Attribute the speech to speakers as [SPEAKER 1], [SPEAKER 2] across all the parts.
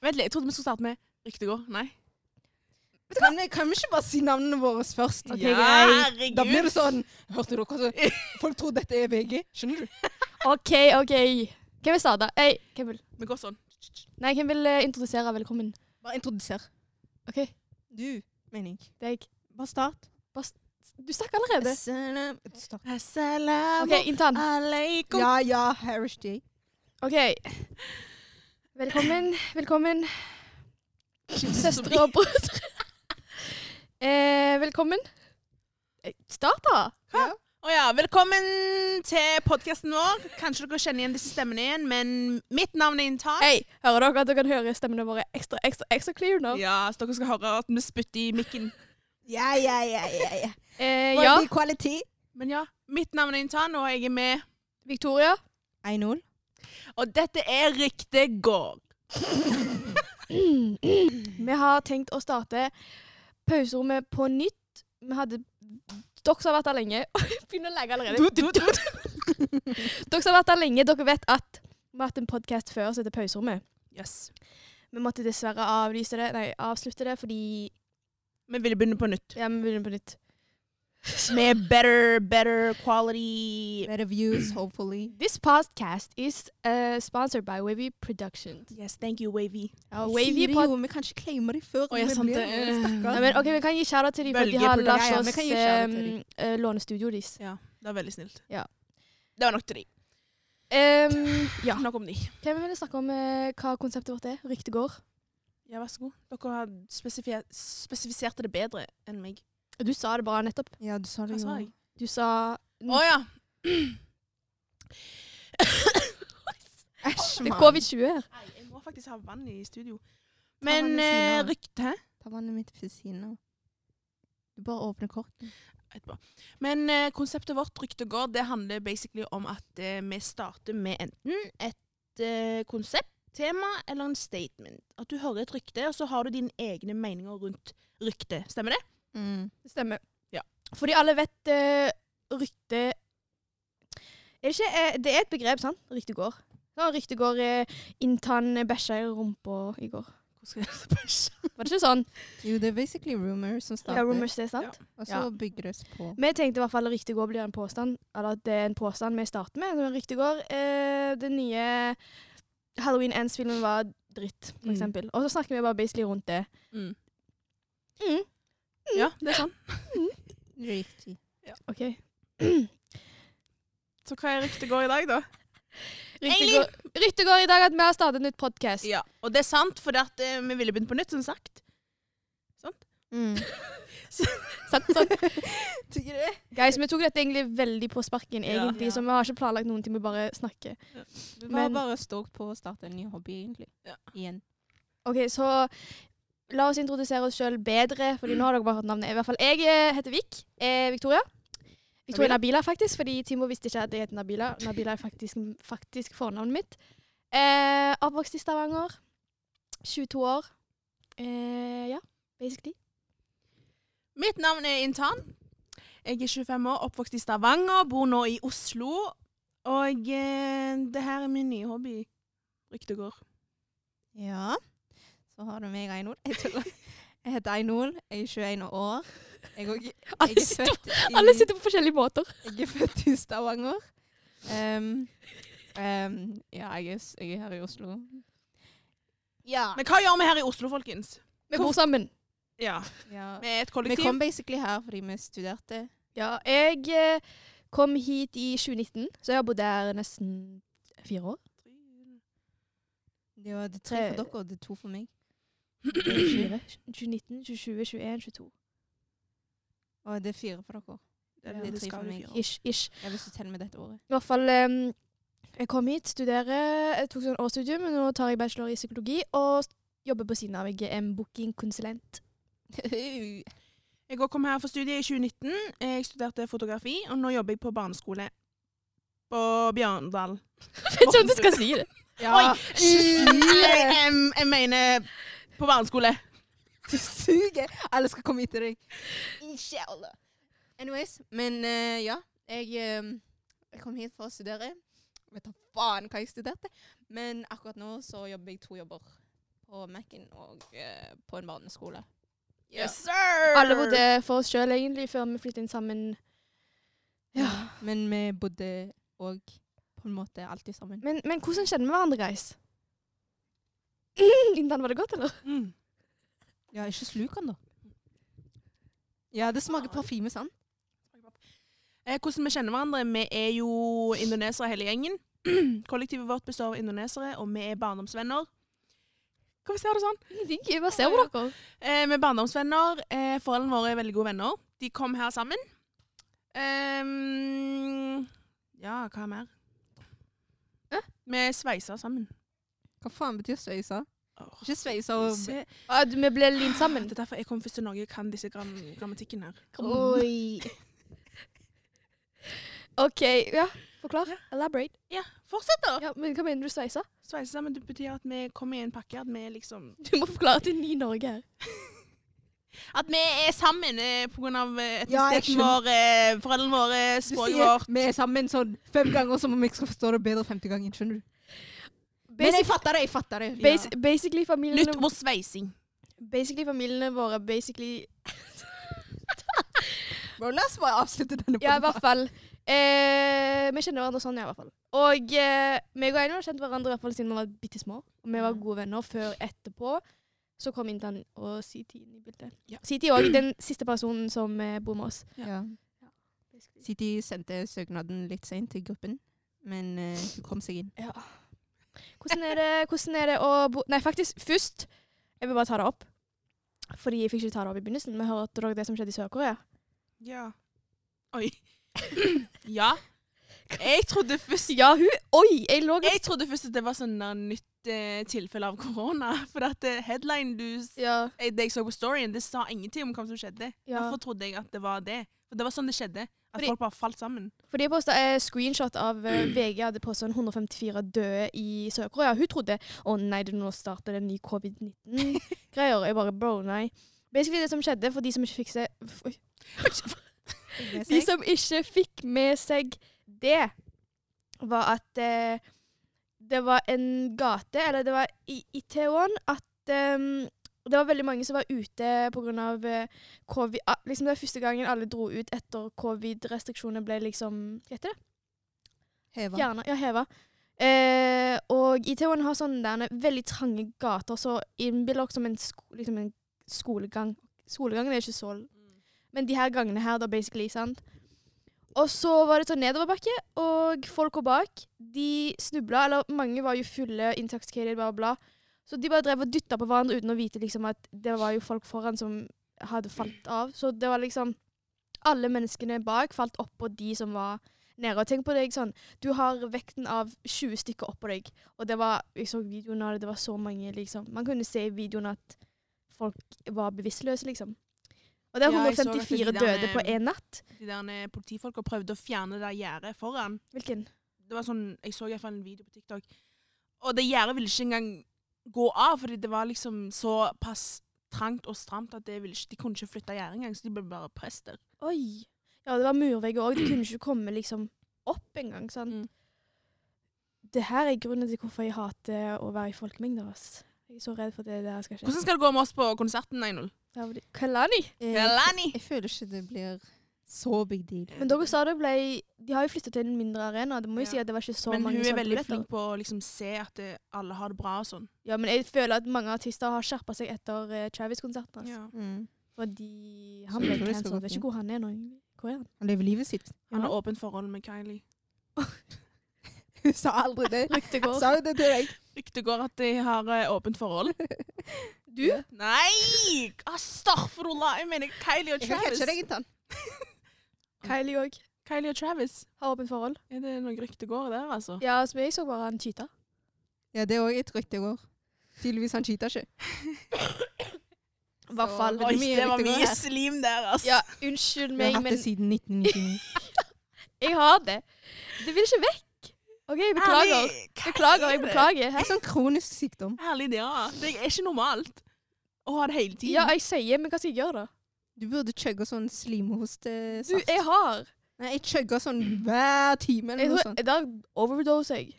[SPEAKER 1] Vent litt, jeg trodde vi skulle starte med Ryktegård. Nei.
[SPEAKER 2] Kan, kan vi ikke bare si navnene våre først?
[SPEAKER 1] Ok,
[SPEAKER 2] Ja.
[SPEAKER 1] greit.
[SPEAKER 2] Da blir det sånn Hørte dere også? Folk tror dette er VG. Skjønner du?
[SPEAKER 3] OK, OK. Hvem vil starte? Ei, hvem vil?
[SPEAKER 1] Vi går sånn.
[SPEAKER 3] Nei, hvem vil eh, introdusere velkommen?
[SPEAKER 2] Bare introduser.
[SPEAKER 3] OK,
[SPEAKER 2] Du, mener jeg.
[SPEAKER 3] deg.
[SPEAKER 2] Bare start.
[SPEAKER 3] Du stakk allerede.
[SPEAKER 2] Start.
[SPEAKER 3] OK, intern.
[SPEAKER 1] Aleikum.
[SPEAKER 2] Ja, ja, Harris J.
[SPEAKER 3] OK. Velkommen, velkommen. Søstre og brødre. eh, velkommen. Eh, Start, da.
[SPEAKER 2] Ja.
[SPEAKER 1] Å ja, velkommen til podkasten vår. Kanskje dere kjenner igjen disse stemmene igjen, men mitt navn er Inntak.
[SPEAKER 3] Hei, hører dere at dere kan høre stemmene våre ekstra, ekstra, ekstra clear nå?
[SPEAKER 1] Ja, så dere skal høre at vi spytter i mikken.
[SPEAKER 2] Ja, ja, ja, ja, ja.
[SPEAKER 3] Eh, ja.
[SPEAKER 2] Quality, quality.
[SPEAKER 1] Men ja, mitt navn er Inntan, og jeg er med.
[SPEAKER 3] Victoria.
[SPEAKER 2] 1-0.
[SPEAKER 1] Og dette er Ryktegård.
[SPEAKER 3] Vi har tenkt å starte pauserommet på nytt. Vi hadde Dere som har vært der lenge Begynner å legge allerede. Dere som har vært der lenge, dere vet at vi har hatt en podkast før som heter Pauserommet.
[SPEAKER 1] Yes.
[SPEAKER 3] Vi måtte dessverre avlyse det, nei, avslutte det fordi
[SPEAKER 1] Vi ville begynne på nytt.
[SPEAKER 3] Ja, vi begynner på nytt.
[SPEAKER 1] Med better, better quality.
[SPEAKER 2] Better views, hopefully.
[SPEAKER 3] This podcast is uh, sponsored by Wavy Productions.
[SPEAKER 1] Yes, thank you, Wavy.
[SPEAKER 3] Ja,
[SPEAKER 2] Vi
[SPEAKER 3] Wavy
[SPEAKER 2] sier det
[SPEAKER 3] pod
[SPEAKER 2] jo, Vi kan ikke claime de før.
[SPEAKER 1] Å, ja,
[SPEAKER 2] vi
[SPEAKER 1] sant
[SPEAKER 2] blir
[SPEAKER 1] det,
[SPEAKER 2] det,
[SPEAKER 1] eh.
[SPEAKER 3] ja,
[SPEAKER 2] stakkar.
[SPEAKER 3] men, ok, Vi kan gi kjære til dem, for de
[SPEAKER 1] Bølge
[SPEAKER 3] har
[SPEAKER 1] Produ-
[SPEAKER 3] latt
[SPEAKER 2] ja, ja, vi
[SPEAKER 3] oss
[SPEAKER 2] kan gi shout-out til
[SPEAKER 3] um, eh, låne studioet deres.
[SPEAKER 1] Ja, det er veldig snilt.
[SPEAKER 3] Ja.
[SPEAKER 1] Det var nok til de.
[SPEAKER 3] Um, ja.
[SPEAKER 1] Nok om de.
[SPEAKER 3] Hvem vil snakke om eh, hva konseptet vårt er? Ryktet går.
[SPEAKER 1] Ja, vær så god. Dere har spesifi- spesifiserte det bedre enn meg.
[SPEAKER 3] Du sa det bare nettopp.
[SPEAKER 2] Ja, du sa
[SPEAKER 1] Hva
[SPEAKER 2] det jo.
[SPEAKER 1] sa jeg?
[SPEAKER 3] Du sa
[SPEAKER 1] Å ja.
[SPEAKER 2] Æsj,
[SPEAKER 3] Det er
[SPEAKER 2] mann.
[SPEAKER 3] covid-20 her.
[SPEAKER 1] Nei, jeg må faktisk ha vann i studio.
[SPEAKER 2] vann
[SPEAKER 1] Men
[SPEAKER 2] ved
[SPEAKER 1] eh,
[SPEAKER 2] siden av.
[SPEAKER 1] rykte Hæ?
[SPEAKER 2] Ta vannet mitt ved siden av. Du bare åpner korken.
[SPEAKER 1] Etterpå. Men eh, konseptet vårt, Rykte går, det handler basically om at eh, vi starter med enten et eh, konsept, tema eller en statement. At du hører et rykte, og så har du dine egne meninger rundt ryktet. Stemmer det?
[SPEAKER 2] Mm.
[SPEAKER 3] Det stemmer.
[SPEAKER 1] Ja.
[SPEAKER 3] Fordi alle vet eh, rykte er det, ikke, eh, det er et begrep, sant? Rykte går. Ja, rykte går uh, inntann bæsja i rumpa i går.
[SPEAKER 1] Hvordan skal jeg bæsje?
[SPEAKER 3] Var det ikke sånn?
[SPEAKER 2] Jo, det er basically rumor som starter,
[SPEAKER 3] Ja, rumors, det er sant?
[SPEAKER 2] og så
[SPEAKER 3] ja.
[SPEAKER 2] bygger det seg på.
[SPEAKER 3] Vi tenkte i hvert fall at ryktet går blir en påstand, eller at det er en påstand vi starter med. Så Ryktet går eh, Den nye Halloween Ends-filmen var dritt, for
[SPEAKER 1] Mm.
[SPEAKER 3] eksempel. Og så snakker vi bare basically rundt det.
[SPEAKER 1] Mm.
[SPEAKER 3] Mm.
[SPEAKER 1] Ja, det er sånn.
[SPEAKER 2] Riktig.
[SPEAKER 3] OK.
[SPEAKER 1] Så hva er Rykte går i dag, da?
[SPEAKER 3] Ryktet går, ryktet går i dag at vi har startet en nytt podkast.
[SPEAKER 1] Ja, og det er sant, for at, eh, vi ville begynt på nytt, som sagt.
[SPEAKER 2] Mm.
[SPEAKER 3] Sant, sant?
[SPEAKER 2] Tykker du det?
[SPEAKER 3] Guys, vi tok dette egentlig veldig på sparken,
[SPEAKER 1] Ja.
[SPEAKER 3] egentlig,
[SPEAKER 2] Ja.
[SPEAKER 3] så vi har ikke planlagt noen ting, vi bare snakker.
[SPEAKER 2] Du
[SPEAKER 3] var Men-
[SPEAKER 2] bare stått på å starte en ny hobby, egentlig.
[SPEAKER 1] Ja.
[SPEAKER 2] Igjen.
[SPEAKER 3] OK, så la oss introdusere oss sjøl bedre, Fordi nå har dere bare hørt navnet. I hvert fall jeg eh, heter Vik. Eh, Victoria. Victoria Nabila, faktisk, fordi Timo visste ikke at jeg heter Nabila. Nabila er faktisk, faktisk fornavnet mitt. Eh, oppvokst i Stavanger. 22 år. Eh, ja, basically.
[SPEAKER 1] Mitt navn er Intan. Jeg er 25 år, oppvokst i Stavanger, bor nå i Oslo. Og eh, det her er min nye hobby. Rykte går.
[SPEAKER 2] Ja. Så har du meg, Einol. Jeg tuller. Jeg heter Einol, jeg er 21 år. Jeg, og, jeg,
[SPEAKER 3] Alle
[SPEAKER 2] er
[SPEAKER 3] sitter,
[SPEAKER 2] født i,
[SPEAKER 3] alle sitter på forskjellige måter.
[SPEAKER 2] jeg er født i Stavanger. Ehm, ehm, ja, jeg er, s- jeg er her i Oslo. Ja.
[SPEAKER 1] Men hva gjør vi her i Oslo, folkens?
[SPEAKER 3] Vi bor sammen.
[SPEAKER 1] Ja,
[SPEAKER 2] ja.
[SPEAKER 1] Vi er et
[SPEAKER 2] Vi
[SPEAKER 1] kollektiv.
[SPEAKER 2] kom basically her fordi vi studerte.
[SPEAKER 3] Ja, jeg eh, kom hit i 2019, så jeg har bodd her nesten fire år.
[SPEAKER 2] Det var det tre for
[SPEAKER 3] Tre-
[SPEAKER 2] dere og det er to for meg.
[SPEAKER 3] Fire. 2019, 2020, 21, 22.
[SPEAKER 2] Og det er fire for dere.
[SPEAKER 1] Det er
[SPEAKER 2] Ja,
[SPEAKER 1] litt
[SPEAKER 2] tre for
[SPEAKER 1] skadelig
[SPEAKER 2] meg.
[SPEAKER 1] fyr.
[SPEAKER 3] Ish, ish.
[SPEAKER 2] Jeg vil telle med dette året.
[SPEAKER 3] I hvert fall em, Jeg kom hit, studerer, jeg tok sånn årsstudium, men nå tar jeg bachelor i psykologi og s- jobber på siden av. Jeg er en bookingkonsulent.
[SPEAKER 1] Jeg òg kom her for studiet i 2019. Jeg studerte fotografi, og nå jobber jeg på barneskole. På Bjørndal.
[SPEAKER 3] Vet ikke om du skal si det.
[SPEAKER 1] Oi! Mm, Jeg, jeg, jeg mener på barneskole.
[SPEAKER 2] Du suger! Alle skal komme etter deg. Inshallah. Anyways, men eh, ja. Jeg, eh, jeg kom hit for å studere. Vet da faen hva jeg studerte. Men akkurat nå så jobber jeg to jobber. på Mac-en og eh, på en barneskole.
[SPEAKER 1] Yes, sir!
[SPEAKER 3] Alle bodde for oss sjøl, egentlig, før vi flytta inn sammen. Ja.
[SPEAKER 2] Men vi bodde òg på en måte alltid sammen.
[SPEAKER 3] Men, men hvordan kjenner vi hverandre, guys? Lindan, var det godt, eller?
[SPEAKER 1] Mm.
[SPEAKER 2] Ja, ikke sluk han, da. Ja, det smaker parfyme, sant?
[SPEAKER 1] Eh, hvordan vi kjenner hverandre? Vi er jo indonesere hele gjengen. Kollektivet vårt består av indonesere, og vi er barndomsvenner. Kan vi se det sånn?
[SPEAKER 3] Ingenting. Jeg bare ser på dere.
[SPEAKER 1] Eh, vi er barndomsvenner. Eh, foreldrene våre er veldig gode venner. De kom her sammen. Ehm, ja, hva mer? Vi sveisa sammen.
[SPEAKER 2] Hva faen betyr sveisa?
[SPEAKER 1] Åh,
[SPEAKER 2] Ikke sveisa og
[SPEAKER 1] se.
[SPEAKER 3] Ja, du, vi ble limt sammen.
[SPEAKER 1] Det er derfor jeg kom først til Norge og kan disse gram grammatikken her.
[SPEAKER 3] Oi. OK. Ja, Ah. forklar.
[SPEAKER 1] Ja.
[SPEAKER 3] Elaborate.
[SPEAKER 1] Ja, fortsett da!
[SPEAKER 3] Ja, men Hva mener du sveisa?
[SPEAKER 1] Sveise sammen det betyr at vi kommer i en pakke. At vi er liksom
[SPEAKER 3] Du må forklare til ny Norge her.
[SPEAKER 1] At vi er sammen eh, pga.
[SPEAKER 2] Ja,
[SPEAKER 1] etnisiteten
[SPEAKER 2] jeg skjønner.
[SPEAKER 1] vår, eh, foreldrene våre,
[SPEAKER 2] Du
[SPEAKER 1] språket
[SPEAKER 2] sier
[SPEAKER 1] vårt.
[SPEAKER 2] vi er sammen sånn fem ganger, som om jeg skal forstå det bedre femte gangen. Skjønner du? Men jeg
[SPEAKER 3] Basic,
[SPEAKER 2] fatter det! jeg fatter det.
[SPEAKER 3] bas, basically, familiene,
[SPEAKER 1] Nytt ord sveising.
[SPEAKER 3] basically familiene våre basically
[SPEAKER 2] Bro, la oss bare avslutte denne
[SPEAKER 3] Ja, i hvert fall. Eh, vi kjenner hverandre sånn, ja, i hvert fall. Og eh, meg og Einar har kjent hverandre i hvert fall siden vi var bitte små. Og vi var
[SPEAKER 1] Mhm.
[SPEAKER 3] gode venner før etterpå. Så kom Intan og Siti inn i bildet.
[SPEAKER 1] Ja.
[SPEAKER 3] Siti òg, den siste personen som eh, bor med oss.
[SPEAKER 2] Ja. Siti sendte søknaden litt seint til gruppen, men eh, hun kom seg inn.
[SPEAKER 3] Ja. Hvordan er det, hvordan er det å bo Nei, faktisk, først Jeg vil bare ta det opp. Fordi jeg fikk ikke ta det opp i begynnelsen. Vi hørte dere det som skjedde i Sør-Korea?
[SPEAKER 1] Ja. Oi. ja. Jeg trodde først
[SPEAKER 3] Ja, hun Oi! Jeg lå
[SPEAKER 1] Jeg trodde først at det var sånn der nytt eh, tilfelle av korona. For at eh, headline du s-
[SPEAKER 3] Ja.
[SPEAKER 1] eh, Det jeg så på storyen, det sa ingenting om hva som skjedde.
[SPEAKER 3] ja.
[SPEAKER 1] Derfor trodde jeg at det var det. For det var sånn det skjedde. At
[SPEAKER 3] Fordi-
[SPEAKER 1] folk bare falt sammen.
[SPEAKER 3] Fordi jeg posta eh, screenshot av eh, VG hadde posta 154 døde i Sør-Korea. Hun trodde å nei, det nå starter det en ny covid-19-greier. Jeg bare bro, nei. Basically det som skjedde for de som ikke fikk se oi, De som ikke fikk med seg det, var at eh, det var en gate, eller det var i, i Taiwan, at eh, det var veldig mange som var ute pga. Eh, covid. ah, Liksom det var første gangen alle dro ut etter covid-restriksjonene ble liksom Hva heter det?
[SPEAKER 2] Heva.
[SPEAKER 3] Gjerne, ja, heva. Eh, og IT-en har sånne der, eh, veldig trange gater, så innbill dere som en, sko liksom en skolegang. Skolegangen er ikke så Men de her gangene her, da, basically, sant. Og så var det sånn nedoverbakke, og folka bak, de snubla, eller mange var jo fulle, intoxicated, bla, bla, bla. Så de bare drev og dytta på hverandre uten å vite liksom at det var jo folk foran som hadde falt av. Så det var liksom Alle menneskene bak falt oppå de som var nede. Og tenk på deg sånn du har vekten av 20 stykker oppå deg. Og det var, jeg så videoen av det, det var så mange, liksom. Man kunne se i videoen at folk var bevisstløse, liksom. Og det er
[SPEAKER 1] Ja, jeg så at
[SPEAKER 3] 154
[SPEAKER 1] de der
[SPEAKER 3] døde på
[SPEAKER 1] med-
[SPEAKER 3] én natt.
[SPEAKER 1] De der eh, politifolka prøvde å fjerne det der gjerdet foran.
[SPEAKER 3] Hvilken?
[SPEAKER 1] Det var sånn, Jeg så iallfall en video på TikTok. Og det gjerdet ville ikke engang gå av, fordi det var liksom såpass trangt og stramt at det ville ikke, de kunne ikke flytte gjerdet engang. Så de ble bare presset der.
[SPEAKER 3] Oi! Ja, det var murvegger òg. De kunne ikke komme liksom opp engang. sant?
[SPEAKER 1] Mm.
[SPEAKER 3] Det her er grunnen til hvorfor jeg hater å være i folkemengder. ass. Jeg er så redd for at det, det her skal skje.
[SPEAKER 1] Hvordan skal det gå med oss på konserten 1-0?
[SPEAKER 3] Det her var de- Kalani!
[SPEAKER 1] Kalani!
[SPEAKER 2] jeg føler ikke det blir så big deal.
[SPEAKER 3] Men dere sa det ble De har jo flytta til en mindre arena. Det må jo
[SPEAKER 1] Ja.
[SPEAKER 3] si at det var ikke så
[SPEAKER 1] Men
[SPEAKER 3] mange
[SPEAKER 1] hun er
[SPEAKER 3] solgte
[SPEAKER 1] veldig
[SPEAKER 3] billetter.
[SPEAKER 1] flink på å liksom se at eh, alle har det bra og sånn.
[SPEAKER 3] Ja, men jeg føler at mange artister har skjerpa seg etter eh, Travis-konserten. Altså.
[SPEAKER 1] Ja.
[SPEAKER 2] Mm.
[SPEAKER 3] Fordi
[SPEAKER 2] Så
[SPEAKER 3] han ble
[SPEAKER 2] jeg tror det skal
[SPEAKER 3] cancelled.
[SPEAKER 2] gå
[SPEAKER 3] Vet ikke hvor han er nå. egentlig. Hvor er han?
[SPEAKER 2] Han lever livet sitt.
[SPEAKER 1] Han
[SPEAKER 3] Ja.
[SPEAKER 1] har åpent forhold med Kylie.
[SPEAKER 2] Hun sa aldri det.
[SPEAKER 3] Ryktet går.
[SPEAKER 2] Sa hun det til deg?
[SPEAKER 1] Ryktet går at de har eh, åpent forhold.
[SPEAKER 3] Du?
[SPEAKER 1] Nei! Astaghfirullah! Jeg mener Kylie og
[SPEAKER 2] Jeg kan
[SPEAKER 1] Travis.
[SPEAKER 2] catche deg, Intan.
[SPEAKER 3] Kylie òg
[SPEAKER 1] Kylie og Travis.
[SPEAKER 3] har åpent forhold.
[SPEAKER 1] Er det noe rykte går der, altså?
[SPEAKER 3] Ja, som jeg så bare han cheata.
[SPEAKER 2] Ja, det er òg et rykte i går. Tydeligvis han cheater ikke.
[SPEAKER 3] I hvert fall.
[SPEAKER 2] Så-
[SPEAKER 1] Oi,
[SPEAKER 2] mye
[SPEAKER 1] det var
[SPEAKER 2] rykte går
[SPEAKER 1] mye
[SPEAKER 2] her.
[SPEAKER 1] slim der, altså.
[SPEAKER 3] Ja,
[SPEAKER 2] Vi
[SPEAKER 3] unnskyld
[SPEAKER 2] har
[SPEAKER 3] meg,
[SPEAKER 2] hatt
[SPEAKER 3] men
[SPEAKER 2] det siden 1999.
[SPEAKER 3] jeg har det. Det vil ikke vekk. OK, jeg beklager.
[SPEAKER 1] Herlig, hva
[SPEAKER 3] Beklager,
[SPEAKER 1] er
[SPEAKER 3] jeg
[SPEAKER 1] det?
[SPEAKER 3] beklager.
[SPEAKER 2] Det
[SPEAKER 3] Hæ?
[SPEAKER 2] er sånn kronisk sykdom.
[SPEAKER 1] Herlig, det, ja. Det er ikke normalt å ha det hele tiden.
[SPEAKER 3] Ja, jeg sier, men hva skal jeg gjøre, da?
[SPEAKER 2] Du burde chugge sånn
[SPEAKER 3] Du,
[SPEAKER 2] slimohostesaft.
[SPEAKER 3] jeg har.
[SPEAKER 2] Nei, jeg chugger sånn hver time
[SPEAKER 3] Jeg
[SPEAKER 2] eller noe
[SPEAKER 3] tror,
[SPEAKER 2] sånt.
[SPEAKER 3] da overdoser jeg.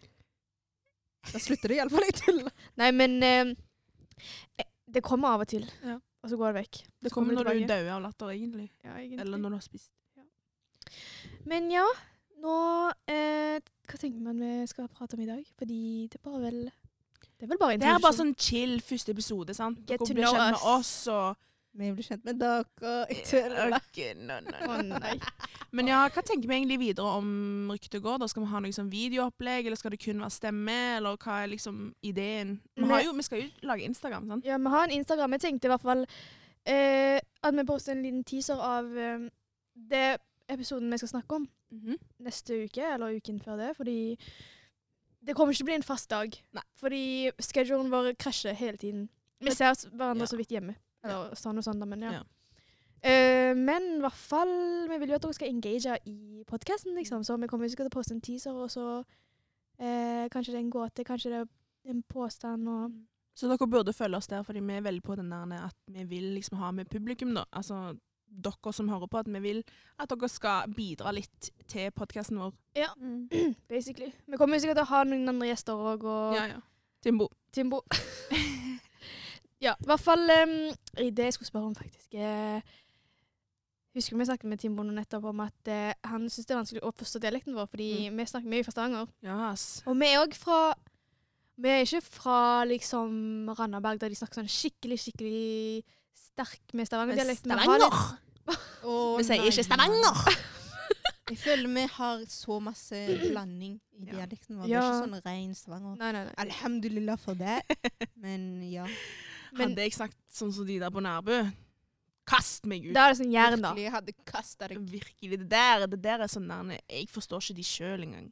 [SPEAKER 2] Da slutter det iallfall, jeg tuller.
[SPEAKER 3] Nei, men eh, Det kommer av og til,
[SPEAKER 1] Ja.
[SPEAKER 3] og så går det vekk.
[SPEAKER 1] Det
[SPEAKER 3] Så
[SPEAKER 1] kommer når du
[SPEAKER 3] tilbake.
[SPEAKER 1] dauer av latter, egentlig.
[SPEAKER 3] Ja, egentlig.
[SPEAKER 1] Eller når du har spist.
[SPEAKER 3] Men ja, nå eh, Hva tenker man vi skal prate om i dag? Fordi det er bare vel Det er vel bare
[SPEAKER 1] Det er bare
[SPEAKER 3] introduksjon.
[SPEAKER 1] sånn chill første episode, sant?
[SPEAKER 3] Get
[SPEAKER 1] Dere
[SPEAKER 3] to
[SPEAKER 1] blir
[SPEAKER 3] know
[SPEAKER 1] kjent med oss
[SPEAKER 3] us.
[SPEAKER 1] og
[SPEAKER 2] Vi blir kjent med dere. Jeg tuller.
[SPEAKER 1] Ok, no, no,
[SPEAKER 3] Å
[SPEAKER 1] no.
[SPEAKER 3] nei.
[SPEAKER 1] Men ja, hva tenker vi egentlig videre om ryktet går? Da skal vi ha noe sånn videoopplegg, eller skal det kun være stemme, eller hva er liksom ideen? Vi, har
[SPEAKER 3] Nei.
[SPEAKER 1] jo, vi skal jo lage Instagram, sant?
[SPEAKER 3] Ja, vi har en Instagram. Jeg tenkte i hvert fall eh, at vi poster en liten teaser av eh, det episoden vi skal snakke om
[SPEAKER 1] Mhm.
[SPEAKER 3] neste uke, eller uken før det, fordi det kommer ikke til å bli en fast dag.
[SPEAKER 1] Nei.
[SPEAKER 3] Fordi schedulen vår krasjer hele tiden. Vi ser s- hverandre
[SPEAKER 1] Ja.
[SPEAKER 3] så vidt hjemme. Eller sånn og sånn, da, men ja.
[SPEAKER 1] Ja.
[SPEAKER 3] Eh, men i hvert fall, vi vil jo at dere skal engage i podkasten, liksom. Så vi kommer sikkert til å poste en teaser, og så eh, kanskje det er en gåte, kanskje det er en påstand og
[SPEAKER 1] Så dere burde følge oss der, fordi vi er veldig på den der at vi vil liksom ha med publikum, da. Altså dere som hører på, at vi vil at dere skal bidra litt til podkasten vår.
[SPEAKER 2] Mm.
[SPEAKER 3] Basically. Vi kommer jo sikkert til å ha noen andre gjester òg, og
[SPEAKER 1] Ja, ja. Timbo.
[SPEAKER 3] Timbo. ja, i hvert fall em, i Det jeg skulle spørre om, faktisk eh, Husker vi snakket med Timbo nå nettopp om at eh, han syns det er vanskelig å forstå dialekten vår, fordi vi snakker mye fra Stavanger.
[SPEAKER 1] Ja, ass.
[SPEAKER 3] Og vi er òg fra Vi er ikke fra liksom Randaberg, der de snakker sånn skikkelig, skikkelig sterk med Stavanger-dialekt. Vi har litt-
[SPEAKER 2] Å,
[SPEAKER 1] Vi sier
[SPEAKER 2] nei.
[SPEAKER 1] ikke Stavanger!
[SPEAKER 2] Jeg føler vi har så masse blanding i
[SPEAKER 1] Ja.
[SPEAKER 2] dialekten vår. Det
[SPEAKER 3] Ja.
[SPEAKER 2] er ikke sånn rein Stavanger.
[SPEAKER 3] Nei, nei, nei.
[SPEAKER 2] Alhamdulillah for det. Men ja.
[SPEAKER 3] Men
[SPEAKER 1] Hadde jeg sagt sånn som de der på Nærbø Kast meg ut!
[SPEAKER 3] da er det sånn jern, da.
[SPEAKER 2] Virkelig, jeg hadde kasta deg.
[SPEAKER 1] Virkelig. Det der, det der er sånn der Jeg forstår ikke de sjøl engang.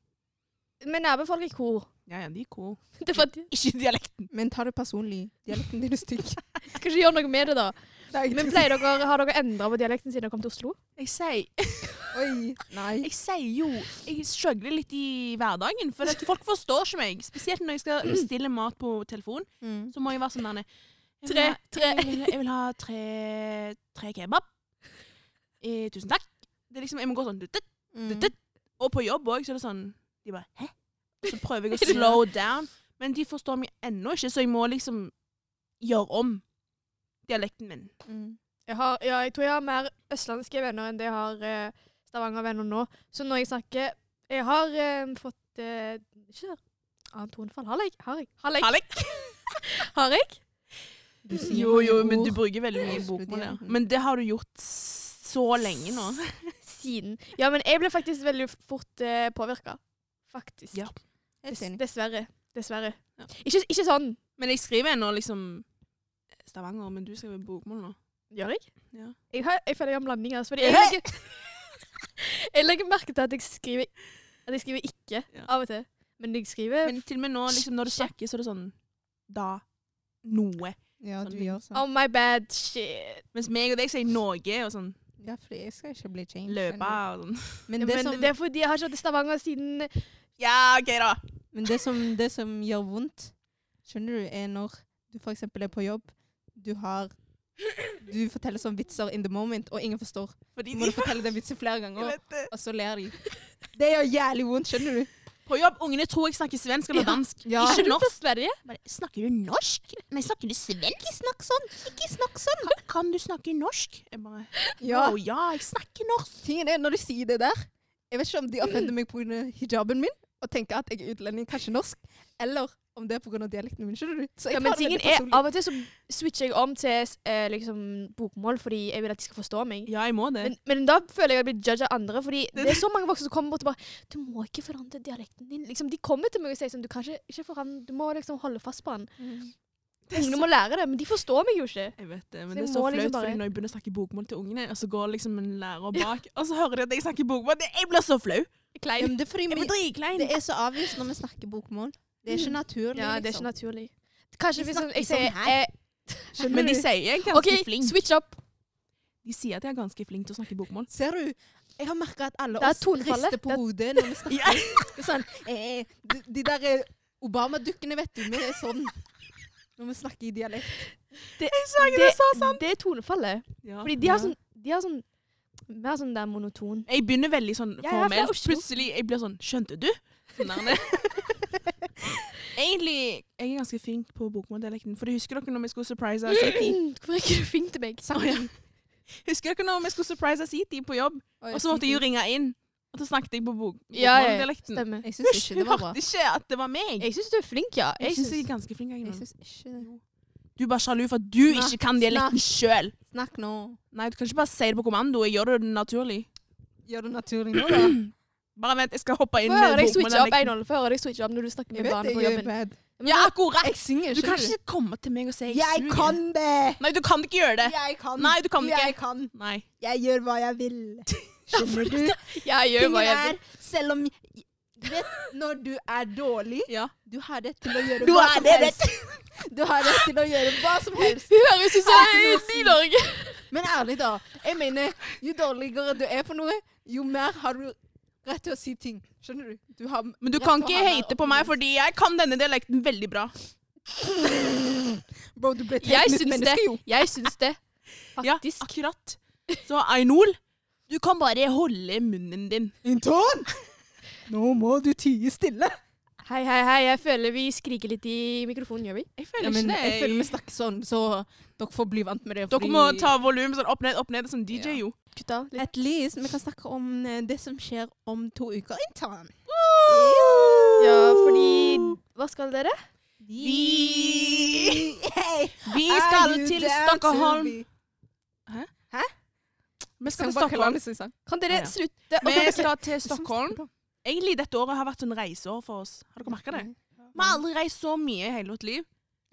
[SPEAKER 3] Men nabofolk i kor.
[SPEAKER 1] Ja, ja, de er cool.
[SPEAKER 3] Det er for at de
[SPEAKER 1] Ikke dialekten.
[SPEAKER 2] Men ta det personlig. Dialekten din er stygg.
[SPEAKER 3] skal ikke gjøre noe med det, da. Men
[SPEAKER 2] Men
[SPEAKER 3] pleier dere, Har dere endra på dialekten siden dere kom til Oslo?
[SPEAKER 1] Jeg sier,
[SPEAKER 2] Oi. Nei.
[SPEAKER 1] jeg sier jo Jeg skjøgler litt i hverdagen, for at folk forstår ikke meg. Spesielt når jeg skal bestille mat på telefon,
[SPEAKER 2] Mm.
[SPEAKER 1] så må jeg være sånn der jeg vil
[SPEAKER 3] Tre,
[SPEAKER 1] ha-
[SPEAKER 3] tre.
[SPEAKER 1] Jeg vil, jeg vil ha tre, tre kebab. Eh, tusen takk. Det er liksom, jeg må gå sånn dutt, dutt,
[SPEAKER 2] Mm.
[SPEAKER 1] dutt. Og på jobb òg, så er det sånn De bare Hæ? Så prøver jeg å slow down, men de forstår meg ennå ikke, så jeg må liksom gjøre om dialekten min.
[SPEAKER 2] Mm.
[SPEAKER 3] Jeg, har, ja, jeg tror jeg har mer østlandske venner enn det jeg har eh, Stavanger-venner nå. Så når jeg snakker Jeg har eh, fått eh, Ikke annet tonefall. Har jeg? Har jeg? Har jeg?
[SPEAKER 1] Hallik!
[SPEAKER 3] Har jeg?
[SPEAKER 2] Du sier
[SPEAKER 1] Jo,
[SPEAKER 2] mange
[SPEAKER 1] jo, men
[SPEAKER 2] ord.
[SPEAKER 1] du bruker veldig mye
[SPEAKER 2] Ja,
[SPEAKER 1] bokmål. Ja.
[SPEAKER 2] studier.
[SPEAKER 1] Men det har du gjort så lenge nå.
[SPEAKER 3] Siden. Ja, men jeg ble faktisk veldig fort eh, påvirka. Faktisk.
[SPEAKER 1] Ja.
[SPEAKER 2] Helt
[SPEAKER 3] Dess,
[SPEAKER 2] enig.
[SPEAKER 3] dessverre. Dessverre.
[SPEAKER 1] Ja.
[SPEAKER 3] Ikke, ikke sånn.
[SPEAKER 1] Men jeg skriver ennå liksom Stavanger, men du skriver bokmål nå.
[SPEAKER 3] Gjør jeg?
[SPEAKER 1] Ja.
[SPEAKER 3] Jeg, har, jeg føler jeg har en blanding. Altså, fordi jeg, legger, jeg legger merke til at jeg skriver At jeg skriver ikke
[SPEAKER 1] Ja.
[SPEAKER 3] av og til. Men jeg skriver
[SPEAKER 1] Men til og med nå, liksom, når du snakker, så er det sånn Da. Noe.
[SPEAKER 2] Ja, du
[SPEAKER 1] Sånn.
[SPEAKER 2] gjør sånn.
[SPEAKER 3] Oh my bad shit.
[SPEAKER 1] Mens meg og deg sier noe og sånn
[SPEAKER 2] Ja, for jeg skal ikke bli changed.
[SPEAKER 1] løpe
[SPEAKER 2] ennå.
[SPEAKER 1] og sånn.
[SPEAKER 2] Men
[SPEAKER 3] Ja,
[SPEAKER 2] det,
[SPEAKER 3] men
[SPEAKER 2] som,
[SPEAKER 3] det er fordi jeg har ikke vært i Stavanger siden
[SPEAKER 1] Ja, OK, da.
[SPEAKER 2] men det, som, det som gjør vondt, skjønner du, er når du f.eks. er på jobb, du har Du forteller sånne vitser in the moment, og ingen forstår.
[SPEAKER 1] Fordi
[SPEAKER 2] Så må
[SPEAKER 1] de
[SPEAKER 2] du fortelle den vitsen flere ganger,
[SPEAKER 1] vet det.
[SPEAKER 2] og så ler de. Det gjør jævlig vondt, skjønner du?
[SPEAKER 1] På jobb, ungene tror jeg snakker svensk eller
[SPEAKER 3] Ja.
[SPEAKER 1] dansk.
[SPEAKER 2] Ja.
[SPEAKER 1] Ikke
[SPEAKER 3] Har du
[SPEAKER 1] norsk.
[SPEAKER 3] til Sverige.
[SPEAKER 1] Bare, Snakker du norsk? Men snakker du svensk?
[SPEAKER 2] Ikke snakk sånn! Ikke snakk sånn!
[SPEAKER 1] Kan, kan du snakke norsk? Jeg bare
[SPEAKER 2] Ja.
[SPEAKER 1] Å ja, jeg snakker norsk.
[SPEAKER 2] Tingen er, når du sier det der Jeg vet ikke om de offender meg pga. hijaben min og tenker at jeg er utlending, kanskje norsk, eller om det er pga. dialekten min. Skjønner du? Så
[SPEAKER 3] Ja,
[SPEAKER 2] jeg tar
[SPEAKER 3] men
[SPEAKER 2] det
[SPEAKER 3] tingen
[SPEAKER 2] veldig
[SPEAKER 3] er,
[SPEAKER 2] personlig.
[SPEAKER 3] av og til så switcher jeg om til eh, liksom, bokmål fordi jeg vil at de skal forstå meg.
[SPEAKER 1] Ja, jeg må det.
[SPEAKER 3] Men, men da føler jeg at jeg blir judget av andre, fordi det er så mange voksne som kommer bort og bare 'Du må ikke forandre dialekten din.' Liksom, de kommer til meg og sier sånn 'Du kan ikke, ikke forandre Du må liksom holde fast på den.'
[SPEAKER 1] Det er så
[SPEAKER 3] Ungene må lære det, men de forstår meg jo ikke.
[SPEAKER 1] Jeg vet det, men
[SPEAKER 3] Så
[SPEAKER 1] det er
[SPEAKER 3] jeg
[SPEAKER 1] så
[SPEAKER 3] må
[SPEAKER 1] flaut,
[SPEAKER 3] liksom bare-
[SPEAKER 1] fordi når jeg begynner å snakke bokmål til ungene, og så går liksom en lærer bak, og så hører de at jeg snakker bokmål, det, jeg blir så flau.
[SPEAKER 2] Ja,
[SPEAKER 3] Klein.
[SPEAKER 2] men det, er fordi
[SPEAKER 1] Jeg
[SPEAKER 2] vi,
[SPEAKER 1] blir dritklein.
[SPEAKER 2] det er så avvist når vi snakker bokmål. Det er ikke naturlig. liksom.
[SPEAKER 3] Mm. Ja, det er ikke naturlig. Kanskje
[SPEAKER 2] De
[SPEAKER 3] hvis jeg
[SPEAKER 2] snakker
[SPEAKER 3] sier
[SPEAKER 2] sånn her.
[SPEAKER 3] eh,
[SPEAKER 2] naturlig.
[SPEAKER 1] Men de sier jeg er ganske
[SPEAKER 3] OK,
[SPEAKER 1] flink.
[SPEAKER 3] switch up.
[SPEAKER 1] De sier at jeg er ganske flink til å snakke bokmål.
[SPEAKER 2] Ser du? Jeg har merka at alle
[SPEAKER 3] Det er
[SPEAKER 2] oss
[SPEAKER 3] tonefallet.
[SPEAKER 2] rister på
[SPEAKER 3] Det er-
[SPEAKER 2] hodet når vi snakker.
[SPEAKER 1] Ja.
[SPEAKER 2] Det er Sånn, eh, de, de der eh, Obama-dukkene, vet du. Vi er sånn når vi snakker i dialekt.
[SPEAKER 3] Det, det er tonefallet.
[SPEAKER 1] Ja.
[SPEAKER 3] Fordi de har sånn, de har sånn mer sånn der monoton
[SPEAKER 1] Jeg begynner veldig sånn
[SPEAKER 3] Jeg er fra
[SPEAKER 1] formelt.
[SPEAKER 3] Oslo.
[SPEAKER 1] Plutselig jeg blir sånn Skjønte du? Sånn der, Egentlig jeg er ganske flink på bokmåldialekten. For husker dere når vi skulle surprise Siti?
[SPEAKER 3] Hvorfor er ikke du flink til meg?
[SPEAKER 1] Å, ja. Husker dere når vi skulle surprise Siti på jobb, og så måtte jeg jo ringe inn? Og så snakket jeg på bok
[SPEAKER 3] Ja, ja, ja.
[SPEAKER 1] bokmåldialekten.
[SPEAKER 3] Stemmer.
[SPEAKER 2] Jeg syns
[SPEAKER 1] Hysj,
[SPEAKER 2] ikke det
[SPEAKER 1] Hun
[SPEAKER 2] var bra.
[SPEAKER 1] hørte ikke at det var meg!
[SPEAKER 3] Jeg syns du er flink, ja.
[SPEAKER 1] Jeg syns jeg
[SPEAKER 3] synes-
[SPEAKER 1] er ganske flink. Jeg,
[SPEAKER 2] Jeg
[SPEAKER 1] nå.
[SPEAKER 2] syns ikke det.
[SPEAKER 1] du er bare sjalu for at du
[SPEAKER 2] Snakk,
[SPEAKER 1] ikke kan dialekten sjøl.
[SPEAKER 2] Snakk nå.
[SPEAKER 1] Nei, du kan ikke bare si det på kommando. Jeg gjør det naturlig.
[SPEAKER 2] Gjør det naturlig nå, da.
[SPEAKER 1] Bare vent, jeg skal hoppe inn
[SPEAKER 3] Få høre
[SPEAKER 1] med
[SPEAKER 3] deg switche opp,
[SPEAKER 1] bokmåldialekten.
[SPEAKER 3] Einhold. Få høre deg switche opp når du snakker
[SPEAKER 2] Jeg
[SPEAKER 3] med
[SPEAKER 2] vet
[SPEAKER 3] barna
[SPEAKER 2] det,
[SPEAKER 3] på
[SPEAKER 2] jeg er
[SPEAKER 3] jobben.
[SPEAKER 2] bad.
[SPEAKER 1] Ja, akkurat!
[SPEAKER 2] Jeg synger
[SPEAKER 1] Du
[SPEAKER 2] ikke.
[SPEAKER 1] kan ikke komme til meg og si jeg,
[SPEAKER 2] Jeg
[SPEAKER 1] suger.
[SPEAKER 2] kan det!
[SPEAKER 1] Nei, du kan ikke gjøre det.
[SPEAKER 2] Jeg kan.
[SPEAKER 1] Nei, du kan ikke.
[SPEAKER 2] Jeg kan.
[SPEAKER 1] Nei.
[SPEAKER 2] Jeg gjør hva jeg vil. Skjønner du?
[SPEAKER 3] Jeg gjør hva
[SPEAKER 2] Tingen
[SPEAKER 3] jeg vil.
[SPEAKER 2] er, selv om Du vet, når du er dårlig,
[SPEAKER 1] Ja.
[SPEAKER 2] du har rett til å gjøre
[SPEAKER 1] Du
[SPEAKER 2] hva
[SPEAKER 1] har
[SPEAKER 2] som
[SPEAKER 1] det rett.
[SPEAKER 2] helst. Du har rett til å gjøre hva som helst.
[SPEAKER 3] Hun høres ut som
[SPEAKER 2] Nei,
[SPEAKER 3] en i Norge.
[SPEAKER 2] Men ærlig, da. Jeg mener, jo dårligere du er på noe, jo mer har du rett til å si ting. Skjønner du? du har
[SPEAKER 1] Men du
[SPEAKER 2] rett
[SPEAKER 1] kan
[SPEAKER 2] til å
[SPEAKER 1] ikke
[SPEAKER 2] ha mer
[SPEAKER 1] hate på meg,
[SPEAKER 2] opinion.
[SPEAKER 1] fordi jeg kan denne dialekten veldig bra.
[SPEAKER 2] Bro, du ble et
[SPEAKER 3] Jeg
[SPEAKER 2] helt nytt
[SPEAKER 3] syns det.
[SPEAKER 2] menneske, jo.
[SPEAKER 3] Jeg syns det.
[SPEAKER 1] Ja,
[SPEAKER 3] Faktisk.
[SPEAKER 1] akkurat. Så Ainol, du kan bare holde munnen din.
[SPEAKER 2] Inton! Nå må du tie stille.
[SPEAKER 3] Hei, hei, hei. Jeg føler vi skriker litt i mikrofonen, gjør vi?
[SPEAKER 1] Jeg
[SPEAKER 2] Ja,
[SPEAKER 1] føler
[SPEAKER 2] men jeg
[SPEAKER 1] ikke
[SPEAKER 2] føler vi
[SPEAKER 1] det.
[SPEAKER 2] snakker sånn, så dere får bli vant med det.
[SPEAKER 1] Dere må ta volum sånn opp ned, opp ned, som
[SPEAKER 2] Ja.
[SPEAKER 1] DJ, jo.
[SPEAKER 3] Kutt av litt.
[SPEAKER 2] At least vi kan snakke om eh, det som skjer om to uker. Inton.
[SPEAKER 3] Ja, fordi Hva skal dere?
[SPEAKER 1] Vi-
[SPEAKER 2] Hey,
[SPEAKER 1] Vi
[SPEAKER 2] are
[SPEAKER 1] skal
[SPEAKER 2] you
[SPEAKER 1] til
[SPEAKER 2] down to
[SPEAKER 1] Stockholm.
[SPEAKER 2] be-
[SPEAKER 1] Vi skal til
[SPEAKER 2] Sang liksom. bak
[SPEAKER 1] Stockholm.
[SPEAKER 2] Kalani sin sang.
[SPEAKER 3] Kan
[SPEAKER 1] Ja,
[SPEAKER 3] dere
[SPEAKER 1] ja.
[SPEAKER 3] slutte? Ok,
[SPEAKER 1] Vi
[SPEAKER 3] ok.
[SPEAKER 1] skal til Stockholm. Egentlig dette året har vært sånn reiseår for oss. Har dere merka det? Vi har aldri reist så mye i hele vårt liv.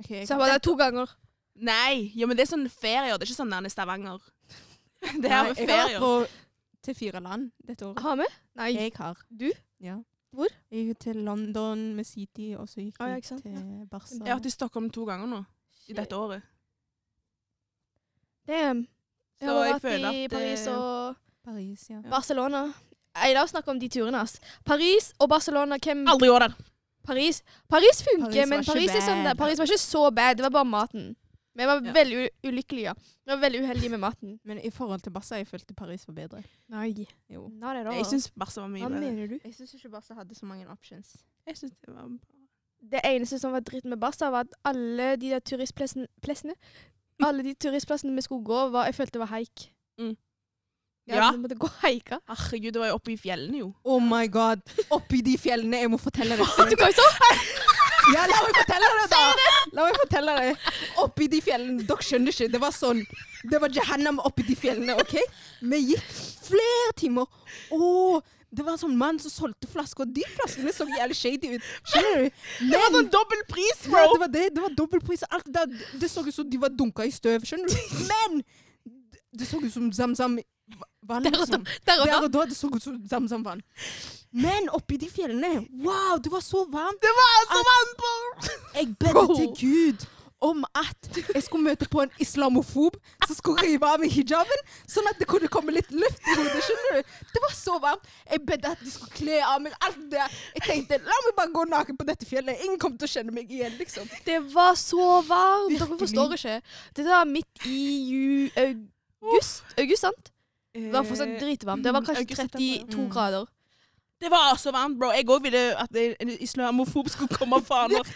[SPEAKER 2] Ok, jeg
[SPEAKER 3] Så jeg var der to ganger.
[SPEAKER 1] Nei, ja, men det er sånn ferier. Det er ikke sånn nærmere Stavanger. Det her
[SPEAKER 2] Nei,
[SPEAKER 1] med
[SPEAKER 2] jeg har vært
[SPEAKER 1] ferier.
[SPEAKER 2] på til fire land dette året.
[SPEAKER 3] Har vi? Nei.
[SPEAKER 2] Jeg har.
[SPEAKER 3] Du?
[SPEAKER 2] Ja.
[SPEAKER 3] Hvor?
[SPEAKER 2] Jeg gikk til London med City, og så gikk
[SPEAKER 1] Ah,
[SPEAKER 3] Å, ja,
[SPEAKER 2] jeg
[SPEAKER 3] ikke sant,
[SPEAKER 2] til Barca.
[SPEAKER 1] Jeg har vært i Stockholm to ganger nå i dette året.
[SPEAKER 3] Damn. Jeg
[SPEAKER 1] Så
[SPEAKER 3] har
[SPEAKER 1] jeg
[SPEAKER 3] vært
[SPEAKER 1] føler
[SPEAKER 3] i
[SPEAKER 1] at,
[SPEAKER 3] Paris
[SPEAKER 1] eh,
[SPEAKER 3] og
[SPEAKER 2] Paris, ja.
[SPEAKER 3] Barcelona. Nei, la oss snakke om de turene, ass. Paris og Barcelona,
[SPEAKER 2] Mm.
[SPEAKER 3] hvem
[SPEAKER 1] Aldri år der.
[SPEAKER 3] Paris Paris funker,
[SPEAKER 2] Paris var
[SPEAKER 3] men
[SPEAKER 2] ikke
[SPEAKER 3] Paris er, sånn
[SPEAKER 2] bad.
[SPEAKER 3] der. Paris var ikke så bad. Det var bare maten. Vi var
[SPEAKER 1] Ja.
[SPEAKER 3] veldig u- ulykkelige. Vi var veldig uheldige med maten.
[SPEAKER 2] Men i forhold til Barca, jeg følte Paris var bedre.
[SPEAKER 3] Nei.
[SPEAKER 2] Jo.
[SPEAKER 3] Nei, det er
[SPEAKER 1] Jeg syns Barca var mye
[SPEAKER 3] Hva
[SPEAKER 1] bedre.
[SPEAKER 3] mener du?
[SPEAKER 2] Jeg syns ikke Barca hadde så mange options.
[SPEAKER 1] Jeg synes det var bra.
[SPEAKER 3] Det eneste som var dritt med Barca, var at alle de der turistplassene plassene- Alle de turistplassene vi skulle gå, var, jeg følte var haik.
[SPEAKER 1] Mm.
[SPEAKER 3] Ja.
[SPEAKER 1] Ja.
[SPEAKER 3] Vi måtte gå haika.
[SPEAKER 1] Herregud, det var jo oppe i fjellene, jo.
[SPEAKER 2] Oh my god! Oppi de fjellene, jeg må fortelle deg.
[SPEAKER 3] Du kan jo sånn! så
[SPEAKER 2] Ja, la meg fortelle deg, da! La meg fortelle deg. Oppi de fjellene. Dere skjønner ikke. Det var sånn. Det var Jahannam oppi de fjellene, OK? Vi gikk flere timer. Å, det var en sånn mann som solgte flasker, og de flaskene så jævlig shady ut. Skjønner du?
[SPEAKER 1] Det var sånn dobbel pris,
[SPEAKER 2] Ja,
[SPEAKER 1] bro!
[SPEAKER 2] det var det. Det var dobbeltpris. Alt det der. Det så ut som de var dunka i støv, skjønner du? Men det- det så ut som ZamZam vann,
[SPEAKER 3] Der og da.
[SPEAKER 2] liksom.
[SPEAKER 3] Der
[SPEAKER 2] Der
[SPEAKER 3] og da.
[SPEAKER 2] og da det så ut som ZamZam vann. Men oppi de fjellene Wow, det var så varmt.
[SPEAKER 1] Det var altså vann, bro!
[SPEAKER 2] Jeg bedde til Gud om at jeg skulle møte på en islamofob som skulle rive av meg hijaben, sånn at det kunne komme litt luft i hodet. skjønner du? Det var så varmt. Jeg bedde at de skulle kle av meg alt det der. Jeg tenkte la meg bare gå naken på dette fjellet. Ingen kommer til å kjenne meg igjen, liksom.
[SPEAKER 3] Det var så varmt. Dere
[SPEAKER 2] Virkelig.
[SPEAKER 3] forstår ikke. Det var midt i ju... August, august, sant? Det var fortsatt dritvarmt. Det var kanskje
[SPEAKER 1] August, september, ja.
[SPEAKER 3] 32
[SPEAKER 2] Mm.
[SPEAKER 3] grader.
[SPEAKER 1] Det var altså varmt, bro. Jeg òg ville at en islamofob skulle komme faen og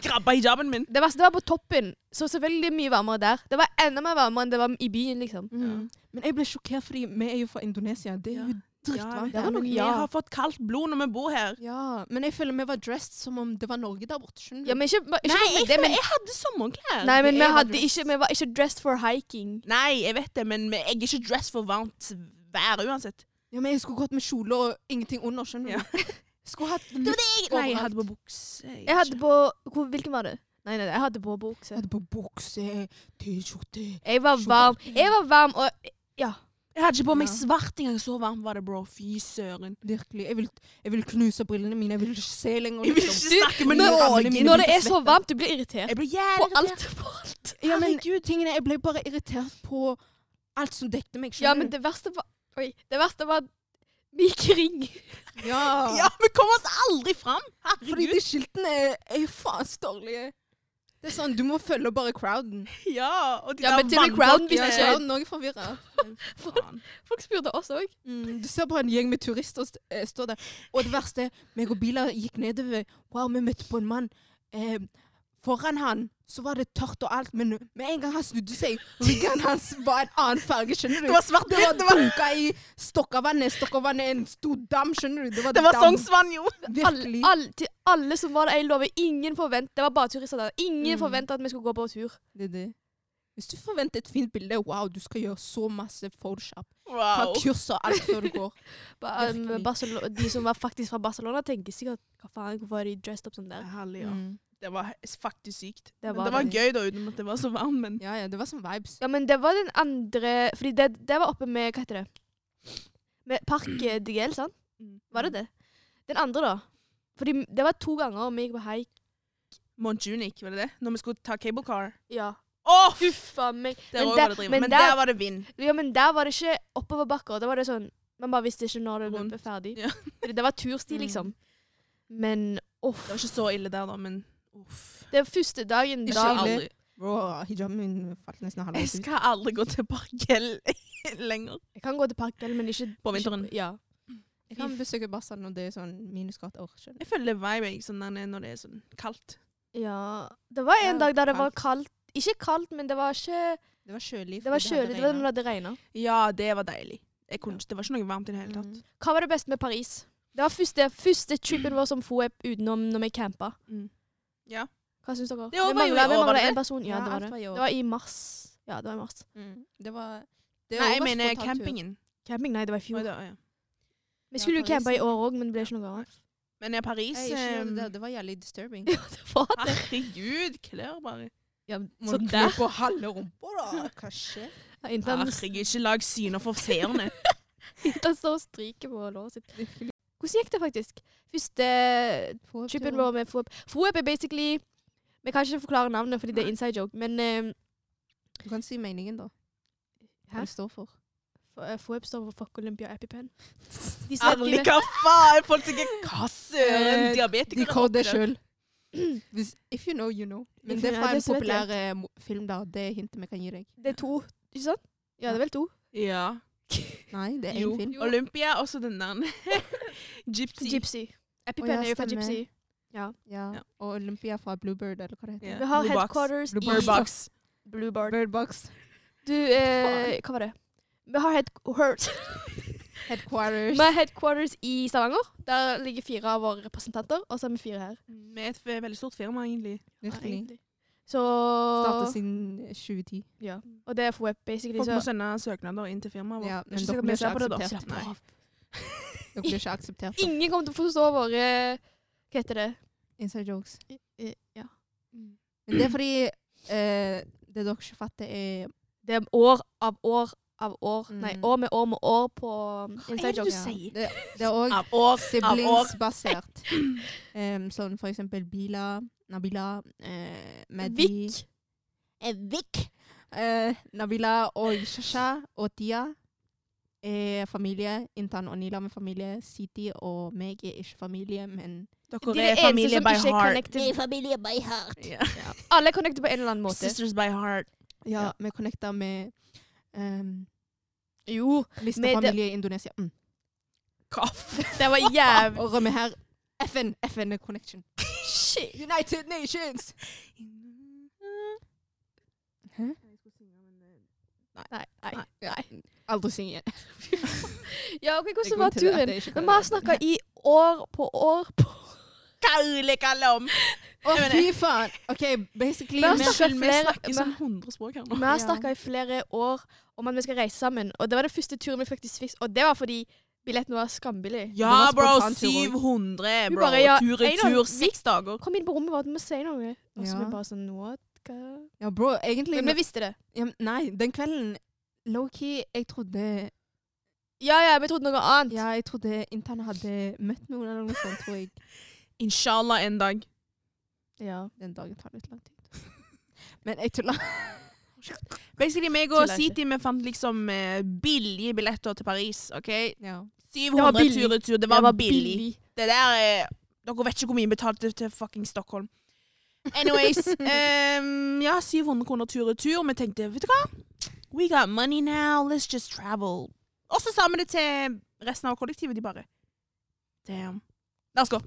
[SPEAKER 1] grabbe hijaben min.
[SPEAKER 3] Det verste det var på toppen, så selvfølgelig mye varmere der. Det var enda mer varmere enn det var i byen, liksom.
[SPEAKER 2] Mm. Men jeg ble sjokkert, fordi vi er jo fra Indonesia. Det er jo
[SPEAKER 1] Ja,
[SPEAKER 2] drittvarmt.
[SPEAKER 3] det var
[SPEAKER 1] men
[SPEAKER 3] noe-
[SPEAKER 1] vi
[SPEAKER 3] ja.
[SPEAKER 1] har fått kaldt blod når vi bor her.
[SPEAKER 2] Ja, men jeg føler vi var dressed som om det var Norge der borte. skjønner du?
[SPEAKER 3] Ja, men ikke, ikke
[SPEAKER 1] Nei,
[SPEAKER 3] noe med
[SPEAKER 1] jeg,
[SPEAKER 3] det,
[SPEAKER 1] føler-
[SPEAKER 3] men,
[SPEAKER 1] jeg hadde sommerklær.
[SPEAKER 3] nei, men
[SPEAKER 2] det
[SPEAKER 3] vi,
[SPEAKER 2] er
[SPEAKER 3] hadde
[SPEAKER 2] dress.
[SPEAKER 3] ikke, vi var ikke dressed for hiking.
[SPEAKER 1] Nei, jeg vet det, men jeg er ikke dressed for varmt vær uansett.
[SPEAKER 2] Ja, men jeg skulle gått med kjole og ingenting under, skjønner du.
[SPEAKER 1] Ja.
[SPEAKER 2] Skulle hatt
[SPEAKER 1] Det var det jeg, nei, jeg
[SPEAKER 2] Overalt.
[SPEAKER 1] hadde på bukse.
[SPEAKER 3] Jeg hadde på hvor, Hvilken var det? Nei, nei, nei, jeg hadde på bukse.
[SPEAKER 2] Jeg hadde på bukse, T-skjorte
[SPEAKER 3] Jeg var varm. Jeg var varm, og
[SPEAKER 1] jeg hadde ikke på meg
[SPEAKER 2] Ja.
[SPEAKER 1] svart engang. Så varmt var det, bro. Fy søren.
[SPEAKER 2] Virkelig. Jeg vil, jeg vil knuse brillene mine. Jeg vil ikke se lenger.
[SPEAKER 1] Jeg vil ikke
[SPEAKER 2] liksom.
[SPEAKER 1] snakke med
[SPEAKER 2] når-
[SPEAKER 1] noen.
[SPEAKER 2] Men
[SPEAKER 3] når det
[SPEAKER 2] du
[SPEAKER 3] er så
[SPEAKER 2] slett, da.
[SPEAKER 3] varmt, du blir irritert.
[SPEAKER 1] Jeg blir
[SPEAKER 3] På
[SPEAKER 1] jævlig
[SPEAKER 3] alt. På alt.
[SPEAKER 2] Ja, men
[SPEAKER 1] Herregud.
[SPEAKER 2] tingene, jeg ble bare irritert på alt som dekte meg.
[SPEAKER 3] Ja, men det verste var Oi. Det verste var at vi gikk i ring.
[SPEAKER 2] du? Ja.
[SPEAKER 1] Ja, vi kom oss aldri fram.
[SPEAKER 2] Fordi
[SPEAKER 1] Herregud.
[SPEAKER 2] de skiltene er- er jo faen så dårlige. Det er sånn, Du må følge bare crowden.
[SPEAKER 1] Ja, og de der
[SPEAKER 3] Ja, men til og med
[SPEAKER 1] vannblokkene.
[SPEAKER 3] crowden visste
[SPEAKER 2] Ja,
[SPEAKER 3] ikke.
[SPEAKER 2] crowden òg forvirra.
[SPEAKER 1] Faen.
[SPEAKER 3] Folk spurte oss òg.
[SPEAKER 2] Mm, du ser bare en gjeng med turister st eh, stå der. Og det verste, meg og Bila gikk nedover. Wow, vi møtte på en mann. eh, Foran han så var det tørt og alt, men med en gang han snudde seg, ryggen hans var en annen farge, skjønner du.
[SPEAKER 1] Det var svart
[SPEAKER 2] Det var dunka i Stokkavannet. Stokkavannet er en stor dam, skjønner du. Det var,
[SPEAKER 1] Det var sånn
[SPEAKER 2] dam.
[SPEAKER 1] Sognsvann, jo!
[SPEAKER 2] Virkelig.
[SPEAKER 3] Alle, alle, til alle som var der, jeg lover, ingen forvent, det var bare turister der. Ingen
[SPEAKER 2] Mm.
[SPEAKER 3] forventa at vi skulle gå på tur.
[SPEAKER 2] Det er det. Hvis du forventer et fint bilde, wow, du skal gjøre så masse photoshop. Ta
[SPEAKER 1] Wow.
[SPEAKER 2] kurs og alt før du går.
[SPEAKER 3] Ba-
[SPEAKER 2] Virkelig.
[SPEAKER 3] um, Barcelo- De som var faktisk fra Barcelona, tenkte sikkert hva faen, hvorfor er de dressed up sånn der?
[SPEAKER 1] Herlig, ja.
[SPEAKER 2] Mm.
[SPEAKER 1] Det var faktisk sykt.
[SPEAKER 3] Det
[SPEAKER 1] Men
[SPEAKER 3] var
[SPEAKER 1] det var
[SPEAKER 3] det.
[SPEAKER 1] gøy, da, uten at det var så varmt. Men
[SPEAKER 2] Ja, ja, det var sånn vibes.
[SPEAKER 3] Ja, men det var den andre Fordi det, det var oppe med Hva heter det? Med Park eh, de Gel, sant?
[SPEAKER 1] Mm.
[SPEAKER 3] Var det det? Den andre, da? Fordi det var to ganger vi gikk på haik.
[SPEAKER 1] Montjunic, var det det? Når vi skulle ta cable car.
[SPEAKER 3] Ja.
[SPEAKER 1] Åh,
[SPEAKER 3] Uffa meg.
[SPEAKER 1] Der
[SPEAKER 3] Men
[SPEAKER 1] òg
[SPEAKER 3] der-
[SPEAKER 1] var det driv.
[SPEAKER 3] men
[SPEAKER 1] Men,
[SPEAKER 3] der-
[SPEAKER 1] der var det vind.
[SPEAKER 3] Ja, men der var det ikke oppoverbakker. Da var det sånn Man bare visste ikke når det
[SPEAKER 1] Rundt.
[SPEAKER 3] ble ferdig.
[SPEAKER 1] Ja.
[SPEAKER 3] Fordi det var tursti,
[SPEAKER 2] Mm.
[SPEAKER 3] liksom. Men uff.
[SPEAKER 1] Det var ikke så ille der, da, men uff.
[SPEAKER 3] Den første dagen
[SPEAKER 2] Ikke
[SPEAKER 1] Jeg skal
[SPEAKER 3] da
[SPEAKER 2] ille.
[SPEAKER 1] aldri,
[SPEAKER 2] Bro, hijaben min falt nesten
[SPEAKER 1] jeg
[SPEAKER 2] halvveis ut.
[SPEAKER 1] skal aldri gå til Barkell lenger.
[SPEAKER 3] Jeg kan gå til parken, men ikke
[SPEAKER 1] På vinteren.
[SPEAKER 3] Ikke, ja.
[SPEAKER 2] Jeg kan besøke Bassa når det er sånn minusgrader. skjønner du.
[SPEAKER 1] Jeg føler det er vibe jeg, sånn der, når det er sånn kaldt.
[SPEAKER 3] ja. Det var en
[SPEAKER 2] Ja,
[SPEAKER 3] dag da det var kaldt. Ikke kaldt, men det var ikke
[SPEAKER 2] Det var kjølig.
[SPEAKER 3] Det var
[SPEAKER 2] fordi hadde
[SPEAKER 3] kjølig. Det var
[SPEAKER 2] regnet.
[SPEAKER 3] når det regna.
[SPEAKER 1] Ja, det var deilig. Jeg kunne, ikke- Det var ikke noe varmt i det hele tatt.
[SPEAKER 2] Mm.
[SPEAKER 3] Hva var det beste med Paris? Det var første, første trippen vår som FOEP utenom når vi campa.
[SPEAKER 1] Mm. Ja.
[SPEAKER 3] Hva syns dere?
[SPEAKER 1] Det var jo i
[SPEAKER 3] manglet-
[SPEAKER 1] år, var det
[SPEAKER 3] manglet
[SPEAKER 1] det?
[SPEAKER 3] en person. Ja,
[SPEAKER 2] Ja,
[SPEAKER 3] det var
[SPEAKER 2] alt
[SPEAKER 3] det.
[SPEAKER 2] var i år.
[SPEAKER 3] Det var i mars. Ja, det var i mars.
[SPEAKER 2] Mm. Det var det
[SPEAKER 1] Nei,
[SPEAKER 2] var
[SPEAKER 1] jeg mener
[SPEAKER 2] spontant tur.
[SPEAKER 1] campingen.
[SPEAKER 3] Camping? Nei, det var i
[SPEAKER 1] Oi,
[SPEAKER 3] fjor.
[SPEAKER 1] da, ja.
[SPEAKER 3] Vi skulle jo
[SPEAKER 2] Paris.
[SPEAKER 3] campe i år òg, men det ble ikke noe av.
[SPEAKER 1] Men i Paris
[SPEAKER 2] Jeg, ikke gjorde
[SPEAKER 1] ehm,
[SPEAKER 2] det, det var jævlig disturbing.
[SPEAKER 3] Ja, det var det.
[SPEAKER 1] Herregud, klær bare.
[SPEAKER 3] Ja,
[SPEAKER 2] Må
[SPEAKER 3] så
[SPEAKER 2] du
[SPEAKER 3] der.
[SPEAKER 2] kle på halve rumpa, da? Hva skjer?
[SPEAKER 3] Ja, Inntil han-
[SPEAKER 1] Herregud, ikke lag syner for seerne.
[SPEAKER 3] inntil han står og stryker på låret sitt. Hvordan gikk det faktisk? Første trippen vår med FOEP. FOEP er basically Vi kan ikke forklare navnet fordi det er inside joke, men eh,
[SPEAKER 2] Du kan si meningen, da.
[SPEAKER 3] Hæ?
[SPEAKER 2] Hva det står for.
[SPEAKER 3] FOEP eh, står for Fuck Olympia Epipen. De
[SPEAKER 1] Ærlig, hva faen? Folk tenker hva søren?
[SPEAKER 2] Eh,
[SPEAKER 1] Diabetikere.
[SPEAKER 2] De kaller det
[SPEAKER 1] opplever.
[SPEAKER 2] sjøl. If you know, you know. Men
[SPEAKER 3] If
[SPEAKER 2] det
[SPEAKER 3] you
[SPEAKER 2] er
[SPEAKER 3] know,
[SPEAKER 2] fra en
[SPEAKER 3] det vet jeg.
[SPEAKER 2] populær eh, mo- film, da. Det er hintet vi kan gi deg.
[SPEAKER 3] Det er to, ikke sant? Ja, det er vel to.
[SPEAKER 1] Ja.
[SPEAKER 2] Nei, det er
[SPEAKER 1] Jo.
[SPEAKER 2] én film.
[SPEAKER 1] Olympia, og så den der Gypsy.
[SPEAKER 3] Gypsy. Epipen
[SPEAKER 2] Å, ja,
[SPEAKER 3] er jo fra
[SPEAKER 2] stemmer.
[SPEAKER 3] Gypsy.
[SPEAKER 2] Ja.
[SPEAKER 1] Ja.
[SPEAKER 2] Og Olympia fra Bluebird, eller hva det heter.
[SPEAKER 1] Ja.
[SPEAKER 3] Vi har
[SPEAKER 1] Blue Box.
[SPEAKER 3] headquarters
[SPEAKER 2] Blue
[SPEAKER 1] Bird
[SPEAKER 3] i
[SPEAKER 1] Box.
[SPEAKER 3] Blue Bird.
[SPEAKER 2] Bird Box.
[SPEAKER 3] Du, eh, hva var det? Vi har headquarters.
[SPEAKER 2] Headquarters.
[SPEAKER 3] Vi har headquarters i Stavanger. Der ligger fire av våre representanter, og så er vi fire her.
[SPEAKER 1] Vi er et ve- veldig stort firma, egentlig.
[SPEAKER 2] Virkelig.
[SPEAKER 3] Egentlig. Så
[SPEAKER 2] Startet siden eh, 2010.
[SPEAKER 3] Ja. Og det er for web, basically.
[SPEAKER 1] Folk må
[SPEAKER 3] Så
[SPEAKER 1] sende søknader inn til firmaet vårt.
[SPEAKER 2] Ja,
[SPEAKER 1] Det er
[SPEAKER 2] men
[SPEAKER 1] ikke sikkert vi
[SPEAKER 2] dere blir
[SPEAKER 1] ser
[SPEAKER 2] ikke
[SPEAKER 1] på det, da.
[SPEAKER 2] akseptert.
[SPEAKER 1] Nei.
[SPEAKER 3] Slapp av.
[SPEAKER 2] Dere blir ikke akseptert.
[SPEAKER 3] Ingen kommer til å forstå våre Hva heter det?
[SPEAKER 2] Inside jokes.
[SPEAKER 3] Eh, Ja.
[SPEAKER 2] Men det er fordi eh, det dere ikke fatter, er
[SPEAKER 3] Det er år av år av år.
[SPEAKER 2] Mm.
[SPEAKER 3] Nei, år med år med år på um, inside
[SPEAKER 1] det du
[SPEAKER 3] jokes.
[SPEAKER 2] ja,
[SPEAKER 1] sier?
[SPEAKER 2] Det, det er òg
[SPEAKER 1] Av år, av år.
[SPEAKER 2] siblingsbasert. Em, sånn for eksempel Bila, Nabila, eh, Mehdi
[SPEAKER 3] Vik.
[SPEAKER 2] Eh, Vik. Eh, Nabila og Shasha og Tia er familie. Intan og Nila med familie. Siti og meg er ikke familie, men
[SPEAKER 1] Dere
[SPEAKER 3] De
[SPEAKER 1] er,
[SPEAKER 3] det
[SPEAKER 1] familie by
[SPEAKER 3] ikke er
[SPEAKER 1] heart.
[SPEAKER 3] connected.
[SPEAKER 2] familie by heart.
[SPEAKER 1] Ja.
[SPEAKER 3] Alle er connected på en eller annen måte.
[SPEAKER 1] Sisters by heart.
[SPEAKER 2] Ja,
[SPEAKER 1] Ja.
[SPEAKER 2] vi connecta med um,
[SPEAKER 3] Jo,
[SPEAKER 2] Liste
[SPEAKER 3] Med det-
[SPEAKER 2] familie i Indonesia. Mm.
[SPEAKER 1] Kaffe.
[SPEAKER 3] det var jævlig
[SPEAKER 2] Ah, Og rømmer her. FN, FN er connection.
[SPEAKER 3] Shit.
[SPEAKER 2] United Nations! Hæ?
[SPEAKER 3] Nei, nei.
[SPEAKER 1] Nei.
[SPEAKER 2] Aldri syng igjen.
[SPEAKER 3] Ja, ok,
[SPEAKER 2] Det er
[SPEAKER 3] hvordan var
[SPEAKER 2] grunn til det at
[SPEAKER 3] turen?
[SPEAKER 2] jeg ikke
[SPEAKER 3] Men
[SPEAKER 2] kan
[SPEAKER 3] vi har
[SPEAKER 2] det.
[SPEAKER 3] snakka i år på år på
[SPEAKER 1] Kaulekalam.
[SPEAKER 2] Å,
[SPEAKER 1] Jeg mener-
[SPEAKER 2] fy faen! OK, basically
[SPEAKER 3] Men
[SPEAKER 1] Men
[SPEAKER 2] vi-
[SPEAKER 3] altså-
[SPEAKER 1] Unnskyld, vi
[SPEAKER 3] flere-
[SPEAKER 1] snakker
[SPEAKER 3] men-
[SPEAKER 1] sånn 100 språk her nå.
[SPEAKER 3] Vi har
[SPEAKER 2] Ja.
[SPEAKER 3] snakka i flere år om at vi skal reise sammen. Og det var den første turen vi faktisk fikk, og det var fordi billetten var skambillig.
[SPEAKER 1] Ja,
[SPEAKER 2] Det var
[SPEAKER 1] bro.
[SPEAKER 2] spontantur også.
[SPEAKER 1] 700,
[SPEAKER 3] Vi
[SPEAKER 1] bro.
[SPEAKER 3] bare, ja,
[SPEAKER 1] tur i
[SPEAKER 3] en
[SPEAKER 1] tur,
[SPEAKER 3] gang-
[SPEAKER 1] seks dager.
[SPEAKER 3] Kom inn på rommet vårt, vi må si noe. Og så
[SPEAKER 2] Ja.
[SPEAKER 3] vi bare sånn What? Hva?
[SPEAKER 2] Ja, bro, egentlig
[SPEAKER 3] Men vi visste det.
[SPEAKER 2] ja, men Nei, den kvelden Low-key, jeg trodde
[SPEAKER 3] Ja, ja, vi trodde noe annet.
[SPEAKER 2] Ja, jeg trodde interne hadde møtt noen eller noe sånt, tror jeg.
[SPEAKER 1] Inshallah en dag.
[SPEAKER 3] Ja.
[SPEAKER 2] Den dagen tar litt lang tid. Men jeg tulla.
[SPEAKER 1] Basically, meg og
[SPEAKER 3] Tuller ikke.
[SPEAKER 1] Siti vi fant liksom eh, billige billetter til Paris. ok?
[SPEAKER 2] Ja.
[SPEAKER 1] 700
[SPEAKER 3] billig.
[SPEAKER 1] tur i tur. Det var, billig. Det der er Dere vet ikke hvor mye jeg betalte til fucking Stockholm. Anyways. ehm, ja, 700 kroner tur i tur. Vi tenkte, vet du hva? We got money now. Let's just travel. Og så sa vi det til resten av kollektivet. De bare Damn. La oss gå.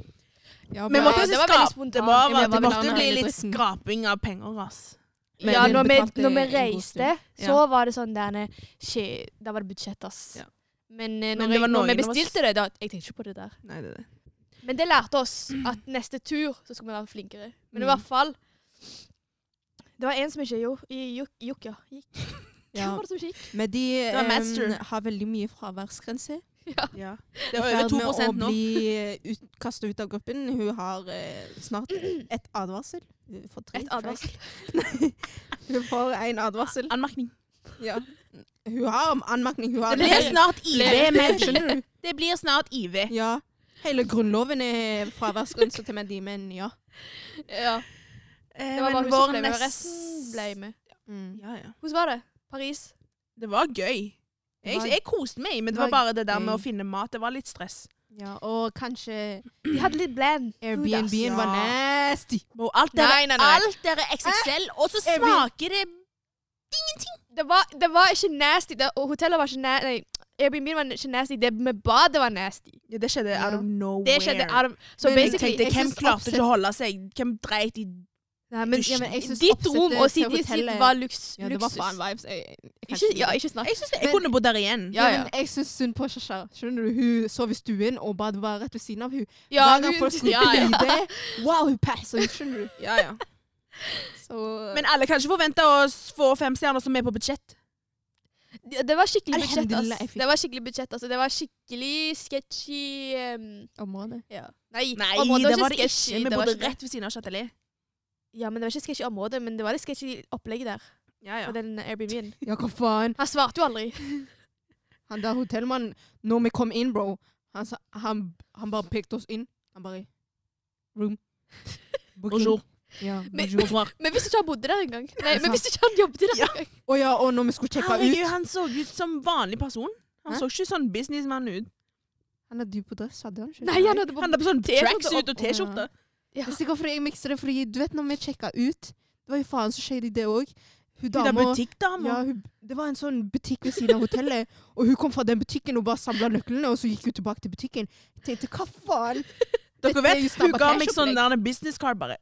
[SPEAKER 2] Ja,
[SPEAKER 1] Vi
[SPEAKER 2] men-
[SPEAKER 1] måtte jo
[SPEAKER 3] Ja, det var veldig
[SPEAKER 1] skrape.
[SPEAKER 3] spontant.
[SPEAKER 1] Det, var,
[SPEAKER 3] Ja, vi
[SPEAKER 1] det
[SPEAKER 3] var
[SPEAKER 1] måtte
[SPEAKER 3] veldig
[SPEAKER 1] bli
[SPEAKER 3] nærme
[SPEAKER 1] litt
[SPEAKER 2] dritten.
[SPEAKER 1] skraping av penger, ass.
[SPEAKER 2] Men
[SPEAKER 3] ja,
[SPEAKER 2] hun
[SPEAKER 3] når vi,
[SPEAKER 2] betalte
[SPEAKER 3] når vi
[SPEAKER 2] en god
[SPEAKER 3] reiste,
[SPEAKER 2] stund.
[SPEAKER 1] Ja.
[SPEAKER 3] så var det sånn der Shit, da var det budsjett, ass.
[SPEAKER 1] Ja.
[SPEAKER 3] Men, eh,
[SPEAKER 1] Men det
[SPEAKER 3] når,
[SPEAKER 1] var
[SPEAKER 3] jeg, når vi
[SPEAKER 1] noen av oss-
[SPEAKER 3] bestilte det, da Jeg tenkte ikke på det der.
[SPEAKER 1] Nei, det er det.
[SPEAKER 3] Men det lærte oss at neste tur så skulle vi være flinkere. Men i
[SPEAKER 1] Mm.
[SPEAKER 3] hvert fall Det var en som ikke jo, i juk, juk, ja. gikk. Hvem
[SPEAKER 2] ja.
[SPEAKER 3] var det som ikke gikk?
[SPEAKER 2] Men de
[SPEAKER 1] var
[SPEAKER 2] em,
[SPEAKER 1] master.
[SPEAKER 2] har veldig mye fraværsgrense.
[SPEAKER 1] Ja.
[SPEAKER 2] I
[SPEAKER 1] Det er over
[SPEAKER 2] ferd med
[SPEAKER 1] 2
[SPEAKER 2] å
[SPEAKER 1] nå.
[SPEAKER 2] bli kasta ut av gruppen. Hun har eh, snart et advarsel. Hun får tre.
[SPEAKER 3] Et advarsel.
[SPEAKER 2] Hun får en advarsel.
[SPEAKER 1] Anmerkning.
[SPEAKER 2] Ja. Hun har anmerkning. Hun har
[SPEAKER 1] Det blir snart
[SPEAKER 2] Ble-
[SPEAKER 1] IV, men skjønner du? Det blir snart IV.
[SPEAKER 2] Ja. Hele grunnloven er fraværsgrense til menn, men ja.
[SPEAKER 3] Ja.
[SPEAKER 1] Eh,
[SPEAKER 3] Det var bare
[SPEAKER 1] men
[SPEAKER 3] hun
[SPEAKER 1] vår
[SPEAKER 3] som ble med, og
[SPEAKER 1] nest-
[SPEAKER 3] resten ble med.
[SPEAKER 2] Mm.
[SPEAKER 1] Ja, ja.
[SPEAKER 3] Hvordan var det? Paris?
[SPEAKER 1] Det var gøy. Jeg,
[SPEAKER 2] var-
[SPEAKER 1] jeg koste meg, men det
[SPEAKER 2] det
[SPEAKER 1] var mm.
[SPEAKER 2] var
[SPEAKER 1] bare det der med
[SPEAKER 2] gøy.
[SPEAKER 1] å finne mat. Det var litt stress.
[SPEAKER 2] Ja, og kanskje
[SPEAKER 3] De hadde litt bland. food, ass.
[SPEAKER 2] Airbnb-en var nasty.
[SPEAKER 1] Og alt der,
[SPEAKER 3] Nei, nei, nei.
[SPEAKER 1] Alt der Eh, er XXL, og så
[SPEAKER 2] jeg vil-
[SPEAKER 1] smaker det
[SPEAKER 3] Det var, det var ikke nasty. Det, og hotellet var ikke nasty. Nei, Airbnb var ikke nasty. Det med badet var nasty.
[SPEAKER 1] ja, Det skjedde
[SPEAKER 2] Ja.
[SPEAKER 1] out of nowhere.
[SPEAKER 3] Det skjedde out of Så
[SPEAKER 2] Men jeg
[SPEAKER 3] basically
[SPEAKER 1] Tenkte,
[SPEAKER 2] jeg
[SPEAKER 1] hvem
[SPEAKER 2] synes
[SPEAKER 1] klarte
[SPEAKER 2] oppsett-
[SPEAKER 1] ikke å holde seg? Hvem dreit i
[SPEAKER 3] nei, men,
[SPEAKER 1] Dusj.
[SPEAKER 2] Ja, men jeg synes
[SPEAKER 3] Ditt rom
[SPEAKER 2] oppsettet
[SPEAKER 3] og
[SPEAKER 2] til
[SPEAKER 3] sitt ditt
[SPEAKER 2] hotellet-
[SPEAKER 3] var luks,
[SPEAKER 2] Ja, det var
[SPEAKER 3] luksus.
[SPEAKER 2] faen vibes. Jeg, jeg, kan
[SPEAKER 3] ikke,
[SPEAKER 2] ikke
[SPEAKER 3] ja,
[SPEAKER 2] lide.
[SPEAKER 3] ikke snakk.
[SPEAKER 1] Jeg synes det, jeg
[SPEAKER 2] Men-
[SPEAKER 1] kunne bodd der igjen.
[SPEAKER 3] Ja, ja.
[SPEAKER 2] men jeg syns synd på Shasha. Skjønner du? Hun sov i stuen, og badet var rett ved siden av hun.
[SPEAKER 3] Ja,
[SPEAKER 2] Hver gang
[SPEAKER 3] hun-
[SPEAKER 2] folk skulle
[SPEAKER 1] ja, ja.
[SPEAKER 2] i det, wow, hun passer ut, skjønner du.
[SPEAKER 1] Ja, ja.
[SPEAKER 2] Så,
[SPEAKER 1] Men alle kan ikke forvente å s- få fem stjerner som er på budsjett.
[SPEAKER 3] Det det var skikkelig budsjett,
[SPEAKER 2] Alhamdulillah, jeg
[SPEAKER 3] ass.
[SPEAKER 2] fikk-
[SPEAKER 3] Det var skikkelig budsjett, altså. Det var skikkelig sketchy ehm,
[SPEAKER 2] området.
[SPEAKER 3] ja. Nei,
[SPEAKER 1] Nei,
[SPEAKER 3] området
[SPEAKER 1] det var det
[SPEAKER 3] sketchy,
[SPEAKER 1] ikke. Vi
[SPEAKER 3] det var
[SPEAKER 1] bodde
[SPEAKER 3] ikke det.
[SPEAKER 1] rett ved siden av Chatelier.
[SPEAKER 3] Ja, men det var ikke sketchy område, men det var litt sketchy opplegget der.
[SPEAKER 1] Ja, ja.
[SPEAKER 3] På den eh, Airbnb-en.
[SPEAKER 2] Ja, hva faen?
[SPEAKER 3] Han svarte jo aldri.
[SPEAKER 2] Han der hotellmannen, når vi kom inn, bro, han, sa, han, han bare pekte oss inn. Han bare Room. Booking.
[SPEAKER 1] Bonjour.
[SPEAKER 2] Ja,
[SPEAKER 3] Men-
[SPEAKER 2] bonjour.
[SPEAKER 1] Bonsoir.
[SPEAKER 3] Men hvis ikke han bodde der engang. Nei,
[SPEAKER 2] sant.
[SPEAKER 3] men hvis ikke han jobbet der
[SPEAKER 1] Ja.
[SPEAKER 3] engang.
[SPEAKER 2] Å ja, og når vi skulle sjekke
[SPEAKER 1] Herregud,
[SPEAKER 2] ut
[SPEAKER 1] han så ut som vanlig person. Han
[SPEAKER 2] Hæ?
[SPEAKER 1] så ikke sånn businessmann ut.
[SPEAKER 2] Han er dyp på dress, hadde han ikke?
[SPEAKER 3] Nei, han hadde på
[SPEAKER 1] Han hadde på sånn
[SPEAKER 3] T-skjorte
[SPEAKER 1] tracksuit og
[SPEAKER 2] og-
[SPEAKER 1] T-skjorte.
[SPEAKER 3] ja.
[SPEAKER 2] Det er sikkert fordi jeg mikser det, fordi du vet når vi sjekka ut Det var jo faen så shady, det òg. Hun
[SPEAKER 1] Hun er
[SPEAKER 2] dama ja,
[SPEAKER 1] butikkdame.
[SPEAKER 2] hun, Det var en sånn butikk ved siden av hotellet, og hun kom fra den butikken og bare samla nøklene, og så gikk hun tilbake til butikken. Jeg tenkte hva faen?
[SPEAKER 1] Dere
[SPEAKER 2] Dette er
[SPEAKER 1] vet,
[SPEAKER 2] jo
[SPEAKER 1] hun
[SPEAKER 2] stabba
[SPEAKER 1] ga
[SPEAKER 2] cash
[SPEAKER 1] meg sånn
[SPEAKER 2] opplegg.
[SPEAKER 1] der en business card bare.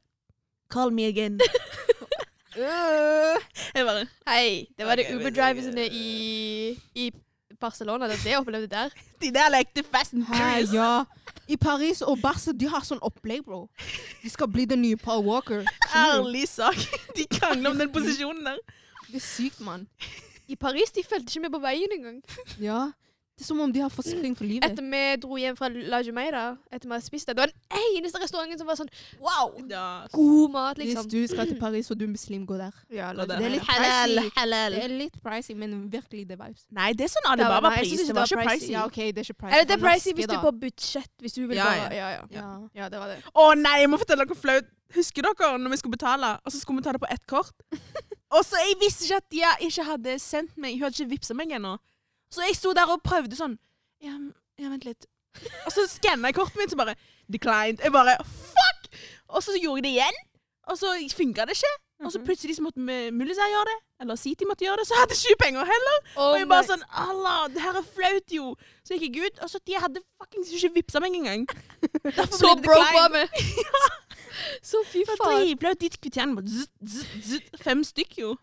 [SPEAKER 1] Call me again.
[SPEAKER 2] Øh.
[SPEAKER 1] Jeg bare,
[SPEAKER 3] Hei, det var det
[SPEAKER 1] Ok,
[SPEAKER 3] Uber-driverne
[SPEAKER 1] men-
[SPEAKER 3] i, i Barcelona. Det var det jeg opplevde der.
[SPEAKER 1] De der lekte Fast and
[SPEAKER 2] Hæ,
[SPEAKER 1] Furious.
[SPEAKER 2] ja. I Paris og Barca, de har sånn opplegg, bro. De skal bli den nye Paul Walker. Skjønner du?
[SPEAKER 1] Ærlig sak. De krangler om den posisjonen der.
[SPEAKER 2] Det er sykt, mann.
[SPEAKER 3] I Paris de fulgte ikke med på veien engang.
[SPEAKER 2] Ja. Det er som om de har forsikring for livet.
[SPEAKER 3] Etter vi dro hjem fra La Jumeira, etter vi hadde spist der, det var den eneste restauranten som var sånn wow,
[SPEAKER 1] Ja.
[SPEAKER 3] god mat,
[SPEAKER 2] Hvis
[SPEAKER 3] liksom.
[SPEAKER 2] du skal til Paris og du er muslim, gå der.
[SPEAKER 3] Ja,
[SPEAKER 1] La det-
[SPEAKER 3] La
[SPEAKER 2] Det er
[SPEAKER 3] Jumeirah.
[SPEAKER 2] litt pricey.
[SPEAKER 1] halal.
[SPEAKER 2] Det er litt pricey, men virkelig det vibes.
[SPEAKER 1] Nei, det er sånn
[SPEAKER 3] Det
[SPEAKER 1] Alibaba-pris.
[SPEAKER 3] var- nei, jeg synes
[SPEAKER 1] Det var ikke pricey.
[SPEAKER 2] Ja, OK, det er ikke pricey.
[SPEAKER 3] Eller det er
[SPEAKER 2] for
[SPEAKER 3] pricey
[SPEAKER 2] norske,
[SPEAKER 3] hvis du
[SPEAKER 2] da.
[SPEAKER 3] er på budsjett, hvis du vil
[SPEAKER 1] Ja,
[SPEAKER 3] bare
[SPEAKER 1] ja.
[SPEAKER 3] Ja, ja.
[SPEAKER 2] ja.
[SPEAKER 3] Ja, det var det.
[SPEAKER 1] Å nei, jeg må fortelle dere flaut. Husker dere når vi skulle betale, og så skulle vi ta det på ett kort? og så Jeg visste ikke at de ikke hadde sendt meg. Hun hadde ikke vippsa meg ennå. Så jeg sto der og prøvde sånn. Ja, men- ja vent litt. Og så skanna jeg kortet mitt, så bare Declined. Jeg bare Fuck! Og så gjorde jeg det igjen. Og så funka det ikke. Og så plutselig så måtte vi- Mulisa gjøre det. Eller City måtte gjøre det. Så jeg hadde ikke penger heller.
[SPEAKER 3] Oh
[SPEAKER 1] Og jeg bare sånn Allah, det her er flaut, jo. Så gikk jeg ut, og så de hadde fuckings ikke vippsa meg engang. Derfor
[SPEAKER 3] så
[SPEAKER 1] ble det
[SPEAKER 3] broke
[SPEAKER 1] declined.
[SPEAKER 3] var vi! Så fy
[SPEAKER 1] Det var
[SPEAKER 3] faen.
[SPEAKER 1] dritblaut. De kvitterene var zzz, zzz, zzz. Fem stykk, jo.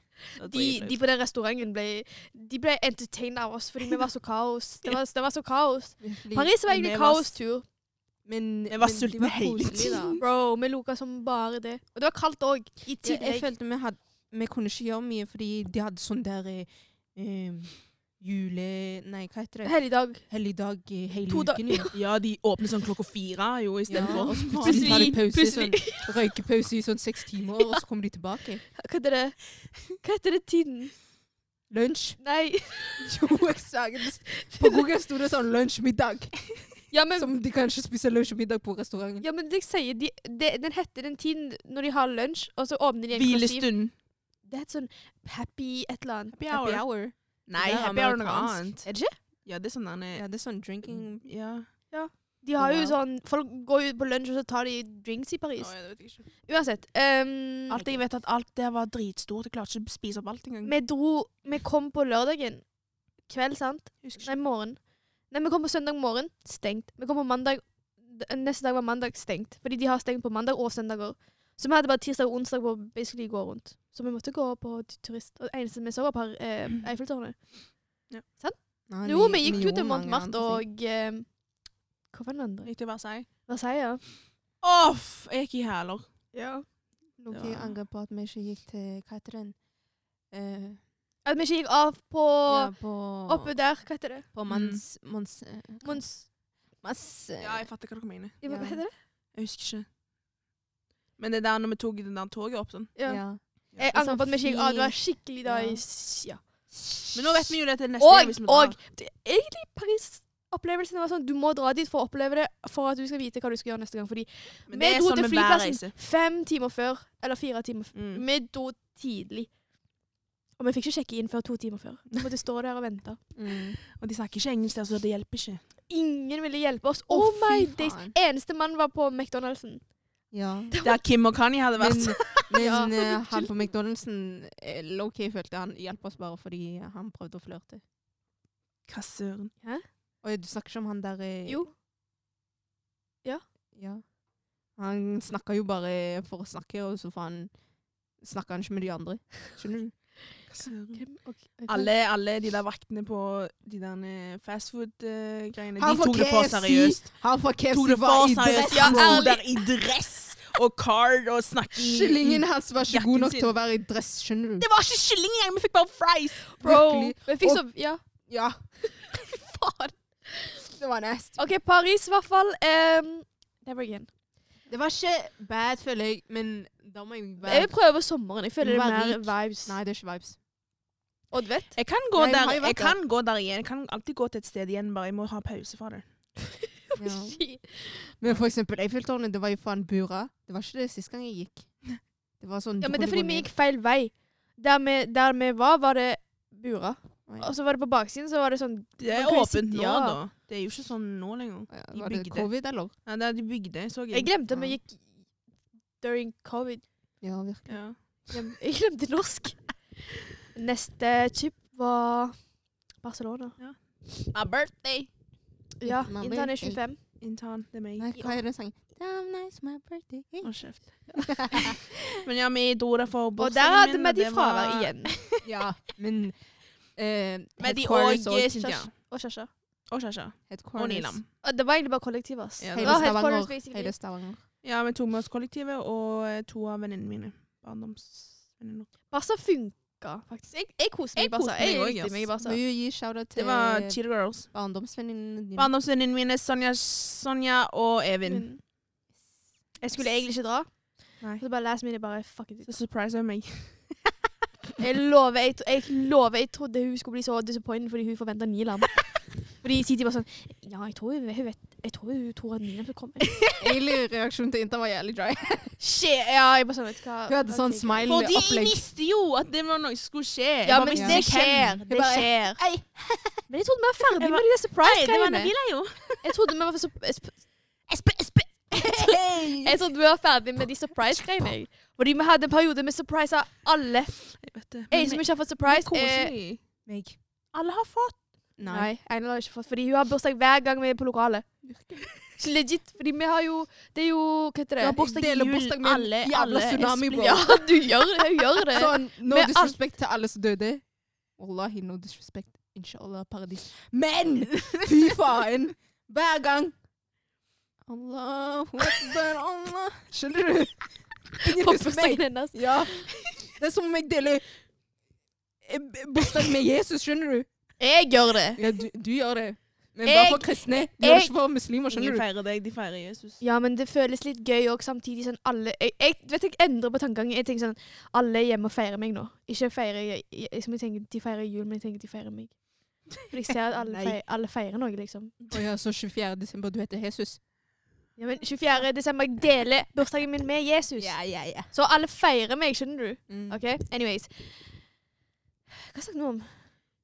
[SPEAKER 3] De, de på den restauranten ble, de ble entertained av oss fordi vi var så kaos. Det var, det var så kaos.
[SPEAKER 2] Virkelig.
[SPEAKER 3] Paris var egentlig
[SPEAKER 1] Vi var-
[SPEAKER 3] kaostur.
[SPEAKER 2] Men
[SPEAKER 1] Jeg var
[SPEAKER 2] men de
[SPEAKER 1] sulten hele
[SPEAKER 2] koselige,
[SPEAKER 1] tiden.
[SPEAKER 2] da.
[SPEAKER 3] Bro, vi loka som bare det. Og det var kaldt òg. I
[SPEAKER 2] Jeg, jeg
[SPEAKER 3] tillegg.
[SPEAKER 2] følte vi, had, vi kunne ikke gjøre mye, fordi de hadde sånn der eh, em, jule... Nei, hva heter det?
[SPEAKER 3] Helligdag.
[SPEAKER 2] Helligdag eh, hele
[SPEAKER 3] To da-
[SPEAKER 2] uken. jo.
[SPEAKER 1] Ja, de åpner sånn klokka fire jo,
[SPEAKER 2] Ja,
[SPEAKER 1] istedenfor.
[SPEAKER 2] og så
[SPEAKER 1] Ja.
[SPEAKER 2] plutselig tar de pause,
[SPEAKER 3] Plutselig-
[SPEAKER 2] sånn, røykepause i sånn seks timer, og så kommer de tilbake.
[SPEAKER 3] Hva heter det? Hva heter det tiden?
[SPEAKER 2] Lunsj.
[SPEAKER 3] Nei.
[SPEAKER 2] Jo, jeg sa det. På Google sto det sånn lunsjmiddag.
[SPEAKER 3] Ja, men,
[SPEAKER 2] Som de kanskje spiser lunsjmiddag på restauranten.
[SPEAKER 3] ja, men det jeg sier, de, det- den heter den tiden når de har lunsj, og så åpner de en syv.
[SPEAKER 1] Hvilestund.
[SPEAKER 3] Det heter sånn happy et eller annet.
[SPEAKER 1] Happy hour. Nei,
[SPEAKER 2] Det er
[SPEAKER 1] happy hour er noe
[SPEAKER 2] amerikansk.
[SPEAKER 1] annet.
[SPEAKER 3] Er det ikke?
[SPEAKER 1] Ja, det er sånn Mm. derne
[SPEAKER 2] Ja, det er sånn drinking
[SPEAKER 1] Ja.
[SPEAKER 3] De har jo
[SPEAKER 2] Wow.
[SPEAKER 3] sånn, Folk går jo på lunsj, og så tar de drinks i Paris.
[SPEAKER 1] Å, ja, det vet jeg ikke.
[SPEAKER 3] Uansett. ehm,
[SPEAKER 1] Alt jeg vet er at alt der var dritstort. Jeg klarte ikke å spise opp alt engang.
[SPEAKER 3] vi dro Vi kom på lørdagen kveld, sant?
[SPEAKER 1] Husker ikke.
[SPEAKER 3] Nei, morgen. Nei, vi kom på søndag morgen. Stengt. Vi kom på mandag d- neste dag var mandag stengt. Fordi de har stengt på mandag og søndager. Så vi hadde bare tirsdag og onsdag på å basically gå rundt. Så vi måtte gå på t- turist. Og det eneste vi så var på eh, Eiffeltårnet.
[SPEAKER 2] Nei,
[SPEAKER 3] Jo,
[SPEAKER 2] vi-
[SPEAKER 3] vi gikk jo
[SPEAKER 2] gjorde
[SPEAKER 3] til
[SPEAKER 2] mange
[SPEAKER 3] Montmartre
[SPEAKER 2] andre ting.
[SPEAKER 3] og eh, Hva var den andre?
[SPEAKER 1] Gikk til Versailles.
[SPEAKER 3] Versailles.
[SPEAKER 1] Off! Jeg gikk i hæler.
[SPEAKER 3] Ja.
[SPEAKER 2] Noe
[SPEAKER 1] Det
[SPEAKER 2] jeg
[SPEAKER 1] var-
[SPEAKER 2] angrer på at vi ikke gikk til Hva heter den? Eh,
[SPEAKER 3] At vi ikke gikk av på
[SPEAKER 2] ja, på,
[SPEAKER 3] Oppe der, hva heter det?
[SPEAKER 2] på Mans... Mons... eh,
[SPEAKER 3] Mons...
[SPEAKER 2] Mons... eh,
[SPEAKER 1] Ja, jeg fatter hva dere mener.
[SPEAKER 3] Ja,
[SPEAKER 2] Ja.
[SPEAKER 3] Hva heter det?
[SPEAKER 1] Jeg husker ikke. Men det der når vi tok det der toget opp sånn.
[SPEAKER 3] Ja.
[SPEAKER 2] ja. Det
[SPEAKER 3] Jeg
[SPEAKER 2] er
[SPEAKER 3] angrer på at vi ikke gikk av. Det var skikkelig da
[SPEAKER 2] Ja.
[SPEAKER 3] i s- ja.
[SPEAKER 1] Men nå vet vi jo det til neste gang.
[SPEAKER 3] Og,
[SPEAKER 1] hvis vi drar.
[SPEAKER 3] og det- egentlig Paris-opplevelsen var sånn du må dra dit for å oppleve det, for at du skal vite hva du skal gjøre neste gang. Fordi
[SPEAKER 1] Men
[SPEAKER 3] vi
[SPEAKER 1] det er
[SPEAKER 3] dro
[SPEAKER 1] sånn
[SPEAKER 3] til
[SPEAKER 1] med hver reise.
[SPEAKER 3] flyplassen fem timer før. Eller fire timer før.
[SPEAKER 1] Mm.
[SPEAKER 3] Vi dro tidlig. Og vi fikk ikke sjekke inn før to timer før. Vi måtte stå der og vente.
[SPEAKER 2] Mm.
[SPEAKER 1] Og de snakker ikke engelsk der, så det hjelper ikke.
[SPEAKER 3] Ingen ville hjelpe oss.
[SPEAKER 2] Å,
[SPEAKER 3] Oh,
[SPEAKER 2] fy
[SPEAKER 3] my days.
[SPEAKER 2] faen.
[SPEAKER 3] Eneste mann var på McDonald'sen.
[SPEAKER 2] ja.
[SPEAKER 1] Der Kim og Kanye hadde
[SPEAKER 2] Men,
[SPEAKER 1] vært.
[SPEAKER 3] Ja.
[SPEAKER 2] men eh, han på McDonald'sen eh, low-key følte han hjalp oss bare fordi han prøvde å flørte.
[SPEAKER 1] Hva søren.
[SPEAKER 2] Og du snakker ikke om han der eh,
[SPEAKER 3] Jo.
[SPEAKER 2] Ja. Han snakka jo bare for å snakke, og så faen snakka han ikke med de andre. Skjønner du?
[SPEAKER 1] Hva søren.
[SPEAKER 3] Hvem- ok, hvem-
[SPEAKER 1] Alle, alle de der vaktene på de der eh, fastfood-greiene,
[SPEAKER 2] Han
[SPEAKER 1] eh, de tok det for seriøst.
[SPEAKER 2] Han fra KFC
[SPEAKER 1] Tok det
[SPEAKER 2] var
[SPEAKER 1] for
[SPEAKER 2] i
[SPEAKER 1] seriøst.
[SPEAKER 2] dress.
[SPEAKER 1] Han
[SPEAKER 2] bro.
[SPEAKER 1] sto der i dress og card og snakket i-
[SPEAKER 2] Kyllingen hans var ikke god
[SPEAKER 1] jakken
[SPEAKER 2] nok til
[SPEAKER 1] sin.
[SPEAKER 2] å være i dress, skjønner du?
[SPEAKER 1] Det var ikke kylling engang, vi fikk bare fries!
[SPEAKER 3] Bro.
[SPEAKER 2] Virkelig.
[SPEAKER 3] Vi fikk så Ja,
[SPEAKER 2] Ja,
[SPEAKER 3] faen.
[SPEAKER 2] det var nasty.
[SPEAKER 3] OK, Paris, i hvert fall. Um, never again.
[SPEAKER 2] Det var ikke bad, føler jeg, men da må jeg
[SPEAKER 3] Jeg prøver sommeren. Jeg føler det
[SPEAKER 2] Vær
[SPEAKER 3] er mer
[SPEAKER 2] rik.
[SPEAKER 3] vibes.
[SPEAKER 2] Nei, det er ikke vibes.
[SPEAKER 3] Og du vet,
[SPEAKER 1] Jeg kan gå,
[SPEAKER 2] Nei, vi
[SPEAKER 1] der,
[SPEAKER 2] har jo vært
[SPEAKER 1] jeg kan gå der igjen. Jeg kan alltid gå til et sted igjen, bare jeg må ha pause fra det.
[SPEAKER 2] Ja. Men for eksempel Eiffeltårnet, det var jo faen bura. Det var ikke det sist gang jeg gikk. Det var sånn
[SPEAKER 3] ja,
[SPEAKER 2] du
[SPEAKER 3] men det er
[SPEAKER 2] kunne
[SPEAKER 3] fordi
[SPEAKER 2] gå
[SPEAKER 3] vi
[SPEAKER 2] ned.
[SPEAKER 3] gikk feil vei. Der vi, der vi var, var det burer.
[SPEAKER 2] Å, ja.
[SPEAKER 3] Og så var det på baksiden, så var det sånn
[SPEAKER 1] Det er
[SPEAKER 3] Man kan jo
[SPEAKER 1] åpent
[SPEAKER 3] sitte-
[SPEAKER 1] nå,
[SPEAKER 3] ja.
[SPEAKER 1] da. Det er jo ikke sånn nå lenger.
[SPEAKER 2] Å, ja.
[SPEAKER 1] i
[SPEAKER 2] Var det
[SPEAKER 1] bygde.
[SPEAKER 2] covid, eller?
[SPEAKER 1] Nei, det er de bygde, så jeg.
[SPEAKER 3] Jeg glemte vi
[SPEAKER 2] Ja.
[SPEAKER 3] gikk during covid.
[SPEAKER 2] Ja, virkelig.
[SPEAKER 1] Ja.
[SPEAKER 3] Glem- Jeg glemte norsk. Neste chip var Barcelona.
[SPEAKER 1] My birthday!
[SPEAKER 3] Ja,
[SPEAKER 2] Mamma,
[SPEAKER 3] Interne
[SPEAKER 2] jeg-
[SPEAKER 3] 25.
[SPEAKER 1] Intern, det er meg.
[SPEAKER 2] Nei, hva er den sangen? Damn nice, my birthday.
[SPEAKER 1] Å, kjeft. Men ja, vi dro der for
[SPEAKER 3] Og der hadde
[SPEAKER 1] bursdagen
[SPEAKER 3] vi
[SPEAKER 1] og
[SPEAKER 3] de
[SPEAKER 1] det var-
[SPEAKER 3] fravær igjen.
[SPEAKER 2] Ja, men eh,
[SPEAKER 1] Med de
[SPEAKER 2] headquarters
[SPEAKER 1] og Cynthia.
[SPEAKER 3] Og Shasha.
[SPEAKER 1] Og Kjæsja. Og
[SPEAKER 2] headquarters.
[SPEAKER 1] Nilam.
[SPEAKER 3] Og det var egentlig bare kollektiv, ass.
[SPEAKER 1] Ja,
[SPEAKER 3] det
[SPEAKER 2] Hele
[SPEAKER 3] var
[SPEAKER 2] Stavanger.
[SPEAKER 3] headquarters, basically.
[SPEAKER 2] Hele Stavanger.
[SPEAKER 1] Ja, vi tok med oss kollektivet og eh, to av venninnene mine. Barndomsvenninner.
[SPEAKER 3] Barca funka, faktisk. Jeg, jeg koser meg i
[SPEAKER 1] Jeg
[SPEAKER 3] Barca.
[SPEAKER 1] koser meg
[SPEAKER 3] Jeg
[SPEAKER 1] også,
[SPEAKER 3] likte
[SPEAKER 1] ass.
[SPEAKER 3] meg i Barca.
[SPEAKER 2] Må jo gi shout-out til
[SPEAKER 1] Altså, Det var Cheetah Girls.
[SPEAKER 2] barndomsvenninnen din.
[SPEAKER 1] Barndomsvenninnene mine Sonja, Sonja og Evin.
[SPEAKER 3] Men Mm. Jeg skulle egentlig ikke dra.
[SPEAKER 1] Nei.
[SPEAKER 3] Så bare last minute bare fuck it.
[SPEAKER 1] Så surprisa hun meg.
[SPEAKER 3] Jeg lover, jeg, tro- jeg lover, jeg trodde hun skulle bli så disappointed fordi hun forventa Nilam. Fordi Siti var sånn Ja, jeg tror hun, hun vet Jeg tror hun tror at Nilam skal komme.
[SPEAKER 2] Egentlig reaksjonen til Inter var jævlig dry.
[SPEAKER 3] Shit, ja, jeg bare sånn, vet du hva
[SPEAKER 2] Hun hadde sånn
[SPEAKER 3] Ok.
[SPEAKER 1] Fordi jeg
[SPEAKER 2] smile-opplegg.
[SPEAKER 1] visste jo at det var noe som skulle skje. Jeg
[SPEAKER 3] Ja,
[SPEAKER 1] bare
[SPEAKER 3] men
[SPEAKER 1] visste
[SPEAKER 3] det
[SPEAKER 1] ikke
[SPEAKER 3] skjer.
[SPEAKER 1] hvem.
[SPEAKER 3] Det
[SPEAKER 2] bare,
[SPEAKER 3] skjer.
[SPEAKER 2] «Ei».
[SPEAKER 3] Men jeg trodde vi var ferdig
[SPEAKER 1] Jeg
[SPEAKER 3] med de der
[SPEAKER 1] Nei, det var
[SPEAKER 3] surprise-greiene.
[SPEAKER 1] Nabila, jo.
[SPEAKER 3] Jeg trodde vi var så
[SPEAKER 1] Espe, espe.
[SPEAKER 3] Jeg trodde vi var ferdig med de surprise-greiene. jeg. Fordi vi hadde en periode med surprise av alle.
[SPEAKER 1] Jeg vet det.
[SPEAKER 3] Jeg som ikke har fått
[SPEAKER 1] eh,
[SPEAKER 3] surprise, er
[SPEAKER 1] Koselig. Alle har fått.
[SPEAKER 2] Nei.
[SPEAKER 3] Nei, Einar har ikke fått, fordi hun har bursdag hver gang vi er på lokalet. Så legit, fordi vi har jo Det er jo Hva heter det?
[SPEAKER 1] Du har bursdag i
[SPEAKER 2] Deler
[SPEAKER 1] jul,
[SPEAKER 2] bursdag med en
[SPEAKER 1] alle-
[SPEAKER 2] jævla
[SPEAKER 1] alle er
[SPEAKER 2] tsunami,
[SPEAKER 1] spl-
[SPEAKER 2] bro.
[SPEAKER 3] Ja, du gjør, hun gjør det.
[SPEAKER 2] Sånn, no
[SPEAKER 3] Eh, Med alt.
[SPEAKER 2] disrespect til alle som døde. Wallahi, no disrespect. Inshallah, paradis. Men! Fy faen! Hver gang. Allahu akbar, Allah. Skjønner du? Ingen
[SPEAKER 3] på
[SPEAKER 2] husker meg.
[SPEAKER 3] bursdagen hennes.
[SPEAKER 2] Ja. Det er som om jeg deler eh, bursdag med Jesus, skjønner du?
[SPEAKER 3] Jeg gjør det.
[SPEAKER 2] Ja, du, du gjør det. Men
[SPEAKER 3] Jeg-
[SPEAKER 2] bare for kristne. Du gjør
[SPEAKER 3] jeg-
[SPEAKER 2] det ikke for muslimer,
[SPEAKER 1] Ingen
[SPEAKER 2] skjønner du?
[SPEAKER 1] feirer deg, de feirer Jesus.
[SPEAKER 3] Ja, men det føles litt gøy òg, samtidig sånn alle jeg, jeg, du vet, jeg endrer på tankegangen. Jeg tenker sånn Alle er hjemme og feirer meg nå. Ikke feirer jeg, jeg, som jeg tenker, De feirer jul, men jeg tenker de feirer meg. For jeg ser at alle,
[SPEAKER 2] Nei.
[SPEAKER 3] feirer, alle feirer noe, liksom.
[SPEAKER 2] Å ja, så 24. desember, du heter Jesus.
[SPEAKER 3] Ja, men 24. desember, jeg deler bursdagen min med Jesus.
[SPEAKER 2] ja, ja.
[SPEAKER 3] Så alle feirer meg, skjønner du?
[SPEAKER 2] Mm.
[SPEAKER 3] OK? Anyways. Hva snakket vi om?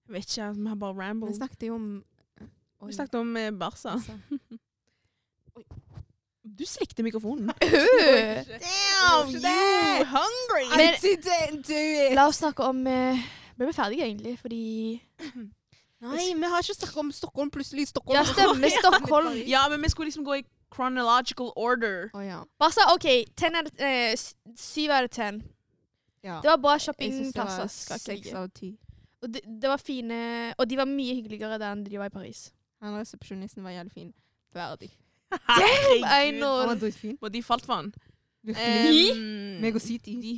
[SPEAKER 1] Jeg vet ikke, vi har bare
[SPEAKER 2] Vi
[SPEAKER 1] rambled.
[SPEAKER 2] snakket jo om Oi.
[SPEAKER 1] Vi snakket om eh, Barca.
[SPEAKER 2] Altså.
[SPEAKER 1] Du slikte mikrofonen.
[SPEAKER 3] Øh!
[SPEAKER 1] Damn,
[SPEAKER 2] Ikke det.
[SPEAKER 1] hungry!
[SPEAKER 2] I
[SPEAKER 3] Men-
[SPEAKER 2] didn't do it!
[SPEAKER 3] La oss snakke om eh, Ble vi ferdige, egentlig? Fordi
[SPEAKER 2] Nei, vi har ikke snakket om Stockholm plutselig. Stockholm.
[SPEAKER 3] Ja, stemmer. Stockholm.
[SPEAKER 1] Ja, men vi skulle liksom gå i chronological order.
[SPEAKER 2] Å ja.
[SPEAKER 3] Bare så, OK, 10 out of, eh, s- syv av ten.
[SPEAKER 2] ja.
[SPEAKER 3] Det var bra
[SPEAKER 2] Jeg synes det
[SPEAKER 3] shoppingplasser.
[SPEAKER 2] var
[SPEAKER 3] skal ikke
[SPEAKER 2] seks
[SPEAKER 3] ligge.
[SPEAKER 2] av ti.
[SPEAKER 3] Og det, det var fine Og de var mye hyggeligere der enn de var i Paris.
[SPEAKER 2] Han resepsjonisten var jævlig fin. Verdig.
[SPEAKER 1] Herregud.
[SPEAKER 3] I know.
[SPEAKER 2] Han var dritfin.
[SPEAKER 1] Og de falt for han.
[SPEAKER 2] Virkelig.
[SPEAKER 1] Em,
[SPEAKER 2] Meg og Siti.
[SPEAKER 1] de.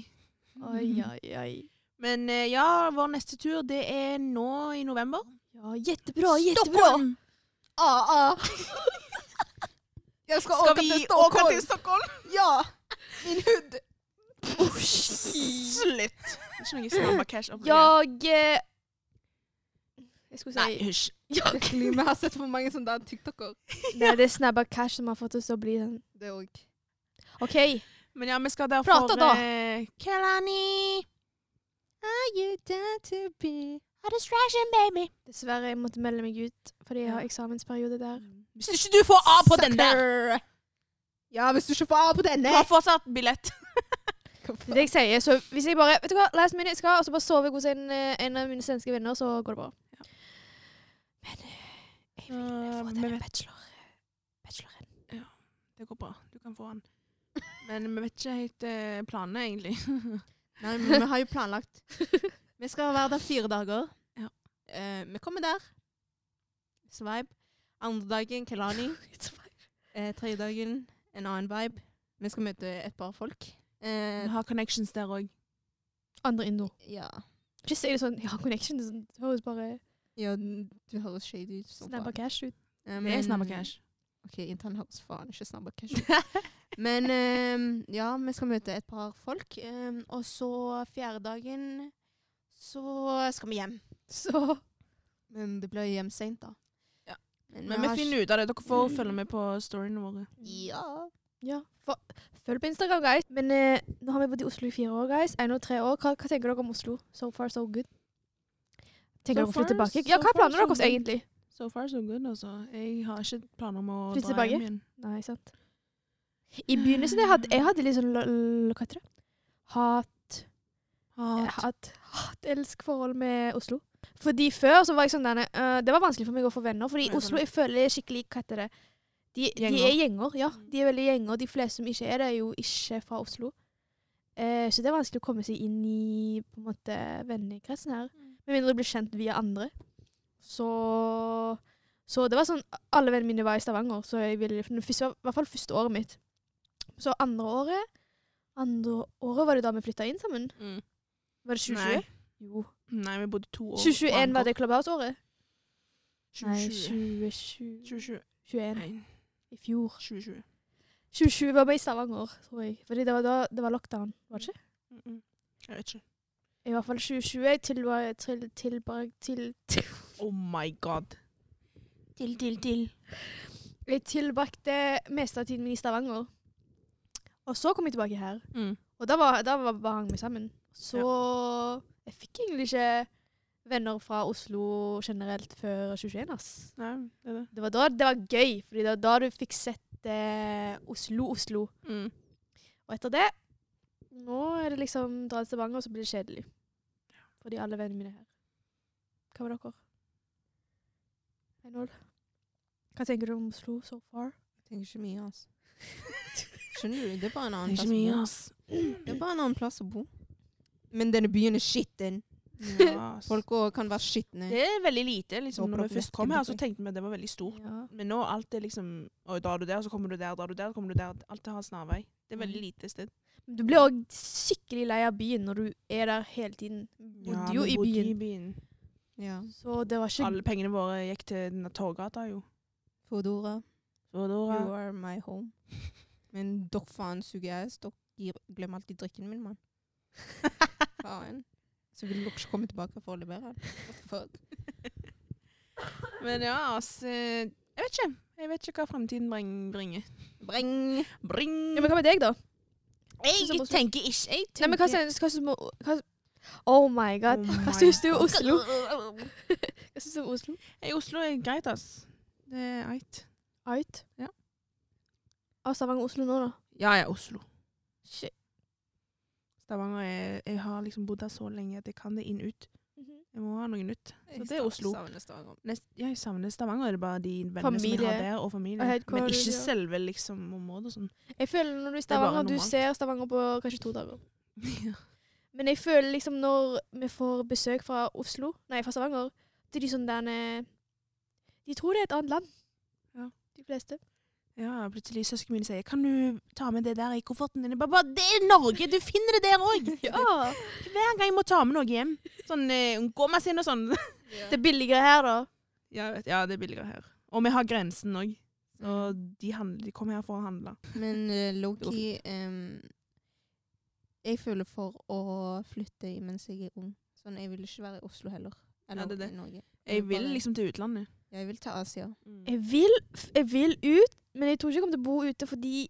[SPEAKER 3] Oi, oi, oi.
[SPEAKER 1] Men eh, ja, vår neste tur det er nå i november.
[SPEAKER 3] Ja, jättebra, jättebra.
[SPEAKER 1] Stockholm!
[SPEAKER 2] Ah, ah. Jeg skal,
[SPEAKER 1] Skal
[SPEAKER 2] åke
[SPEAKER 1] vi
[SPEAKER 2] til
[SPEAKER 1] åke
[SPEAKER 2] Stockholm.
[SPEAKER 1] til Stockholm?
[SPEAKER 2] Ja! Min hud.
[SPEAKER 1] Slutt! Ikke noe snabba cash. opp igjen.
[SPEAKER 3] Jag... Eh, jag skulle
[SPEAKER 1] Nei,
[SPEAKER 3] säga...
[SPEAKER 1] hysj.
[SPEAKER 2] Virkelig, vi har sett for mange sånne der TikToker.
[SPEAKER 3] Nej, det är snabba cash som har fått oss att bli den.
[SPEAKER 2] Det er også.
[SPEAKER 3] Okej.
[SPEAKER 1] Men ja, vi skal derfor
[SPEAKER 3] Prata da.
[SPEAKER 1] eh, Kelani!
[SPEAKER 2] Are you down to be?
[SPEAKER 1] A distraction, baby!
[SPEAKER 3] Dessverre, jeg måtte melde meg ut fordi jeg har eksamensperiode der.
[SPEAKER 1] Hvis ikke du får A på den der,
[SPEAKER 2] Sucker. Ja, hvis du ikke får av på denne.
[SPEAKER 1] du har fortsatt billett.
[SPEAKER 3] Det er det jeg sier. Så hvis jeg bare vet du hva, last minute skal, og så bare sover jeg hos en, eh, en av mine svenske venner, så går det bra. Men eh, jeg
[SPEAKER 1] Eh,
[SPEAKER 3] vil få
[SPEAKER 1] men
[SPEAKER 3] denne
[SPEAKER 1] vet-
[SPEAKER 3] bachelor, bacheloren.
[SPEAKER 1] Det går bra. Du kan få den. Men vi vet ikke helt eh, planene, egentlig.
[SPEAKER 2] Nei, men vi har jo planlagt. Vi skal være der fire dager.
[SPEAKER 1] Ja.
[SPEAKER 2] Eh, vi kommer der. Svibe. Andre dagen Kelani. Eh, tredje dagen en annen vibe. Vi skal møte et par folk. Eh,
[SPEAKER 1] Vi har connections der òg.
[SPEAKER 3] Andre indo.
[SPEAKER 2] ja.
[SPEAKER 3] Ikke si det sånn. Jeg har connection. Det er sånn- det høres bare
[SPEAKER 2] ja, du høres shady ut. som
[SPEAKER 3] snabba
[SPEAKER 2] faen.
[SPEAKER 3] cash ut.
[SPEAKER 2] Eh,
[SPEAKER 1] Det er
[SPEAKER 2] men-
[SPEAKER 1] snabba cash.
[SPEAKER 2] Ok, intern høres faen ikke snabba cash ut. Men eh, ja, vi skal møte et par folk. Eh, og så fjerde dagen så skal vi hjem.
[SPEAKER 3] Så
[SPEAKER 2] Men det blir hjem seint, da.
[SPEAKER 1] Ja.
[SPEAKER 2] Men,
[SPEAKER 1] Men vi finner ut av det. Dere får følge med på storyene våre.
[SPEAKER 2] Ja.
[SPEAKER 3] ja. For, følg på Instagram, guys. Men eh, nå har vi bodd i Oslo i fire år, guys. Ennå tre år. Hva, hva tenker dere om Oslo? So far, so good. Tenker
[SPEAKER 1] So
[SPEAKER 3] dere å flytte
[SPEAKER 1] far,
[SPEAKER 3] tilbake? Ja,
[SPEAKER 1] so
[SPEAKER 3] hva er
[SPEAKER 1] far,
[SPEAKER 3] planene
[SPEAKER 1] so
[SPEAKER 3] deres
[SPEAKER 1] good.
[SPEAKER 3] egentlig?
[SPEAKER 1] So far so good, altså. Jeg har ikke planer om å
[SPEAKER 3] Flytte
[SPEAKER 1] dra
[SPEAKER 3] tilbake?
[SPEAKER 1] hjem igjen.
[SPEAKER 3] Nei, sant. I begynnelsen jeg hadde jeg hadde litt sånn l- l- Hva heter det? Hat,
[SPEAKER 1] Hat.
[SPEAKER 3] hat, hat-elsk-forhold med Oslo. Fordi før så var jeg sånn der eh, Det var vanskelig for meg å få venner. Fordi
[SPEAKER 1] Ja, jeg
[SPEAKER 3] Oslo jeg føler er skikkelig Hva heter det? De, de
[SPEAKER 1] Gjenger. Mm.
[SPEAKER 3] er gjenger. Ja, de er veldig gjenger. De fleste som ikke er det, er jo ikke fra Oslo. Eh, så det er vanskelig å komme seg inn i på en måte vennekretsen her.
[SPEAKER 1] Mm.
[SPEAKER 3] Med mindre du blir kjent via andre. Så Så det var sånn Alle vennene mine var i Stavanger, så jeg ville for det første, I hvert fall første året mitt. Så andre året Andre året var det da vi flytta inn sammen.
[SPEAKER 1] Mm.
[SPEAKER 3] Var det 2020?
[SPEAKER 1] Nei.
[SPEAKER 3] Jo.
[SPEAKER 1] Nei, vi bodde to år.
[SPEAKER 3] 2021 var det Clubhouse-året? Nei,
[SPEAKER 1] 2020.
[SPEAKER 3] 2021.
[SPEAKER 1] 2021.
[SPEAKER 3] I fjor.
[SPEAKER 1] 2020.
[SPEAKER 3] 2020 var vi i Stavanger, tror jeg. Fordi det var da det var lockdown, var det ikke?
[SPEAKER 1] Mm -mm. Jeg vet ikke.
[SPEAKER 3] I hvert fall 2020 jeg tilbra- til, tilbra- til, til,
[SPEAKER 1] Oh my god. Til, til, til.
[SPEAKER 3] Jeg tilbrakte meste av tiden min i Stavanger. Og så kom jeg tilbake her.
[SPEAKER 1] Mm.
[SPEAKER 3] Og da var, da var, bare hang vi sammen. Så jeg fikk egentlig ikke venner fra Oslo generelt før 2021, ass.
[SPEAKER 1] Nei, det er det.
[SPEAKER 3] Det var da det var gøy, fordi det var da du fikk sett eh, Oslo, Oslo.
[SPEAKER 1] Mm.
[SPEAKER 3] Og etter det Nå er det liksom dra til Stavanger, og så blir det kjedelig. Fordi alle vennene mine er her. Hva med dere? Einhold? Hva tenker du om Oslo so far?
[SPEAKER 2] Jeg tenker ikke mye, altså. Skjønner du? Det er bare en
[SPEAKER 1] Det er ikke
[SPEAKER 2] annen plass å
[SPEAKER 1] mye,
[SPEAKER 2] bo.
[SPEAKER 1] ass.
[SPEAKER 2] Det er bare en annen plass å bo. Men denne byen er skitten.
[SPEAKER 1] Ja, ass.
[SPEAKER 2] Folk også kan være skitne.
[SPEAKER 1] Det er veldig lite. liksom.
[SPEAKER 2] Håper
[SPEAKER 1] Når
[SPEAKER 2] dere
[SPEAKER 1] vi først
[SPEAKER 2] vet
[SPEAKER 1] kom
[SPEAKER 2] hvem
[SPEAKER 1] her,
[SPEAKER 2] dere
[SPEAKER 1] så
[SPEAKER 2] er.
[SPEAKER 1] tenkte vi at det var veldig stort.
[SPEAKER 3] Ja.
[SPEAKER 1] Men nå alt er liksom Oi, drar du der, så kommer du der, drar du der, så kommer du der. Alt har en snarvei. Det er veldig lite sted.
[SPEAKER 3] Men Du blir òg skikkelig lei av byen når du er der hele tiden. Bodde jo i byen.
[SPEAKER 2] Ja.
[SPEAKER 3] Så det var ikke
[SPEAKER 1] Alle pengene våre gikk til denne torggata, jo.
[SPEAKER 2] Fodora,
[SPEAKER 1] Foodora.
[SPEAKER 2] you are my home. Men dere faen suger ass. Dere gir- glemmer alltid drikken min, mann. Faen. Så vil dere ikke komme tilbake for å levere den. What the fuck?
[SPEAKER 1] Men ja, altså Jeg vet ikke. Jeg vet ikke hva fremtiden bring, bringer.
[SPEAKER 2] Breng!
[SPEAKER 1] Bring.
[SPEAKER 3] ja, Men hva med deg, da?
[SPEAKER 1] jeg tenker ikke Jeg
[SPEAKER 3] Nei, men hva syns hva syns du hva, Oh my god. Hva syns du om Oslo? Hva syns du om Oslo?
[SPEAKER 1] Hey, Oslo er greit, ass. Det er eit.
[SPEAKER 3] Ait?
[SPEAKER 1] Ja.
[SPEAKER 3] Av Stavanger-Oslo nå, da?
[SPEAKER 1] Ja, ja, Oslo.
[SPEAKER 3] Shit.
[SPEAKER 1] Stavanger er Jeg har liksom bodd her så lenge at jeg kan det inn ut. Jeg må ha noe nytt. Så det er Oslo.
[SPEAKER 4] Savner Stavanger.
[SPEAKER 1] Nest, ja, jeg savner Stavanger. Det er bare de vennene som
[SPEAKER 3] Familie.
[SPEAKER 1] jeg har der, og familie.
[SPEAKER 3] Og helt
[SPEAKER 1] Men
[SPEAKER 3] hvor-
[SPEAKER 1] ikke
[SPEAKER 3] ja.
[SPEAKER 1] selve liksom, området og sånn.
[SPEAKER 3] Jeg føler når du er i
[SPEAKER 1] er bare
[SPEAKER 3] Stavanger, du
[SPEAKER 1] normalt.
[SPEAKER 3] ser Stavanger på kanskje to dager.
[SPEAKER 1] Ja.
[SPEAKER 3] Men jeg føler liksom når vi får besøk fra Oslo, nei, fra Stavanger, det er de sånn der eh, De tror det er et annet land.
[SPEAKER 1] Ja.
[SPEAKER 3] De fleste.
[SPEAKER 1] Ja, plutselig søskenen mine sier 'Kan du ta med det der i kofferten din?' Jeg bare, bare 'Det er Norge! Du finner det der òg!'
[SPEAKER 3] Ja.
[SPEAKER 1] Hver gang jeg må ta med noe hjem. Sånn eh, gåmaskin og sånn.
[SPEAKER 3] Det er billigere her, da.
[SPEAKER 1] Ja, jeg vet- ja, det er billigere her. Og vi har grensen òg. Og de, handler, de kom her for å handle.
[SPEAKER 2] Men eh,
[SPEAKER 1] Det går
[SPEAKER 2] Loki um, Jeg føler for å flytte mens jeg er ung. Sånn, Jeg vil ikke være i Oslo heller. Eller
[SPEAKER 1] det er det.
[SPEAKER 2] i Norge.
[SPEAKER 1] Jeg vil
[SPEAKER 2] Bare- Mm.
[SPEAKER 1] liksom til utlandet.
[SPEAKER 2] Jeg vil til Asia.
[SPEAKER 3] Jeg vil, f- jeg vil ut, men jeg tror ikke jeg kommer til å bo ute fordi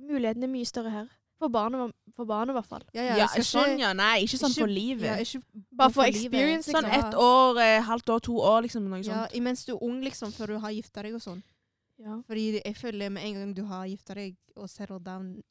[SPEAKER 3] mulighetene er mye større her. For barna, for barna i hvert fall.
[SPEAKER 2] Ja,
[SPEAKER 1] Ja,
[SPEAKER 2] jeg skal
[SPEAKER 1] sånn,
[SPEAKER 2] ikke-
[SPEAKER 1] ja. Nei, ikke sånn
[SPEAKER 2] ikke-
[SPEAKER 1] for livet.
[SPEAKER 2] ja, ikke
[SPEAKER 3] Bare for
[SPEAKER 2] for livet.
[SPEAKER 3] experience,
[SPEAKER 1] sånn
[SPEAKER 3] liksom.
[SPEAKER 2] ja.
[SPEAKER 1] ett år, eh, halvt år, to år, liksom. Noe
[SPEAKER 2] ja,
[SPEAKER 1] sånt.
[SPEAKER 2] imens du er ung, liksom, før du har gifta deg og sånn.
[SPEAKER 3] Ja.
[SPEAKER 2] Fordi jeg føler med en gang du har gifta deg og settled down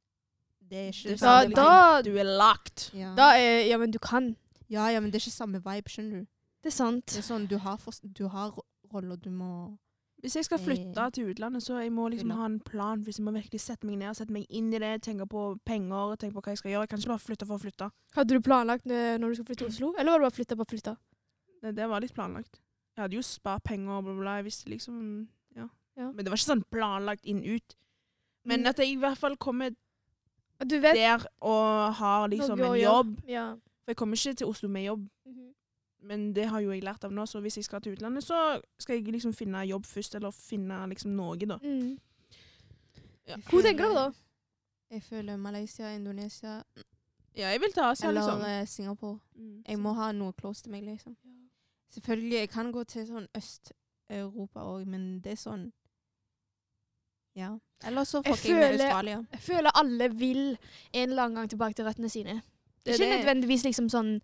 [SPEAKER 2] Det er ikke
[SPEAKER 1] Det er
[SPEAKER 3] Da,
[SPEAKER 2] samme
[SPEAKER 1] sant,
[SPEAKER 2] vibe.
[SPEAKER 3] da,
[SPEAKER 1] Du er lagt.
[SPEAKER 2] Ja.
[SPEAKER 3] da er Ja, men du kan.
[SPEAKER 2] ja, ja, men det er ikke samme vibe, skjønner du.
[SPEAKER 3] Det er sant.
[SPEAKER 2] Det er sånn, Du har, fors- du har ro- roller du må
[SPEAKER 1] Hvis jeg skal flytte
[SPEAKER 2] Eh.
[SPEAKER 1] til utlandet, så jeg må liksom
[SPEAKER 2] Utland.
[SPEAKER 1] ha en plan. Hvis jeg må virkelig sette meg ned, sette meg inn i det, tenke på penger, tenke på hva jeg skal gjøre. Jeg kan ikke bare flytte for å flytte.
[SPEAKER 3] Hadde du planlagt eh, når du skulle flytte til Oslo, eller var det bare flytta bare flytta?
[SPEAKER 1] Det, det var litt planlagt. Jeg hadde jo spart penger og bla, bla, bla. Jeg visste liksom ja.
[SPEAKER 3] Ja.
[SPEAKER 1] Men det var ikke sånn planlagt inn ut. Men
[SPEAKER 3] Mm.
[SPEAKER 1] at jeg i hvert fall kommer
[SPEAKER 3] Og Du vet
[SPEAKER 1] der og har liksom
[SPEAKER 3] Noe å
[SPEAKER 1] en
[SPEAKER 3] gjøre.
[SPEAKER 1] jobb.
[SPEAKER 3] Ja.
[SPEAKER 1] For jeg kommer ikke til Oslo med jobb,
[SPEAKER 3] Mhm.
[SPEAKER 1] men det har jo jeg lært av nå. Så hvis jeg skal til utlandet, så skal jeg liksom finne jobb først, eller finne liksom noe, da.
[SPEAKER 3] Mm.
[SPEAKER 1] Ja.
[SPEAKER 3] Hvor tenker du da?
[SPEAKER 2] Jeg føler Malaysia, Indonesia
[SPEAKER 1] Ja, jeg vil til Asia,
[SPEAKER 2] eller
[SPEAKER 1] liksom.
[SPEAKER 2] eh, Singapore.
[SPEAKER 1] Mm.
[SPEAKER 2] Jeg må ha noe close til meg, liksom. Selvfølgelig, jeg kan gå til sånn Øst-Europa òg, men det er sånn Ja. Eller så
[SPEAKER 3] Jeg
[SPEAKER 2] fucker jeg med
[SPEAKER 3] føler-
[SPEAKER 2] Australia.
[SPEAKER 3] Jeg føler alle vil en eller annen gang tilbake til røttene sine.
[SPEAKER 1] Det er
[SPEAKER 3] ikke
[SPEAKER 1] det.
[SPEAKER 3] nødvendigvis liksom sånn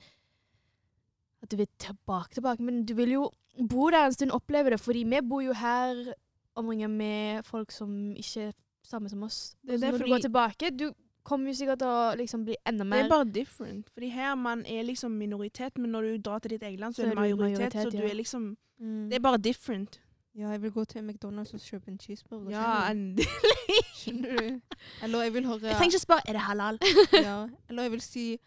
[SPEAKER 3] at du vil tilbake, tilbake, men du vil jo bo der en stund, oppleve det. Fordi vi bor jo her omringet med folk som ikke er samme som oss.
[SPEAKER 1] Det er
[SPEAKER 3] Så
[SPEAKER 1] det,
[SPEAKER 3] når
[SPEAKER 1] fordi-
[SPEAKER 3] du går tilbake, du kommer jo sikkert til å liksom bli enda
[SPEAKER 1] Det er
[SPEAKER 3] mer
[SPEAKER 1] bare different. Fordi her man er liksom minoritet, men når du drar til ditt eget land, så, er du majoritet. så
[SPEAKER 3] majoritet,
[SPEAKER 1] du
[SPEAKER 3] ja.
[SPEAKER 1] er liksom
[SPEAKER 2] Mm.
[SPEAKER 1] Det er bare different.
[SPEAKER 2] Ja, jeg vil gå til McDonald's og kjøpe en cheeseburger.
[SPEAKER 1] Ja,
[SPEAKER 2] skjønner
[SPEAKER 1] en
[SPEAKER 2] du? skjønner du? Eller jeg vil høre
[SPEAKER 1] Jeg trenger ikke spørre er det halal.
[SPEAKER 2] ja. Eller jeg vil si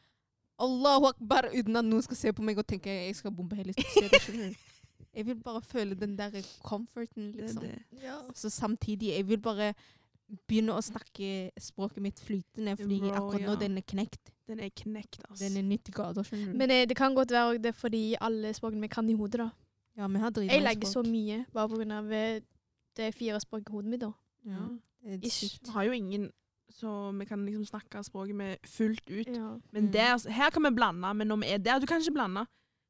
[SPEAKER 2] Allahu akbar uten at noen skal se på meg og tenke jeg skal bombe hele stedet. skjønner du? Jeg vil bare føle den der comforten, liksom.
[SPEAKER 1] Det,
[SPEAKER 3] Ja.
[SPEAKER 2] Så samtidig, jeg vil bare begynne å snakke språket mitt flytende, fordi
[SPEAKER 1] Bro,
[SPEAKER 2] akkurat nå
[SPEAKER 1] ja.
[SPEAKER 2] den er knekt.
[SPEAKER 1] den er knekt, Mm. altså.
[SPEAKER 2] Den er 90 grader, skjønner du.
[SPEAKER 3] Men eh, det kan godt være også det er fordi alle språkene vi kan i hodet, da.
[SPEAKER 2] ja, vi har dritmange
[SPEAKER 3] Jeg legger så
[SPEAKER 2] språk.
[SPEAKER 3] mye bare på grunn av eh, det fire språket i hodet mitt, da.
[SPEAKER 2] Ja. Det er
[SPEAKER 3] Ish.
[SPEAKER 2] sykt.
[SPEAKER 1] Vi har jo ingen så vi kan liksom snakke språket med fullt ut.
[SPEAKER 3] Ja.
[SPEAKER 1] Men
[SPEAKER 2] Mm.
[SPEAKER 1] der, altså, her kan vi blande, men når vi er der Du kan ikke blande.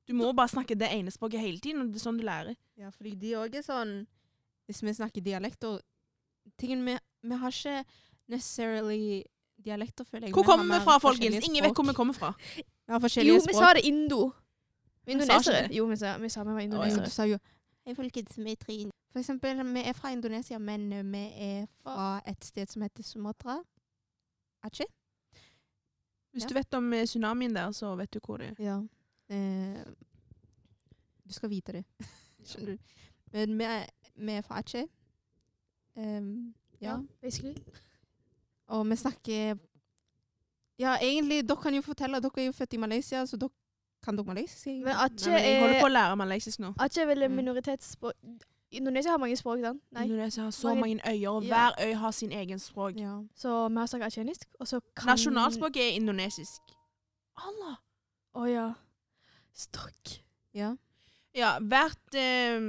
[SPEAKER 1] Du må bare snakke det ene språket hele tiden, og det er sånn du lærer.
[SPEAKER 2] Ja, fordi de òg er sånn Hvis vi snakker dialekter Tingen vi, vi har ikke necessarily dialekter, føler jeg.
[SPEAKER 1] Hvor kommer vi
[SPEAKER 2] har
[SPEAKER 1] fra,
[SPEAKER 2] mer
[SPEAKER 1] folkens?
[SPEAKER 2] forskjellige
[SPEAKER 1] Ingen vet hvor vi
[SPEAKER 2] språk.
[SPEAKER 1] kommer fra.
[SPEAKER 2] Vi har forskjellige
[SPEAKER 3] Jo, vi
[SPEAKER 2] språk.
[SPEAKER 3] sa det indo.
[SPEAKER 1] Vi sa ikke
[SPEAKER 3] Indonesere.
[SPEAKER 1] det.
[SPEAKER 3] Jo, vi sa, vi sa vi var
[SPEAKER 1] Å,
[SPEAKER 2] Ja,
[SPEAKER 1] ja.
[SPEAKER 2] du
[SPEAKER 3] indonesere.
[SPEAKER 2] sa jo Hei, folkens, vi er tre inn- For eksempel, vi er fra Indonesia, men eh, vi er fra et sted som heter Sumatra. Atje?
[SPEAKER 1] Hvis
[SPEAKER 2] Ja.
[SPEAKER 1] du vet om eh, tsunamien der, så vet du hvor det er.
[SPEAKER 2] Ja. Eh, du skal vite det. Skjønner du? Men vi er, vi er fra Atje. Ehm, ja.
[SPEAKER 3] basically.
[SPEAKER 2] Og vi snakker Ja, egentlig, dere kan jo fortelle. Dere er jo født i Malaysia, så dere kan dere malaysisk? egentlig?
[SPEAKER 3] Men Aceh
[SPEAKER 1] Nei, men jeg holder
[SPEAKER 3] er
[SPEAKER 1] på å lære malaysisk nå.
[SPEAKER 3] Aceh er vel en
[SPEAKER 2] Mm.
[SPEAKER 3] minoritetsspråk Indonesia har mange språk, sant? Nei.
[SPEAKER 1] Indonesia har så
[SPEAKER 3] Mange-
[SPEAKER 1] mange øyer, og
[SPEAKER 3] Ja.
[SPEAKER 1] hver øy har sin egen språk.
[SPEAKER 2] Ja.
[SPEAKER 3] Så vi har snakket acehenisk, og så kan
[SPEAKER 1] Nasjonalspråket er indonesisk. Allah!
[SPEAKER 3] Å ja. Stokk.
[SPEAKER 2] ja.
[SPEAKER 1] Ja, hvert, eh,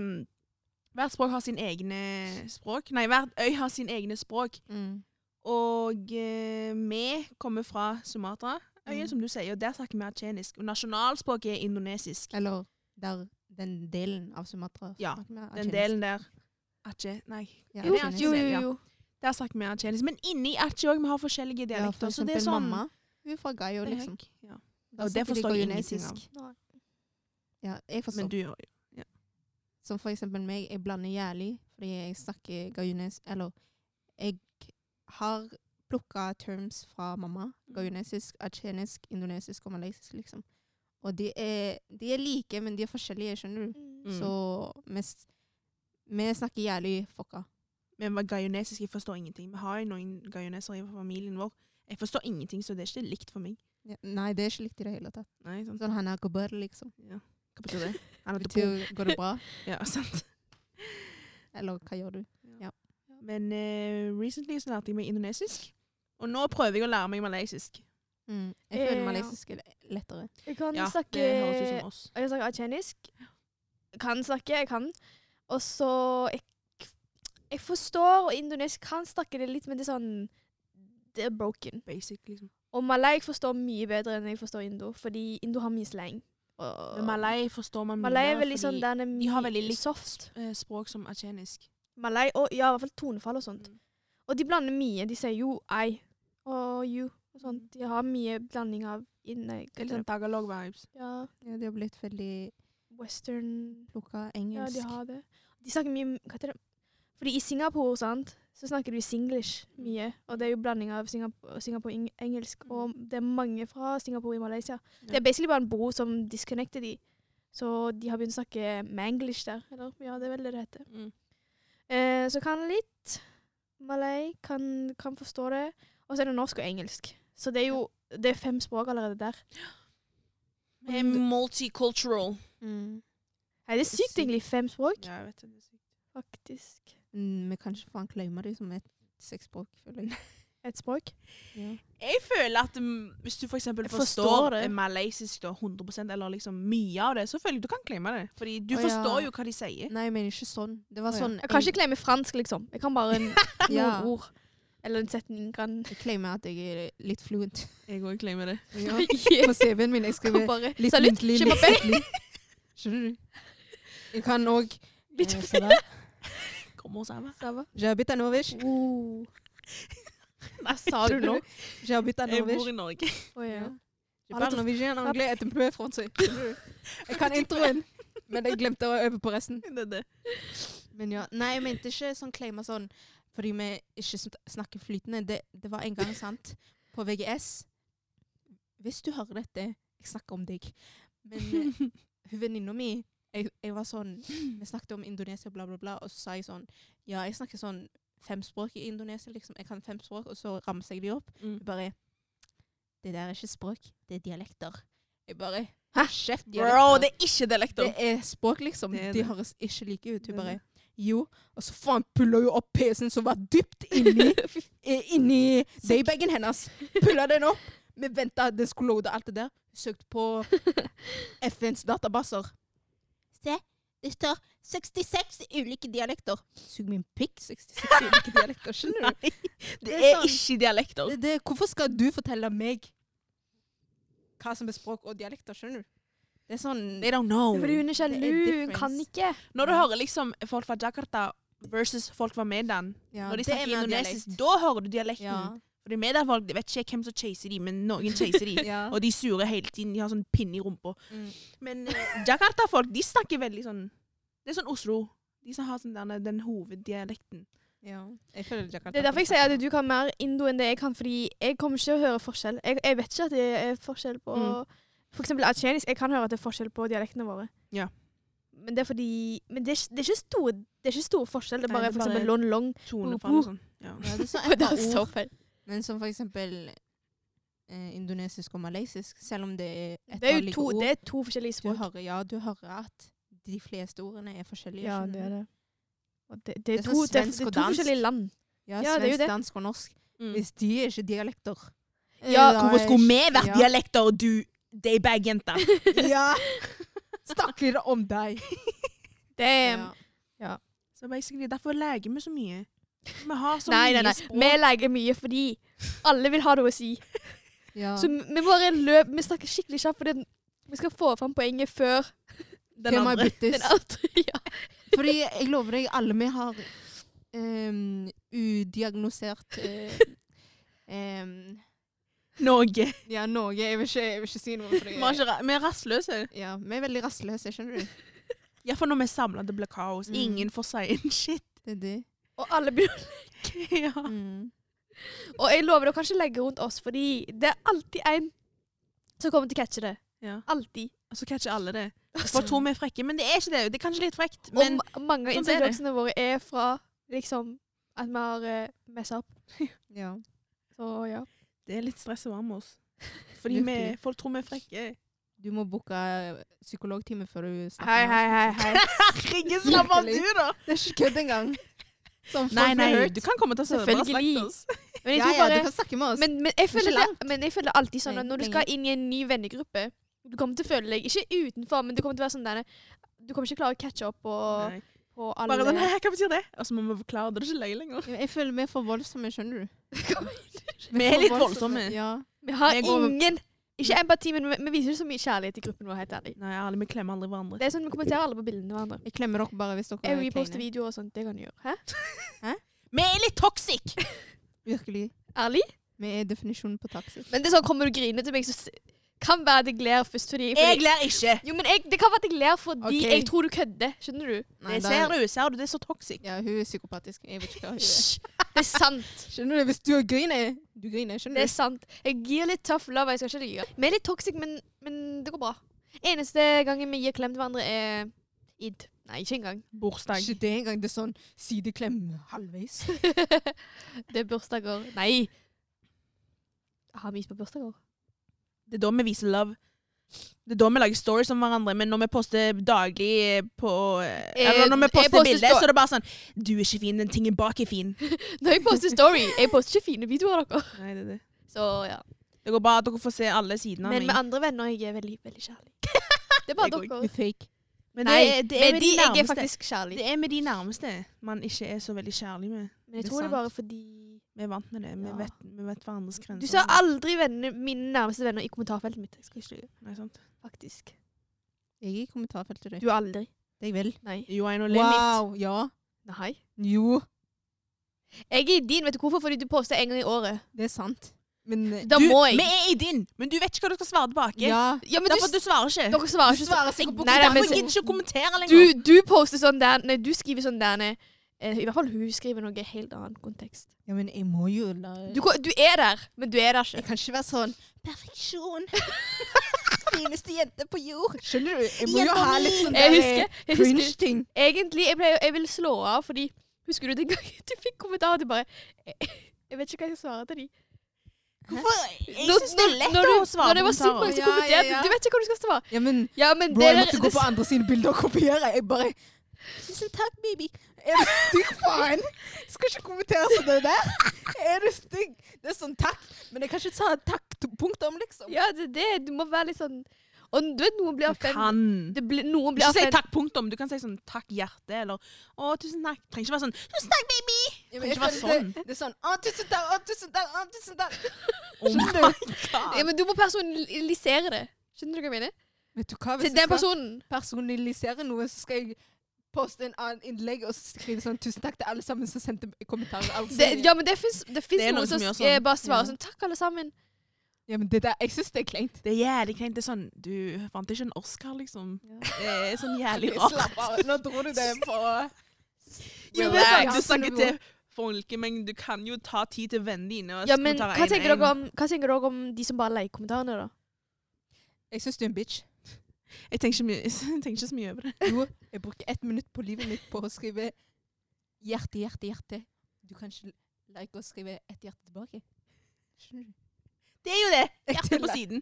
[SPEAKER 1] hvert språk har sin egne språk. Nei, hvert øy har sin egne språk.
[SPEAKER 2] Mm.
[SPEAKER 1] Og eh, vi kommer fra Sumatra. Øyen,
[SPEAKER 2] Mm.
[SPEAKER 1] som du sier, og der snakker vi acenisk. Og nasjonalspråket er indonesisk.
[SPEAKER 2] Eller der den delen av Sumatra.
[SPEAKER 1] Ja,
[SPEAKER 2] snakker vi
[SPEAKER 1] Den
[SPEAKER 2] acehenisk.
[SPEAKER 1] delen der. Aceh, nei.
[SPEAKER 2] Ja,
[SPEAKER 3] Jo,
[SPEAKER 1] acehenisk.
[SPEAKER 2] acehenisk.
[SPEAKER 3] jo, jo. jo.
[SPEAKER 1] Der snakker vi acenisk. Men inni Aceh òg, vi har forskjellige
[SPEAKER 2] Ja, for
[SPEAKER 1] dialekter. så det er
[SPEAKER 2] eksempel
[SPEAKER 1] sånn
[SPEAKER 2] mamma. Hun er fra Gaio,
[SPEAKER 1] Det er
[SPEAKER 2] liksom.
[SPEAKER 1] hekk, Ja.
[SPEAKER 2] Da
[SPEAKER 1] Og det
[SPEAKER 2] snakker de
[SPEAKER 1] forstår jeg ingenting
[SPEAKER 2] gaionesisk.
[SPEAKER 3] av. Nei.
[SPEAKER 2] Ja, jeg forstår.
[SPEAKER 1] Men du gjør jo
[SPEAKER 2] Som for eksempel meg, jeg blander jævlig, fordi jeg snakker gaiones... Eller, jeg har Mm. plukka terms fra mamma. Gaionesisk, achenesisk, indonesisk og malaysisk, liksom. Og de er, de er like, men de er forskjellige, skjønner du.
[SPEAKER 1] Mm.
[SPEAKER 2] Så vi, s- vi snakker jævlig fucka.
[SPEAKER 1] Vi var gajonesiske, jeg forstår ingenting. Vi har jo noen gajonesere i familien vår. Jeg forstår ingenting, så det er ikke likt for meg.
[SPEAKER 2] Ja, nei, det er ikke likt i det hele tatt.
[SPEAKER 1] Nei, sant?
[SPEAKER 2] Sånn han er kabar, liksom.
[SPEAKER 1] Ja. Hva betyr det? Han heter Pol.
[SPEAKER 2] Betyr går det bra?
[SPEAKER 1] Ja, sant.
[SPEAKER 2] Eller hva gjør du?
[SPEAKER 1] Men eh, recently så lærte jeg meg indonesisk. Og nå prøver jeg å lære meg malaysisk.
[SPEAKER 2] Mm. Jeg føler
[SPEAKER 3] Ja.
[SPEAKER 2] malaysisk er lettere.
[SPEAKER 3] Jeg kan
[SPEAKER 1] Ja,
[SPEAKER 3] snakke
[SPEAKER 1] det høres ut som oss.
[SPEAKER 3] Og jeg snakker atsjenisk. Kan snakke, jeg kan. Og så jeg, jeg forstår, og indonesisk kan snakke det litt, men det er sånn Det er broken.
[SPEAKER 1] Basic, liksom.
[SPEAKER 3] Og malay jeg forstår mye bedre enn jeg forstår indo, fordi indo har mye slang. Og
[SPEAKER 1] Men malay forstår man mye.
[SPEAKER 3] malay er veldig sånn
[SPEAKER 1] fordi,
[SPEAKER 3] den er
[SPEAKER 1] de har
[SPEAKER 3] mye
[SPEAKER 1] veldig likt-
[SPEAKER 3] soft.
[SPEAKER 1] eh, Språk som atsjenisk.
[SPEAKER 3] Malay, og ja, i hvert fall tonefall og sånt.
[SPEAKER 1] Mm.
[SPEAKER 3] Og de blander mye. De sier jo I og you og sånt. De har mye blanding av inne...
[SPEAKER 1] Det er litt sånn dagalog-vibes.
[SPEAKER 3] Ja,
[SPEAKER 2] Ja, de har blitt veldig
[SPEAKER 3] western
[SPEAKER 2] plukka engelsk.
[SPEAKER 3] Ja, de har det. De snakker mye om- Hva heter det? Fordi i Singapore sant, så snakker de singlish mye. Og det er jo blanding av Singapore, Singapore eng- engelsk. Og det er mange fra Singapore i Malaysia. Det er basically bare en bro som disconnecter de. Så de har begynt å snakke manglish der. Eller ja, det er vel det det heter.
[SPEAKER 1] Mm.
[SPEAKER 3] Eh, så kan litt malay, kan, kan forstå det. Og så er det norsk og engelsk. Så det er jo det er fem språk allerede der.
[SPEAKER 1] Eh, Multicultural.
[SPEAKER 2] Mm.
[SPEAKER 3] Nei, det er sykt egentlig. Fem språk,
[SPEAKER 1] Ja, jeg vet det. det er sykt.
[SPEAKER 3] faktisk.
[SPEAKER 2] Mm, vi kan ikke faen glemme det som et sexspråk, føler jeg.
[SPEAKER 3] Ett språk.
[SPEAKER 2] Ja.
[SPEAKER 1] Jeg føler at mm, hvis du for eksempel
[SPEAKER 3] Jeg
[SPEAKER 1] forstår,
[SPEAKER 3] forstår det.
[SPEAKER 1] malaysisk da, 100 eller liksom mye av det, så føler jeg du kan klemme det. Fordi du
[SPEAKER 2] Å, ja.
[SPEAKER 1] forstår jo hva de sier.
[SPEAKER 2] Nei, jeg mener ikke sånn. Det var
[SPEAKER 1] Å, ja.
[SPEAKER 2] sånn
[SPEAKER 3] Jeg kan ikke glemme fransk, liksom. Jeg kan bare en, noen
[SPEAKER 2] Ja.
[SPEAKER 3] ord. Eller en setning kan
[SPEAKER 2] Jeg claimer at jeg er litt fluent.
[SPEAKER 1] Jeg òg klemmer det.
[SPEAKER 2] Ja.
[SPEAKER 3] Jeg
[SPEAKER 2] På CV-en min jeg skriver
[SPEAKER 3] kan bare
[SPEAKER 2] litt
[SPEAKER 3] Salut,
[SPEAKER 2] muntlig,
[SPEAKER 3] je
[SPEAKER 2] litt skriftlig.
[SPEAKER 3] m'appelle-
[SPEAKER 2] Skjønner du? Jeg kan eh, òg
[SPEAKER 3] Litt
[SPEAKER 1] Kommer oss over.
[SPEAKER 3] Ça va?
[SPEAKER 2] Jabita Novish.
[SPEAKER 3] Oh. Hva sa du nå?
[SPEAKER 2] Jabita
[SPEAKER 1] Jeg bor
[SPEAKER 2] Novish.
[SPEAKER 1] i Norge.
[SPEAKER 3] Å ja.
[SPEAKER 2] Je parle norvégien, anglais, et un peu français. Skjønner du? Jeg kan introen, men jeg glemte å øve på resten.
[SPEAKER 1] Det er det.
[SPEAKER 2] Men ja, Nei, jeg mente ikke sånn claima sånn fordi vi ikke sn- snakker flytende. Det, det var en gang, sant, på VGS Hvis du hører dette Jeg snakker om deg. Men eh, hun venninna mi jeg, jeg var sånn Vi snakket om Indonesia, bla, bla, bla, og så sa jeg sånn Ja, jeg snakker sånn fem språk i Indonesia, liksom. Jeg kan fem språk, og så ramser jeg de opp.
[SPEAKER 1] Mm.
[SPEAKER 2] Hun bare Det der er ikke språk, det er dialekter. Jeg bare
[SPEAKER 3] Hæ?
[SPEAKER 2] Kjeft,
[SPEAKER 1] Bro,
[SPEAKER 2] dialekter.
[SPEAKER 1] det er ikke dialekter.
[SPEAKER 2] Det er språk, liksom.
[SPEAKER 1] Det er
[SPEAKER 2] De
[SPEAKER 1] det.
[SPEAKER 2] høres ikke like ut.
[SPEAKER 1] Det er
[SPEAKER 2] Hun bare Jo. Og så faen puller hun opp PC-en som var dypt inni, eh, inni daybagen hennes. Pulla den opp. Vi venta den skulle loade alt det der. Søkte på FNs databaser. Se, det står 66 ulike dialekter. Sug min pikk. 66 ulike dialekter, skjønner du?
[SPEAKER 1] Det
[SPEAKER 2] er
[SPEAKER 1] er
[SPEAKER 2] sånn.
[SPEAKER 1] ikke dialekter.
[SPEAKER 2] Det, det, hvorfor skal du fortelle meg hva som er språk og dialekter, skjønner du? Det er sånn
[SPEAKER 1] They don't know.
[SPEAKER 3] Fordi hun er
[SPEAKER 2] Det er
[SPEAKER 3] sjalu. Hun
[SPEAKER 2] difference.
[SPEAKER 3] kan ikke.
[SPEAKER 1] Når du hører liksom folk fra Jakarta versus folk fra Medan,
[SPEAKER 2] Ja,
[SPEAKER 1] når de
[SPEAKER 2] det er
[SPEAKER 1] snakker
[SPEAKER 2] mer
[SPEAKER 1] indonesisk,
[SPEAKER 2] dialekt.
[SPEAKER 1] da hører du dialekten.
[SPEAKER 2] Ja.
[SPEAKER 1] Fordi Medan-folk de vet ikke hvem som chaser de, men noen chaser de.
[SPEAKER 2] Ja.
[SPEAKER 1] Og de er sure hele tiden. De har sånn pinne i rumpa.
[SPEAKER 2] Mm.
[SPEAKER 1] Men eh, Jakarta-folk de snakker veldig sånn Det er sånn Oslo. De som har sånn derne, den hoveddialekten.
[SPEAKER 2] Ja. Jeg føler Jakarta
[SPEAKER 3] Det er derfor jeg sier at du kan mer indo enn det jeg kan, fordi jeg kommer ikke til å høre forskjell. Jeg, jeg vet ikke at det er forskjell på
[SPEAKER 1] Mm.
[SPEAKER 3] For eksempel atsjenisk. Jeg kan høre at det er forskjell på dialektene våre.
[SPEAKER 1] Ja.
[SPEAKER 3] Men det er fordi Men det er, ikke- det er ikke stor, det er ikke stor forskjell. Det er
[SPEAKER 1] Nei,
[SPEAKER 3] bare
[SPEAKER 1] det er
[SPEAKER 3] for
[SPEAKER 1] bare-
[SPEAKER 3] eksempel lon long.
[SPEAKER 1] Tonefall og sånn. Ja.
[SPEAKER 2] Ja, det er så
[SPEAKER 3] Det er
[SPEAKER 2] et
[SPEAKER 3] så
[SPEAKER 2] par ord,
[SPEAKER 3] feil.
[SPEAKER 2] men som for eksempel eh, indonesisk og malaysisk, selv om det er et
[SPEAKER 3] Det er jo
[SPEAKER 2] like
[SPEAKER 3] to,
[SPEAKER 2] ord,
[SPEAKER 3] det er to forskjellige
[SPEAKER 2] du
[SPEAKER 3] språk.
[SPEAKER 2] hører, ja, du hører at de fleste ordene er forskjellige.
[SPEAKER 3] Ja,
[SPEAKER 2] skjønner
[SPEAKER 3] det er
[SPEAKER 2] du?
[SPEAKER 3] det. Og det, det,
[SPEAKER 2] Det
[SPEAKER 3] er
[SPEAKER 2] er
[SPEAKER 3] to,
[SPEAKER 2] sånn
[SPEAKER 3] det, er-
[SPEAKER 2] svensk
[SPEAKER 3] det er
[SPEAKER 2] og
[SPEAKER 3] to
[SPEAKER 2] dansk.
[SPEAKER 3] forskjellige land.
[SPEAKER 2] Ja,
[SPEAKER 3] Ja, det er jo
[SPEAKER 2] svensk,
[SPEAKER 3] det.
[SPEAKER 2] dansk og norsk.
[SPEAKER 1] Mm.
[SPEAKER 2] Hvis de er ikke dialekter. eh,
[SPEAKER 3] Ja,
[SPEAKER 2] da
[SPEAKER 1] Hvorfor
[SPEAKER 2] er
[SPEAKER 1] skulle vi
[SPEAKER 2] ikke-
[SPEAKER 1] vært
[SPEAKER 2] ja,
[SPEAKER 1] dialekter og du daybag-jenta?
[SPEAKER 2] Ja! Snakker det om deg.
[SPEAKER 3] Det er,
[SPEAKER 2] Ja.
[SPEAKER 1] Så basically, derfor leker vi så mye. Vi har så
[SPEAKER 3] nei, nei,
[SPEAKER 1] mye
[SPEAKER 3] nei.
[SPEAKER 1] språk.
[SPEAKER 3] Vi leker mye fordi alle vil ha noe å si.
[SPEAKER 2] Ja.
[SPEAKER 3] Så vi bare løp, vi snakker skikkelig kjapt, for det, vi skal få fram poenget før
[SPEAKER 1] den
[SPEAKER 2] Temaet
[SPEAKER 1] andre.
[SPEAKER 2] byttes.
[SPEAKER 3] den andre. Ja.
[SPEAKER 2] Fordi jeg lover deg, alle vi har em, udiagnosert eh, em,
[SPEAKER 1] Norge.
[SPEAKER 2] Ja, Norge. Jeg vil ikke, jeg vil ikke si noe.
[SPEAKER 1] Vi
[SPEAKER 2] fordi-
[SPEAKER 1] har ikke ra- vi er rastløse.
[SPEAKER 2] Ja, vi er veldig rastløse, skjønner du?
[SPEAKER 1] Iallfall når vi er samla, det blir kaos.
[SPEAKER 2] Mm.
[SPEAKER 1] Ingen får si en shit.
[SPEAKER 2] Det er det. Mm.
[SPEAKER 3] Og alle begynner.
[SPEAKER 1] ja.
[SPEAKER 3] Og jeg lover dere kan ikke legge rundt oss, fordi det er alltid en som kommer til å catche det.
[SPEAKER 1] Ja.
[SPEAKER 3] Alltid.
[SPEAKER 1] Så catcher alle det. Folk tror vi er frekke, men det er ikke det. Det er kanskje litt frekt,
[SPEAKER 3] Og
[SPEAKER 1] men
[SPEAKER 3] ma- mange
[SPEAKER 1] sånn er
[SPEAKER 3] av
[SPEAKER 1] det.
[SPEAKER 3] inside-jokesene våre er fra liksom at vi har uh, messa opp.
[SPEAKER 5] Ja.
[SPEAKER 3] Så ja.
[SPEAKER 1] det er litt stress å være med oss. Fordi vi,
[SPEAKER 5] Virkelig.
[SPEAKER 1] folk tror vi er frekke.
[SPEAKER 2] Du må booke eh, psykologtime før du snakker
[SPEAKER 3] Hei,
[SPEAKER 2] med
[SPEAKER 3] hei, hei. hei.
[SPEAKER 1] Herregud, slapp av du, da!
[SPEAKER 2] oss. Det er ikke kødd engang. Som folk
[SPEAKER 1] Nei, nei,
[SPEAKER 2] blir hørt.
[SPEAKER 1] du kan komme til oss og bare snakke
[SPEAKER 3] Selvfølgelig.
[SPEAKER 1] til oss.
[SPEAKER 3] Men jeg
[SPEAKER 2] Ja,
[SPEAKER 3] tror
[SPEAKER 2] ja,
[SPEAKER 3] bare
[SPEAKER 2] du kan snakke med oss.
[SPEAKER 3] men, men, jeg
[SPEAKER 2] ikke
[SPEAKER 3] føler
[SPEAKER 2] langt.
[SPEAKER 3] det, men jeg føler alltid sånn
[SPEAKER 2] Nei,
[SPEAKER 3] at når du
[SPEAKER 2] lenge.
[SPEAKER 3] skal inn i en ny vennegruppe Du kommer til å føle deg ikke utenfor, men du kommer til å være sånn der Du kommer ikke klare å catche opp på,
[SPEAKER 1] Nei.
[SPEAKER 3] på alle
[SPEAKER 1] Bare sånn, «Hæ, hva betyr det? Og så må vi forklare det, det er ikke løye lenger.
[SPEAKER 2] Ja, men Jeg føler vi er for voldsomme, skjønner du.
[SPEAKER 1] Vi er
[SPEAKER 2] For
[SPEAKER 1] litt voldsomme.
[SPEAKER 2] Ja.
[SPEAKER 3] Vi har
[SPEAKER 1] Jeg går-
[SPEAKER 3] ingen Ikke empati, men vi, vi viser ikke så mye kjærlighet i gruppen vår. helt ærlig.
[SPEAKER 1] Nei, ærlig, vi klemmer aldri hverandre.
[SPEAKER 3] Det er sånn Vi kommenterer alle på bildene hverandre.
[SPEAKER 2] Jeg klemmer dere bare hvis dere
[SPEAKER 3] Jeg
[SPEAKER 2] er
[SPEAKER 3] reposter
[SPEAKER 2] kleine.
[SPEAKER 3] videoer og sånt. Det kan du gjøre. Hæ?
[SPEAKER 1] Vi er litt toxic!
[SPEAKER 2] Virkelig.
[SPEAKER 3] Ærlig?
[SPEAKER 2] Vi er definisjonen på taxi.
[SPEAKER 3] Men det er sånn, kommer du grinende til meg, så s- kan være at jeg ler først fordi,
[SPEAKER 1] Jeg
[SPEAKER 3] fordi
[SPEAKER 1] ler ikke.
[SPEAKER 3] Jo, men jeg, Det kan være at jeg ler fordi
[SPEAKER 2] Ok.
[SPEAKER 3] jeg tror du kødder. Skjønner du?
[SPEAKER 1] Det ser du, ser du, det er så toxic.
[SPEAKER 2] Ja, hun er psykopatisk. Jeg vet ikke hva hun er.
[SPEAKER 3] Hysj! Det er sant.
[SPEAKER 2] Skjønner du? Hvis du griner, du griner,
[SPEAKER 3] Det
[SPEAKER 2] skjønner
[SPEAKER 3] er
[SPEAKER 2] du?
[SPEAKER 3] sant. Jeg gir litt tøff love. Jeg skal ikke lyve. Vi er litt toxic, men, men det går bra. Eneste gangen vi gir klem til hverandre, er id. Nei, ikke engang.
[SPEAKER 1] Bursdag.
[SPEAKER 2] Ikke det engang. Det er sånn sideklem halvveis.
[SPEAKER 3] det er bursdager. Nei! Har vi is på bursdager?
[SPEAKER 1] Det er da vi viser love. Det er da vi lager stories om hverandre, men når vi poster daglig eh, på eh,
[SPEAKER 3] Eh,
[SPEAKER 1] Eller når vi
[SPEAKER 3] jeg
[SPEAKER 1] poster,
[SPEAKER 3] poster
[SPEAKER 1] bilder,
[SPEAKER 3] sto-
[SPEAKER 1] så er det bare sånn Du er ikke fin, den tingen bak er fin.
[SPEAKER 3] Når jeg poster story, jeg poster ikke fine videoer av dere.
[SPEAKER 1] Nei, det, er det.
[SPEAKER 3] Så ja.
[SPEAKER 1] det går bra at dere får se alle sidene av
[SPEAKER 3] Men med
[SPEAKER 1] meg.
[SPEAKER 3] andre venner jeg er veldig, veldig kjærlig. Det er bare
[SPEAKER 1] Jeg
[SPEAKER 3] dere.
[SPEAKER 2] Hun er fake.
[SPEAKER 1] Men
[SPEAKER 3] Nei,
[SPEAKER 1] det, er- det er
[SPEAKER 3] men
[SPEAKER 1] med
[SPEAKER 3] de
[SPEAKER 1] de
[SPEAKER 3] jeg er
[SPEAKER 1] nærmeste.
[SPEAKER 3] faktisk kjærlig.
[SPEAKER 1] Det er med de nærmeste man ikke er så veldig kjærlig med.
[SPEAKER 3] Men jeg
[SPEAKER 1] det er
[SPEAKER 3] tror det er
[SPEAKER 1] sant.
[SPEAKER 3] bare fordi
[SPEAKER 1] Vi er vant med det. Vi,
[SPEAKER 3] Ja.
[SPEAKER 1] vet, vi vet hverandres grenser.
[SPEAKER 3] Du sa aldri vennene, mine nærmeste venner i kommentarfeltet mitt. Jeg skal ikke lyve,
[SPEAKER 1] Nei, sant?
[SPEAKER 3] faktisk.
[SPEAKER 2] Jeg er i kommentarfeltet ditt.
[SPEAKER 3] Du er aldri.
[SPEAKER 2] Jeg vil.
[SPEAKER 3] Nei.
[SPEAKER 1] You ain't no limit.
[SPEAKER 2] Wow, ja.
[SPEAKER 3] Nei.
[SPEAKER 2] Jo,
[SPEAKER 3] Jeg er i din, vet du hvorfor? Fordi du poster en gang i året.
[SPEAKER 2] det er sant. Men eh,
[SPEAKER 3] Da
[SPEAKER 1] Du,
[SPEAKER 3] må jeg.
[SPEAKER 1] Vi er i din, men du vet ikke hva du skal svare tilbake.
[SPEAKER 2] ja.
[SPEAKER 3] Ja, men du,
[SPEAKER 1] Derfor du svarer ikke.
[SPEAKER 3] dere svarer ikke
[SPEAKER 2] Svarer sikkert på
[SPEAKER 3] Nei, nei, men-
[SPEAKER 1] Derfor gidder ikke å kommentere
[SPEAKER 3] Du,
[SPEAKER 1] lenger.
[SPEAKER 3] du poster sånn der Nei, du skriver sånn der nei, eh, I hvert fall hun skriver noe i helt annen kontekst.
[SPEAKER 2] Ja, men jeg må jo la
[SPEAKER 3] Du, ko- du er der, men du er der
[SPEAKER 2] Jeg
[SPEAKER 3] ikke.
[SPEAKER 2] kan ikke være sånn Perfeksjon! Fineste jente på jord. Skjønner du? Jeg må jo
[SPEAKER 1] Jenta
[SPEAKER 2] ha
[SPEAKER 1] mi!
[SPEAKER 2] litt sånn
[SPEAKER 3] Jeg
[SPEAKER 2] der,
[SPEAKER 3] husker,
[SPEAKER 2] eh,
[SPEAKER 3] jeg husker
[SPEAKER 2] cringe-ting.
[SPEAKER 3] Egentlig, jeg, pleier, jeg vil slå av, fordi Husker du den gangen du fikk kommentarer til bare jeg, jeg vet ikke hva jeg skal svare til de.
[SPEAKER 1] Hvorfor? Jeg
[SPEAKER 3] Når-
[SPEAKER 1] synes det er
[SPEAKER 3] når-
[SPEAKER 1] lett
[SPEAKER 3] når du-
[SPEAKER 1] å svare
[SPEAKER 3] Når det var supermange som
[SPEAKER 2] Ja, ja,
[SPEAKER 3] kommenterte,
[SPEAKER 2] ja.
[SPEAKER 3] du vet ikke hva du skal svare.
[SPEAKER 2] Ja, men
[SPEAKER 3] Ja, men
[SPEAKER 2] bro,
[SPEAKER 3] det
[SPEAKER 2] jeg
[SPEAKER 3] der-
[SPEAKER 2] måtte gå på andre sine bilder og kopiere. Jeg bare Tusen takk, baby. Er du stygg, faen? Skal ikke kommentere sånn det der. Er du stygg? Det er sånn takk, men jeg kan ikke ta takk til punktum, liksom.
[SPEAKER 3] Ja, det, det, du må være litt sånn Og du vet, noen
[SPEAKER 1] Du
[SPEAKER 3] blir offended.
[SPEAKER 1] kan
[SPEAKER 3] Det blir- Noen blir
[SPEAKER 1] ikke si
[SPEAKER 3] offended.
[SPEAKER 1] takk punktum. Du kan si sånn takk hjerte eller å, tusen takk. Trenger ikke være sånn tusen takk, baby.
[SPEAKER 2] Ja,
[SPEAKER 1] Kan
[SPEAKER 2] men jeg
[SPEAKER 1] ikke være
[SPEAKER 2] føler
[SPEAKER 1] sånn.
[SPEAKER 2] Det, det er sånn Å, tusen takk, å, tusen takk, å, tusen takk.
[SPEAKER 1] Oh my
[SPEAKER 3] Ja,
[SPEAKER 1] god.
[SPEAKER 3] men du må personalisere det. Skjønner du hva jeg mener?
[SPEAKER 2] Vet du hva, hvis
[SPEAKER 3] Til
[SPEAKER 2] jeg
[SPEAKER 3] den
[SPEAKER 2] skal
[SPEAKER 3] personen.
[SPEAKER 2] personalisere noe, så skal jeg poste en annen innlegg og skrive sånn tusen takk til alle sammen som sendte kommentarer. Altså.
[SPEAKER 3] Det, ja, men det fins
[SPEAKER 1] Det er
[SPEAKER 3] noen
[SPEAKER 1] noen
[SPEAKER 3] som
[SPEAKER 1] som gjør
[SPEAKER 3] sk- eh,
[SPEAKER 1] sånn.
[SPEAKER 3] bare svarer
[SPEAKER 2] Ja.
[SPEAKER 3] sånn Takk, alle sammen.
[SPEAKER 2] Ja, men det der, jeg syns det er kleint.
[SPEAKER 1] Det er jævlig kleint. Det er sånn Du vant ikke en Oscar, liksom.
[SPEAKER 3] Ja.
[SPEAKER 1] Det er sånn jævlig rart.
[SPEAKER 2] Slapp av. Nå dro du det på
[SPEAKER 1] Jo, det er sant. Du
[SPEAKER 2] Relax.
[SPEAKER 1] snakker til folket, men du kan jo ta tid til vennene dine. Og
[SPEAKER 3] Ja, men
[SPEAKER 1] kommentere
[SPEAKER 3] hva
[SPEAKER 1] en-
[SPEAKER 3] tenker, dere
[SPEAKER 1] en.
[SPEAKER 3] om, hva tenker dere om de som bare liker kommentarene, da?
[SPEAKER 2] Jeg syns du er en bitch.
[SPEAKER 1] Jeg tenker ikke, mye, jeg tenker ikke så mye over det.
[SPEAKER 2] Jo, jeg bruker ett minutt på livet mitt på å skrive hjerte, hjerte, hjerte. Du kan ikke like å skrive ett hjerte tilbake. Skjønner du?
[SPEAKER 1] Det er jo det. Hjerte på
[SPEAKER 2] tuller.
[SPEAKER 1] siden.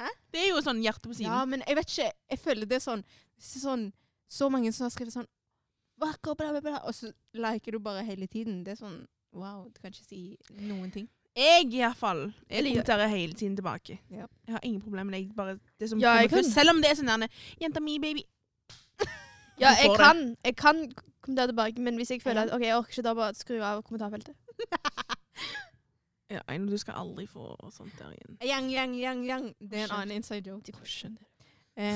[SPEAKER 2] Hæ?
[SPEAKER 1] Det er jo sånn hjerte på
[SPEAKER 2] Ja,
[SPEAKER 1] siden.
[SPEAKER 2] men jeg vet ikke. Jeg føler det er sånn hvis det er sånn, Så mange som har skrevet sånn Vakker, bla, bla, bla. Og så liker du bare hele tiden. Det er sånn Wow, du kan ikke si noen ting.
[SPEAKER 1] Jeg i hvert fall. Jeg
[SPEAKER 3] liker-
[SPEAKER 1] kommenterer hele tiden tilbake.
[SPEAKER 2] Ja.
[SPEAKER 1] Jeg har ingen problemer med det. Jeg Bare det som
[SPEAKER 3] Ja,
[SPEAKER 1] kommer
[SPEAKER 3] jeg kan-
[SPEAKER 1] først. Selv om det er sånn der Jenta mi, baby.
[SPEAKER 3] Ja,
[SPEAKER 1] Du får
[SPEAKER 3] jeg
[SPEAKER 1] det.
[SPEAKER 3] kan, jeg kan kommentere tilbake, men hvis jeg føler at OK, jeg orker ikke, da bare skru av kommentarfeltet.
[SPEAKER 1] Ja, Einar, du skal aldri få sånt der igjen.
[SPEAKER 2] Yang, yang, yang, yang. Det er en annen inside joke.
[SPEAKER 3] De kommer ikke skjønne det.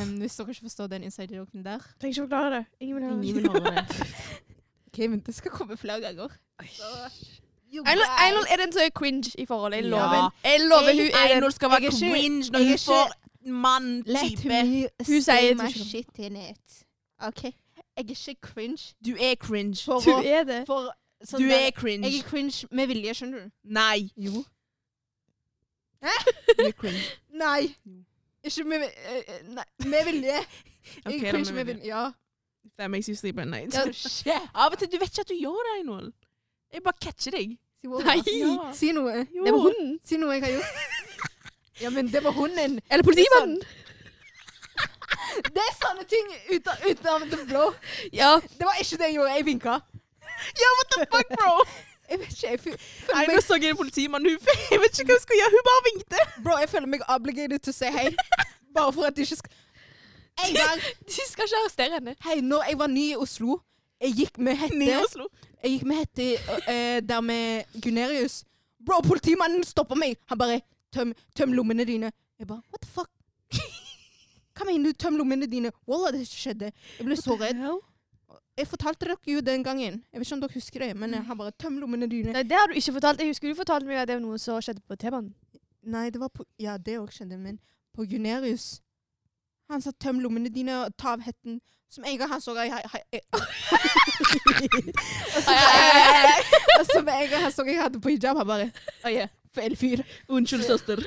[SPEAKER 2] Em, hvis dere ikke forstår den inside joken der
[SPEAKER 3] Trenger ikke forklare det. Ingen vil
[SPEAKER 1] Ingen
[SPEAKER 3] høre
[SPEAKER 1] vil
[SPEAKER 3] det.
[SPEAKER 1] høre det.
[SPEAKER 2] Ok, men det skal komme flere ganger.
[SPEAKER 3] Einol Einol er den som er cringe i forholdet. Jeg
[SPEAKER 1] Ja.
[SPEAKER 3] lover. Jeg lover hun er den.
[SPEAKER 1] Einar skal være
[SPEAKER 2] Jeg er ikke-
[SPEAKER 1] cringe når
[SPEAKER 2] jeg er
[SPEAKER 1] hun
[SPEAKER 2] ikke-
[SPEAKER 1] får mann-type.
[SPEAKER 2] Hun
[SPEAKER 3] Hun sier det ikke.
[SPEAKER 2] shit in it. OK? Jeg er ikke cringe.
[SPEAKER 1] Du er cringe.
[SPEAKER 2] For
[SPEAKER 3] Du
[SPEAKER 2] å-
[SPEAKER 3] er det.
[SPEAKER 2] for sånn
[SPEAKER 1] Du
[SPEAKER 2] der-
[SPEAKER 1] er cringe.
[SPEAKER 2] Jeg er cringe med vilje, skjønner du?
[SPEAKER 1] Nei.
[SPEAKER 2] Jo.
[SPEAKER 1] Du er cringe.
[SPEAKER 2] Nei. Ikke med eh, eh, Nei, med vilje.
[SPEAKER 1] Ok,
[SPEAKER 2] Jeg
[SPEAKER 1] da,
[SPEAKER 2] kunne ikke
[SPEAKER 1] men-
[SPEAKER 2] med vilje. Ja.
[SPEAKER 1] If That makes you sleep at night.
[SPEAKER 3] Ja.
[SPEAKER 2] Shit.
[SPEAKER 1] Av og til, du vet ikke at du gjør det, Einol. Jeg bare catcher deg.
[SPEAKER 2] Si hva da?
[SPEAKER 3] Nei.
[SPEAKER 1] Ja.
[SPEAKER 2] Si noe.
[SPEAKER 1] Jo.
[SPEAKER 3] Det var hunden.
[SPEAKER 2] Si noe jeg har gjort. Ja, men det var hunden.
[SPEAKER 3] Eller politimannen.
[SPEAKER 2] Det er sånne ting ut av, ut av the blå.
[SPEAKER 3] Ja.
[SPEAKER 2] Det var ikke det jeg gjorde. Jeg vinka.
[SPEAKER 1] Ja, what the fuck, bro?
[SPEAKER 2] Jeg vet ikke, jeg føl- føler
[SPEAKER 1] Einol
[SPEAKER 2] meg,
[SPEAKER 1] så en politimann. Hun jeg vet ikke hva hun skulle gjøre. Hun bare vinkte.
[SPEAKER 2] bro, jeg føler meg obligated til å si hei. Bare for at de ikke skal En gang
[SPEAKER 3] De skal ikke arrestere henne.
[SPEAKER 2] Hei, når jeg var ny i Oslo Jeg gikk med
[SPEAKER 1] Ned i
[SPEAKER 2] hette
[SPEAKER 1] Oslo.
[SPEAKER 2] Jeg gikk med hette eh, der med Gunerius. Bro, politimannen stoppa meg. Han bare tøm, tøm lommene dine. Jeg bare What the fuck? Hva mener du? Tøm lommene dine. Wallah, det skjedde. Jeg ble så redd. Jeg fortalte dere jo den gangen. Jeg vet ikke om dere husker det, men han bare Tøm lommene dine.
[SPEAKER 3] Nei, det har du ikke fortalt. Jeg husker du fortalte meg at det var noe som skjedde på T-banen.
[SPEAKER 2] Nei, det var på Ja, det òg skjedde, men på Gunerius Han sa tøm lommene dine og ta av hetten. Som en gang han så jeg, jeg, jeg, Og så med en gang han så jeg hadde på hijab, han bare Å ja, feil fyr.
[SPEAKER 1] Unnskyld, søster.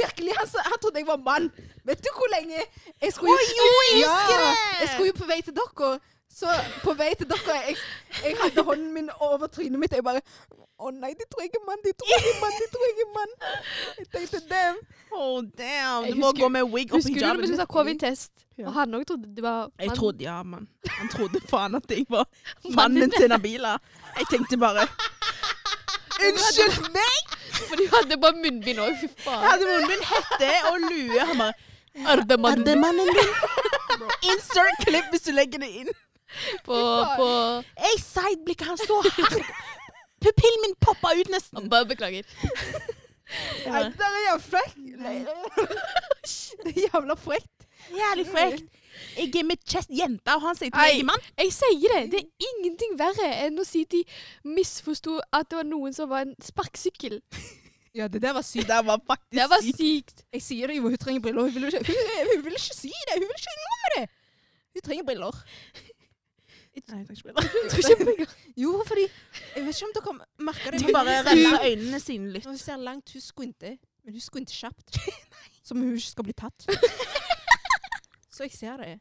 [SPEAKER 2] Virkelig, han, sa- han trodde jeg var mann. Vet du hvor lenge Jeg skulle jo, ja, jeg skulle jo på vei til dere. Så på vei til dere Jeg, jeg hadde hånden min over trynet mitt. Jeg bare Å nei, de tror jeg er mann, de tror jeg er mann, de tror jeg er mann. Jeg tenkte dem.
[SPEAKER 1] Oh, damn.
[SPEAKER 3] Jeg
[SPEAKER 1] Du må
[SPEAKER 3] husker-
[SPEAKER 1] gå med wig og
[SPEAKER 3] Husker du når
[SPEAKER 1] hijaben.
[SPEAKER 3] vi skulle ta covid-test?
[SPEAKER 1] Ja.
[SPEAKER 3] Og han òg trodde det var
[SPEAKER 1] Jeg
[SPEAKER 3] mann.
[SPEAKER 1] trodde, ja, mann. Han trodde faen at jeg var mannen
[SPEAKER 3] Mannen.
[SPEAKER 1] til Nabila. Jeg tenkte bare Unnskyld meg!
[SPEAKER 3] For de hadde bare munnbind òg. Fy
[SPEAKER 1] Jeg
[SPEAKER 3] faen.
[SPEAKER 1] hadde munnen min hette og lue. Han bare Er det
[SPEAKER 3] Ardemannen
[SPEAKER 1] mannen din? Insert klipp hvis du legger det inn.
[SPEAKER 3] på, på
[SPEAKER 1] Jeg sideblikket hans så hardt. Pupillen min poppa ut nesten.
[SPEAKER 3] Bare beklager.
[SPEAKER 2] Nei, det er jævla frekt. Nei, Det er jævla frekt.
[SPEAKER 1] Jævlig frekt. Jeg er med chest jente, og han sier til meg
[SPEAKER 3] Ei.
[SPEAKER 1] jeg er mann.
[SPEAKER 3] Jeg sier det! Det er ingenting verre enn å si de misforsto at det var noen som var en sparkesykkel.
[SPEAKER 2] Ja, det der var sykt.
[SPEAKER 1] Det der var faktisk
[SPEAKER 3] Det var
[SPEAKER 1] sykt.
[SPEAKER 3] sykt.
[SPEAKER 2] Jeg sier det jo, hun trenger briller. Hun vil jo ikke, hun, hun vil ikke si det. Hun vil ikke innrømme det. Hun trenger briller.
[SPEAKER 1] Nei, jeg trenger ikke briller.
[SPEAKER 3] Jeg tror ikke jeg-
[SPEAKER 2] Jo, fordi Jeg vet ikke om dere merker det.
[SPEAKER 1] Du
[SPEAKER 2] men-
[SPEAKER 1] bare renner øynene sine litt.
[SPEAKER 2] Når hun ser langt, hun squinter. Men hun squinter kjapt. Som hun ikke skal bli tatt. Så jeg ser det.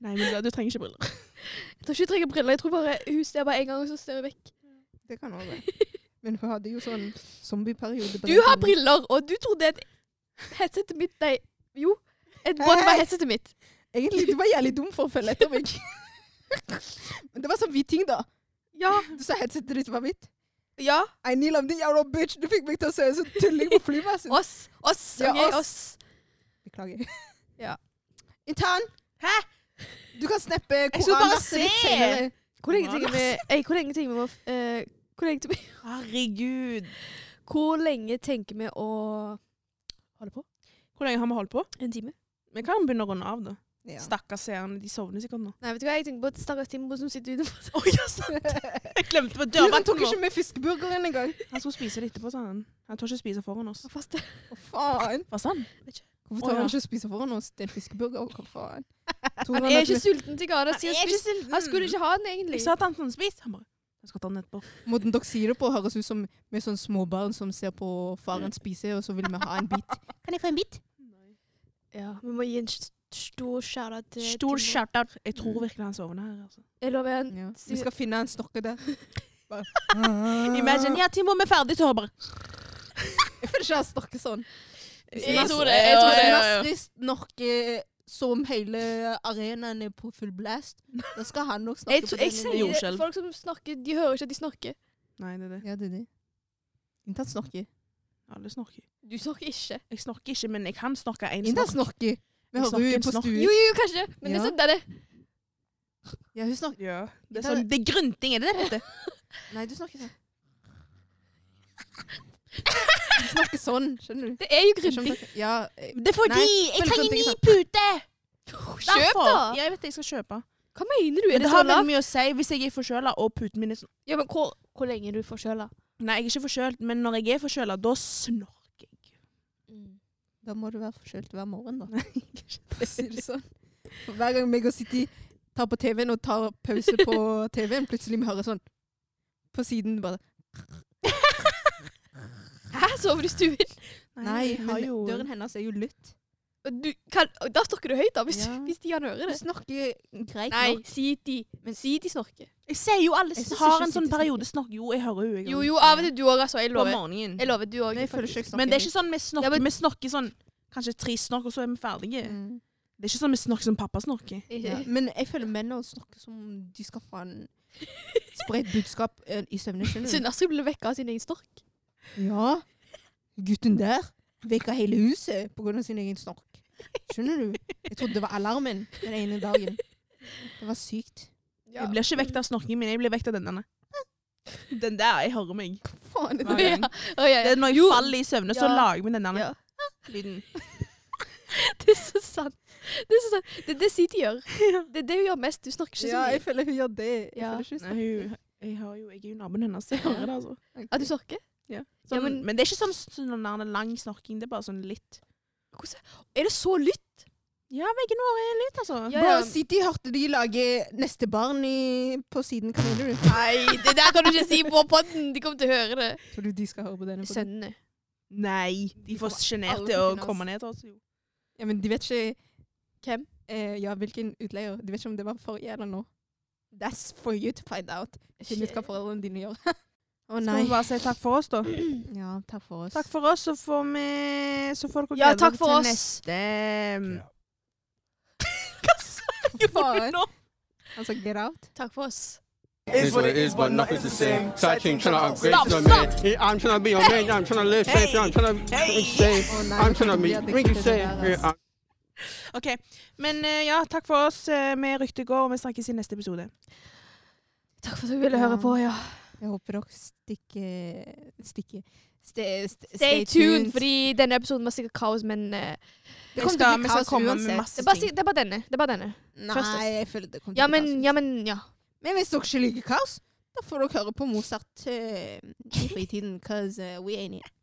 [SPEAKER 1] Nei, men du- du trenger ikke briller.
[SPEAKER 3] Jeg tror ikke jeg trenger briller. Jeg tror bare hun ser bare en gang, og så ser hun vekk.
[SPEAKER 2] Det kan òg være. Men hun hadde jo sånn zombieperiode. på
[SPEAKER 3] Du
[SPEAKER 2] den
[SPEAKER 3] har
[SPEAKER 2] tiden.
[SPEAKER 3] briller, og du trodde at headsetet mitt Nei, jo. Et bånd var headsetet mitt.
[SPEAKER 2] Egentlig, du var jævlig dum for å følge etter meg. Men det var sånn hvit ting, da.
[SPEAKER 3] Ja.
[SPEAKER 2] Du sa headsetet ditt var hvitt.
[SPEAKER 3] Ja.
[SPEAKER 2] I need love, din jævla bitch. Du fikk meg til å se ut som en tulling på flyplassen.
[SPEAKER 3] Oss. Oss.
[SPEAKER 2] Ja,
[SPEAKER 3] ok,
[SPEAKER 2] oss.
[SPEAKER 3] oss.
[SPEAKER 2] Beklager.
[SPEAKER 3] Ja.
[SPEAKER 2] Intern. Hæ? Du kan snappe
[SPEAKER 1] skulle bare
[SPEAKER 2] koranverset ditt
[SPEAKER 1] se.
[SPEAKER 2] senere.
[SPEAKER 3] Hvor lenge tenker vi Ei, Hvor lenge tenker vi å eh, Hvor lenge tenker vi
[SPEAKER 1] Herregud.
[SPEAKER 3] Hvor lenge tenker vi å holde på?
[SPEAKER 1] Hvor lenge har vi holdt på?
[SPEAKER 3] En time?
[SPEAKER 1] Vi kan begynne å runde av, da.
[SPEAKER 2] Ja.
[SPEAKER 1] Stakkars seerne, de sovner sikkert nå.
[SPEAKER 3] Nei, vet du hva? Jeg tenker på et stakkars Timbo som sitter utenfor.
[SPEAKER 1] Å, ja, sant! Jeg glemte på
[SPEAKER 2] Du, Han
[SPEAKER 1] dørvakten
[SPEAKER 2] tok
[SPEAKER 1] vår.
[SPEAKER 2] ikke med fiskeburgeren engang.
[SPEAKER 1] Han skulle spise det etterpå, sa han. Han tør ikke spise foran oss.
[SPEAKER 3] og faster.
[SPEAKER 2] Å, faen.
[SPEAKER 1] Hva sa han?
[SPEAKER 2] Hvorfor
[SPEAKER 1] Å,
[SPEAKER 2] tar
[SPEAKER 1] ja.
[SPEAKER 2] han ikke og spiser foran oss? Det er en fiskeburger. Hva faen?
[SPEAKER 3] Han er ikke sulten til gata. sier han spis-
[SPEAKER 1] sulten.
[SPEAKER 3] Han skulle ikke ha den, egentlig.
[SPEAKER 1] Jeg sa at han skulle spise. Han bare Jeg skal ta den etterpå.
[SPEAKER 2] Måten dere sier det på, høres ut som med sånn småbarn som ser på faren spise, og så vil vi ha en bit.
[SPEAKER 1] Kan jeg få en bit?
[SPEAKER 3] Ja, Vi må gi en st- stor skjæra til
[SPEAKER 1] Stor
[SPEAKER 3] Timbo.
[SPEAKER 1] shout-out. Jeg tror virkelig han sovner her. altså.
[SPEAKER 3] Jeg lover en
[SPEAKER 2] Ja. Vi skal finne en snorke der. Bare.
[SPEAKER 1] Imagine, ja, Timo, vi er ferdig, så hører bare
[SPEAKER 2] Jeg føler ikke han snakker sånn.
[SPEAKER 3] Jeg tror det, jeg tror det, ja, ja.
[SPEAKER 2] Nasri snorker eh, som hele arenaen er på full blast. Da skal han nok snakke
[SPEAKER 3] Jeg, tror- jeg
[SPEAKER 2] på
[SPEAKER 1] ser-
[SPEAKER 3] sier det.
[SPEAKER 1] jordskjelv.
[SPEAKER 3] Folk som snakker, de hører ikke at de snakker.
[SPEAKER 1] Nei, det er det.
[SPEAKER 2] Ja, det er det. Inntatt snorker.
[SPEAKER 1] Alle snorker.
[SPEAKER 3] Du snakker ikke.
[SPEAKER 1] Jeg snorker ikke, men jeg kan snorke én
[SPEAKER 2] Inntatt
[SPEAKER 1] snork.
[SPEAKER 2] snorker. Vi
[SPEAKER 1] Jeg
[SPEAKER 2] hører
[SPEAKER 1] snakker
[SPEAKER 2] jo
[SPEAKER 1] en
[SPEAKER 2] på
[SPEAKER 1] snork.
[SPEAKER 3] Jo,
[SPEAKER 2] stuen.
[SPEAKER 3] jo, kanskje. Men det
[SPEAKER 2] Ja.
[SPEAKER 3] er sånn det er det.
[SPEAKER 2] Ja, hun snakker.
[SPEAKER 1] Ja. Det er,
[SPEAKER 2] Inntatt-
[SPEAKER 1] sånn, det er grynting, er det det heter?
[SPEAKER 2] Nei, du snakker sånn. Du snakker sånn, skjønner du?
[SPEAKER 3] Det er jo grunting.
[SPEAKER 2] Ja, eh,
[SPEAKER 1] Det er fordi jeg
[SPEAKER 2] men
[SPEAKER 1] trenger
[SPEAKER 2] grynting
[SPEAKER 1] ny
[SPEAKER 2] er sant.
[SPEAKER 1] pute! Derfor.
[SPEAKER 3] Kjøp, da!
[SPEAKER 1] sånn. Ja, jeg vet det, jeg skal kjøpe.
[SPEAKER 3] Hva mener du? Er
[SPEAKER 1] Men
[SPEAKER 3] det
[SPEAKER 1] det
[SPEAKER 3] så
[SPEAKER 1] har veldig
[SPEAKER 3] lavt?
[SPEAKER 1] mye å si hvis jeg er forkjøla og puten min er sånn
[SPEAKER 3] Ja, men hvor, hvor lenge er du forkjøla?
[SPEAKER 1] Nei, jeg er ikke forkjølt, men når jeg er forkjøla, da snorker jeg.
[SPEAKER 2] Mm. da må du være forkjølt hver morgen, da. For å si det sånn. For Hver gang meg og City tar på TV-en og tar pause på TV-en, plutselig vi hører sånn på siden bare
[SPEAKER 3] Hæ, sover du i stuen?
[SPEAKER 2] Nei,
[SPEAKER 1] vi har
[SPEAKER 2] men
[SPEAKER 1] jo-
[SPEAKER 2] døren hennes er jo lutt.
[SPEAKER 3] Og du, kan, og da snakker du høyt, da, hvis,
[SPEAKER 2] Ja.
[SPEAKER 3] hvis de kan høre
[SPEAKER 2] Du
[SPEAKER 3] det.
[SPEAKER 2] snakker greit
[SPEAKER 3] Nei,
[SPEAKER 2] nok.
[SPEAKER 3] si de. Men si de snorker.
[SPEAKER 1] Jeg ser jo alle
[SPEAKER 2] Jeg synes
[SPEAKER 1] har
[SPEAKER 2] ikke
[SPEAKER 1] en sånn
[SPEAKER 2] City
[SPEAKER 1] periode snakk. Jo, jeg hører henne.
[SPEAKER 3] Jo, jo, av og til du òg, altså. Jeg
[SPEAKER 1] På
[SPEAKER 3] lover.
[SPEAKER 1] morgenen.
[SPEAKER 3] Jeg lover du òg.
[SPEAKER 2] Men jeg føler ikke jeg snakker
[SPEAKER 1] Men det er ikke sånn vi snakker.
[SPEAKER 3] Ja, men-
[SPEAKER 1] Vi snakker sånn kanskje tre snakk, og så er vi ferdige.
[SPEAKER 2] høyt. Mm.
[SPEAKER 1] Det er ikke sånn vi snakker som pappa snakker.
[SPEAKER 2] Ja. Men jeg føler menn også snakker som om de skal faen spre et budskap eh, i søvne. skjønner du?
[SPEAKER 3] Sunn Astrid ble vekka av sin egen snork.
[SPEAKER 2] Ja. Gutten der vekka hele huset på grunn av sin egen snork. Skjønner du? Jeg trodde det var alarmen den ene dagen. Det var sykt.
[SPEAKER 1] Jeg blir ikke vekt av snorkingen min, jeg blir vekt av denne. Den der, jeg hører meg.
[SPEAKER 3] faen.
[SPEAKER 1] Hver gang.
[SPEAKER 3] Å, ja,
[SPEAKER 1] Det
[SPEAKER 3] ja.
[SPEAKER 1] er når jeg faller i søvne, så
[SPEAKER 3] Ja.
[SPEAKER 1] lager vi den der
[SPEAKER 3] Ja.
[SPEAKER 1] lyden.
[SPEAKER 3] Det er så sant. Det er så sant. Det er det Siti gjør. Det er det hun gjør mest. Du snakker ikke så mye.
[SPEAKER 2] føler hun gjør det.
[SPEAKER 3] Jeg Ja. føler
[SPEAKER 2] ikke
[SPEAKER 1] Nei, hun, jeg, har jo, jeg er jo naboen hennes, så jeg hører det, altså.
[SPEAKER 3] At du snorker?
[SPEAKER 1] Sånn,
[SPEAKER 3] Ja,
[SPEAKER 1] men,
[SPEAKER 3] men-
[SPEAKER 1] det er ikke sånn, sånn der lang snorking, det er bare sånn litt.
[SPEAKER 3] Er det så lytt?
[SPEAKER 1] Ja, veggen vår er litt, altså.
[SPEAKER 3] Ja,
[SPEAKER 2] Bro,
[SPEAKER 3] ja.
[SPEAKER 2] City hørte de lager neste barn i, på siden. Hva mener du?
[SPEAKER 3] Nei, det der kan du ikke si på podden! De kommer til å høre det.
[SPEAKER 2] Tror du de skal høre på denne? podden?
[SPEAKER 3] Sønnene.
[SPEAKER 1] Nei, de er for
[SPEAKER 2] kommer
[SPEAKER 1] sjenerte
[SPEAKER 2] aldri
[SPEAKER 1] til å
[SPEAKER 2] finne oss.
[SPEAKER 1] komme ned til oss. Jo.
[SPEAKER 2] Ja, men de vet ikke
[SPEAKER 3] Hvem?
[SPEAKER 2] Eh, ja, hvilken utleier. De vet ikke om det var forrige eller nå. That's for you to find out. Finn ut hva foreldrene dine gjør. Å
[SPEAKER 1] Skal vi bare si takk for oss, da?
[SPEAKER 2] Ja, takk for oss.
[SPEAKER 1] Takk for oss, så får vi Så får dere
[SPEAKER 3] Ja,
[SPEAKER 1] glede
[SPEAKER 3] takk
[SPEAKER 1] dere til
[SPEAKER 3] for oss.
[SPEAKER 1] neste um,
[SPEAKER 2] faen. Han sa Altså, get out.
[SPEAKER 3] Takk for oss.
[SPEAKER 6] It's what it is, but nothing's the same. Side chain tryna upgrade
[SPEAKER 1] Stop,
[SPEAKER 6] to the man. Yeah, I'm tryna be your man. Yeah, I'm tryna live safe. Yeah, I'm tryna be safe.
[SPEAKER 2] Å nei, jeg
[SPEAKER 6] I'm tryna
[SPEAKER 2] trodde
[SPEAKER 6] be,
[SPEAKER 2] vi hadde
[SPEAKER 6] make you
[SPEAKER 2] kuttet
[SPEAKER 6] safe.
[SPEAKER 2] det der,
[SPEAKER 6] Yeah,
[SPEAKER 2] altså.
[SPEAKER 6] I'm
[SPEAKER 1] OK. Men eh, ja, takk for oss. Eh, Vi rykter går, og vi snakkes i neste episode.
[SPEAKER 3] Takk for at du ville høre på, ja.
[SPEAKER 2] Jeg håper dere stikker Stikker Stay, st-
[SPEAKER 3] Stay tuned, fordi denne episoden var sikkert kaos, men eh,
[SPEAKER 1] Vi
[SPEAKER 2] det kommer
[SPEAKER 1] skal,
[SPEAKER 2] til å
[SPEAKER 1] vi
[SPEAKER 2] bli
[SPEAKER 1] skal
[SPEAKER 2] kaos
[SPEAKER 1] komme
[SPEAKER 2] uansett.
[SPEAKER 1] med
[SPEAKER 3] det,
[SPEAKER 1] masse
[SPEAKER 3] er bare,
[SPEAKER 1] ting.
[SPEAKER 3] si- det er bare denne. Det er bare denne. Trust us.
[SPEAKER 2] Nei, jeg føler det kommer til
[SPEAKER 3] Ja,
[SPEAKER 2] å bli
[SPEAKER 3] men
[SPEAKER 2] kaos.
[SPEAKER 3] ja. Men, ja.
[SPEAKER 2] Men hvis dere ikke liker kaos, da får dere høre på Mozart eh, i fritiden, cause eh, we ain't here.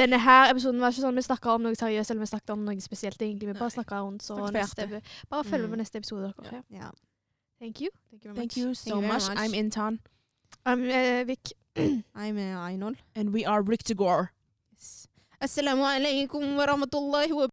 [SPEAKER 3] Denne her episoden var ikke sånn vi snakka om noe seriøst, eller vi snakket om noe spesielt. egentlig. Vi bare snakket rundt, så
[SPEAKER 1] Snakket for
[SPEAKER 3] neste, Bare følg med
[SPEAKER 2] Mm.
[SPEAKER 3] på neste episode. dere. Ja.
[SPEAKER 2] Ja.
[SPEAKER 3] Thank you. Thank you very
[SPEAKER 1] Thank
[SPEAKER 3] much.
[SPEAKER 1] you
[SPEAKER 2] Thank
[SPEAKER 1] so
[SPEAKER 2] you very
[SPEAKER 1] much.
[SPEAKER 2] much.
[SPEAKER 1] I'm Intan,
[SPEAKER 3] I'm, eh, Vic.
[SPEAKER 2] I'm uh, Ainol.
[SPEAKER 1] and we are Ryktegård.
[SPEAKER 2] Assalamu alaikum wa rahmatullahi wa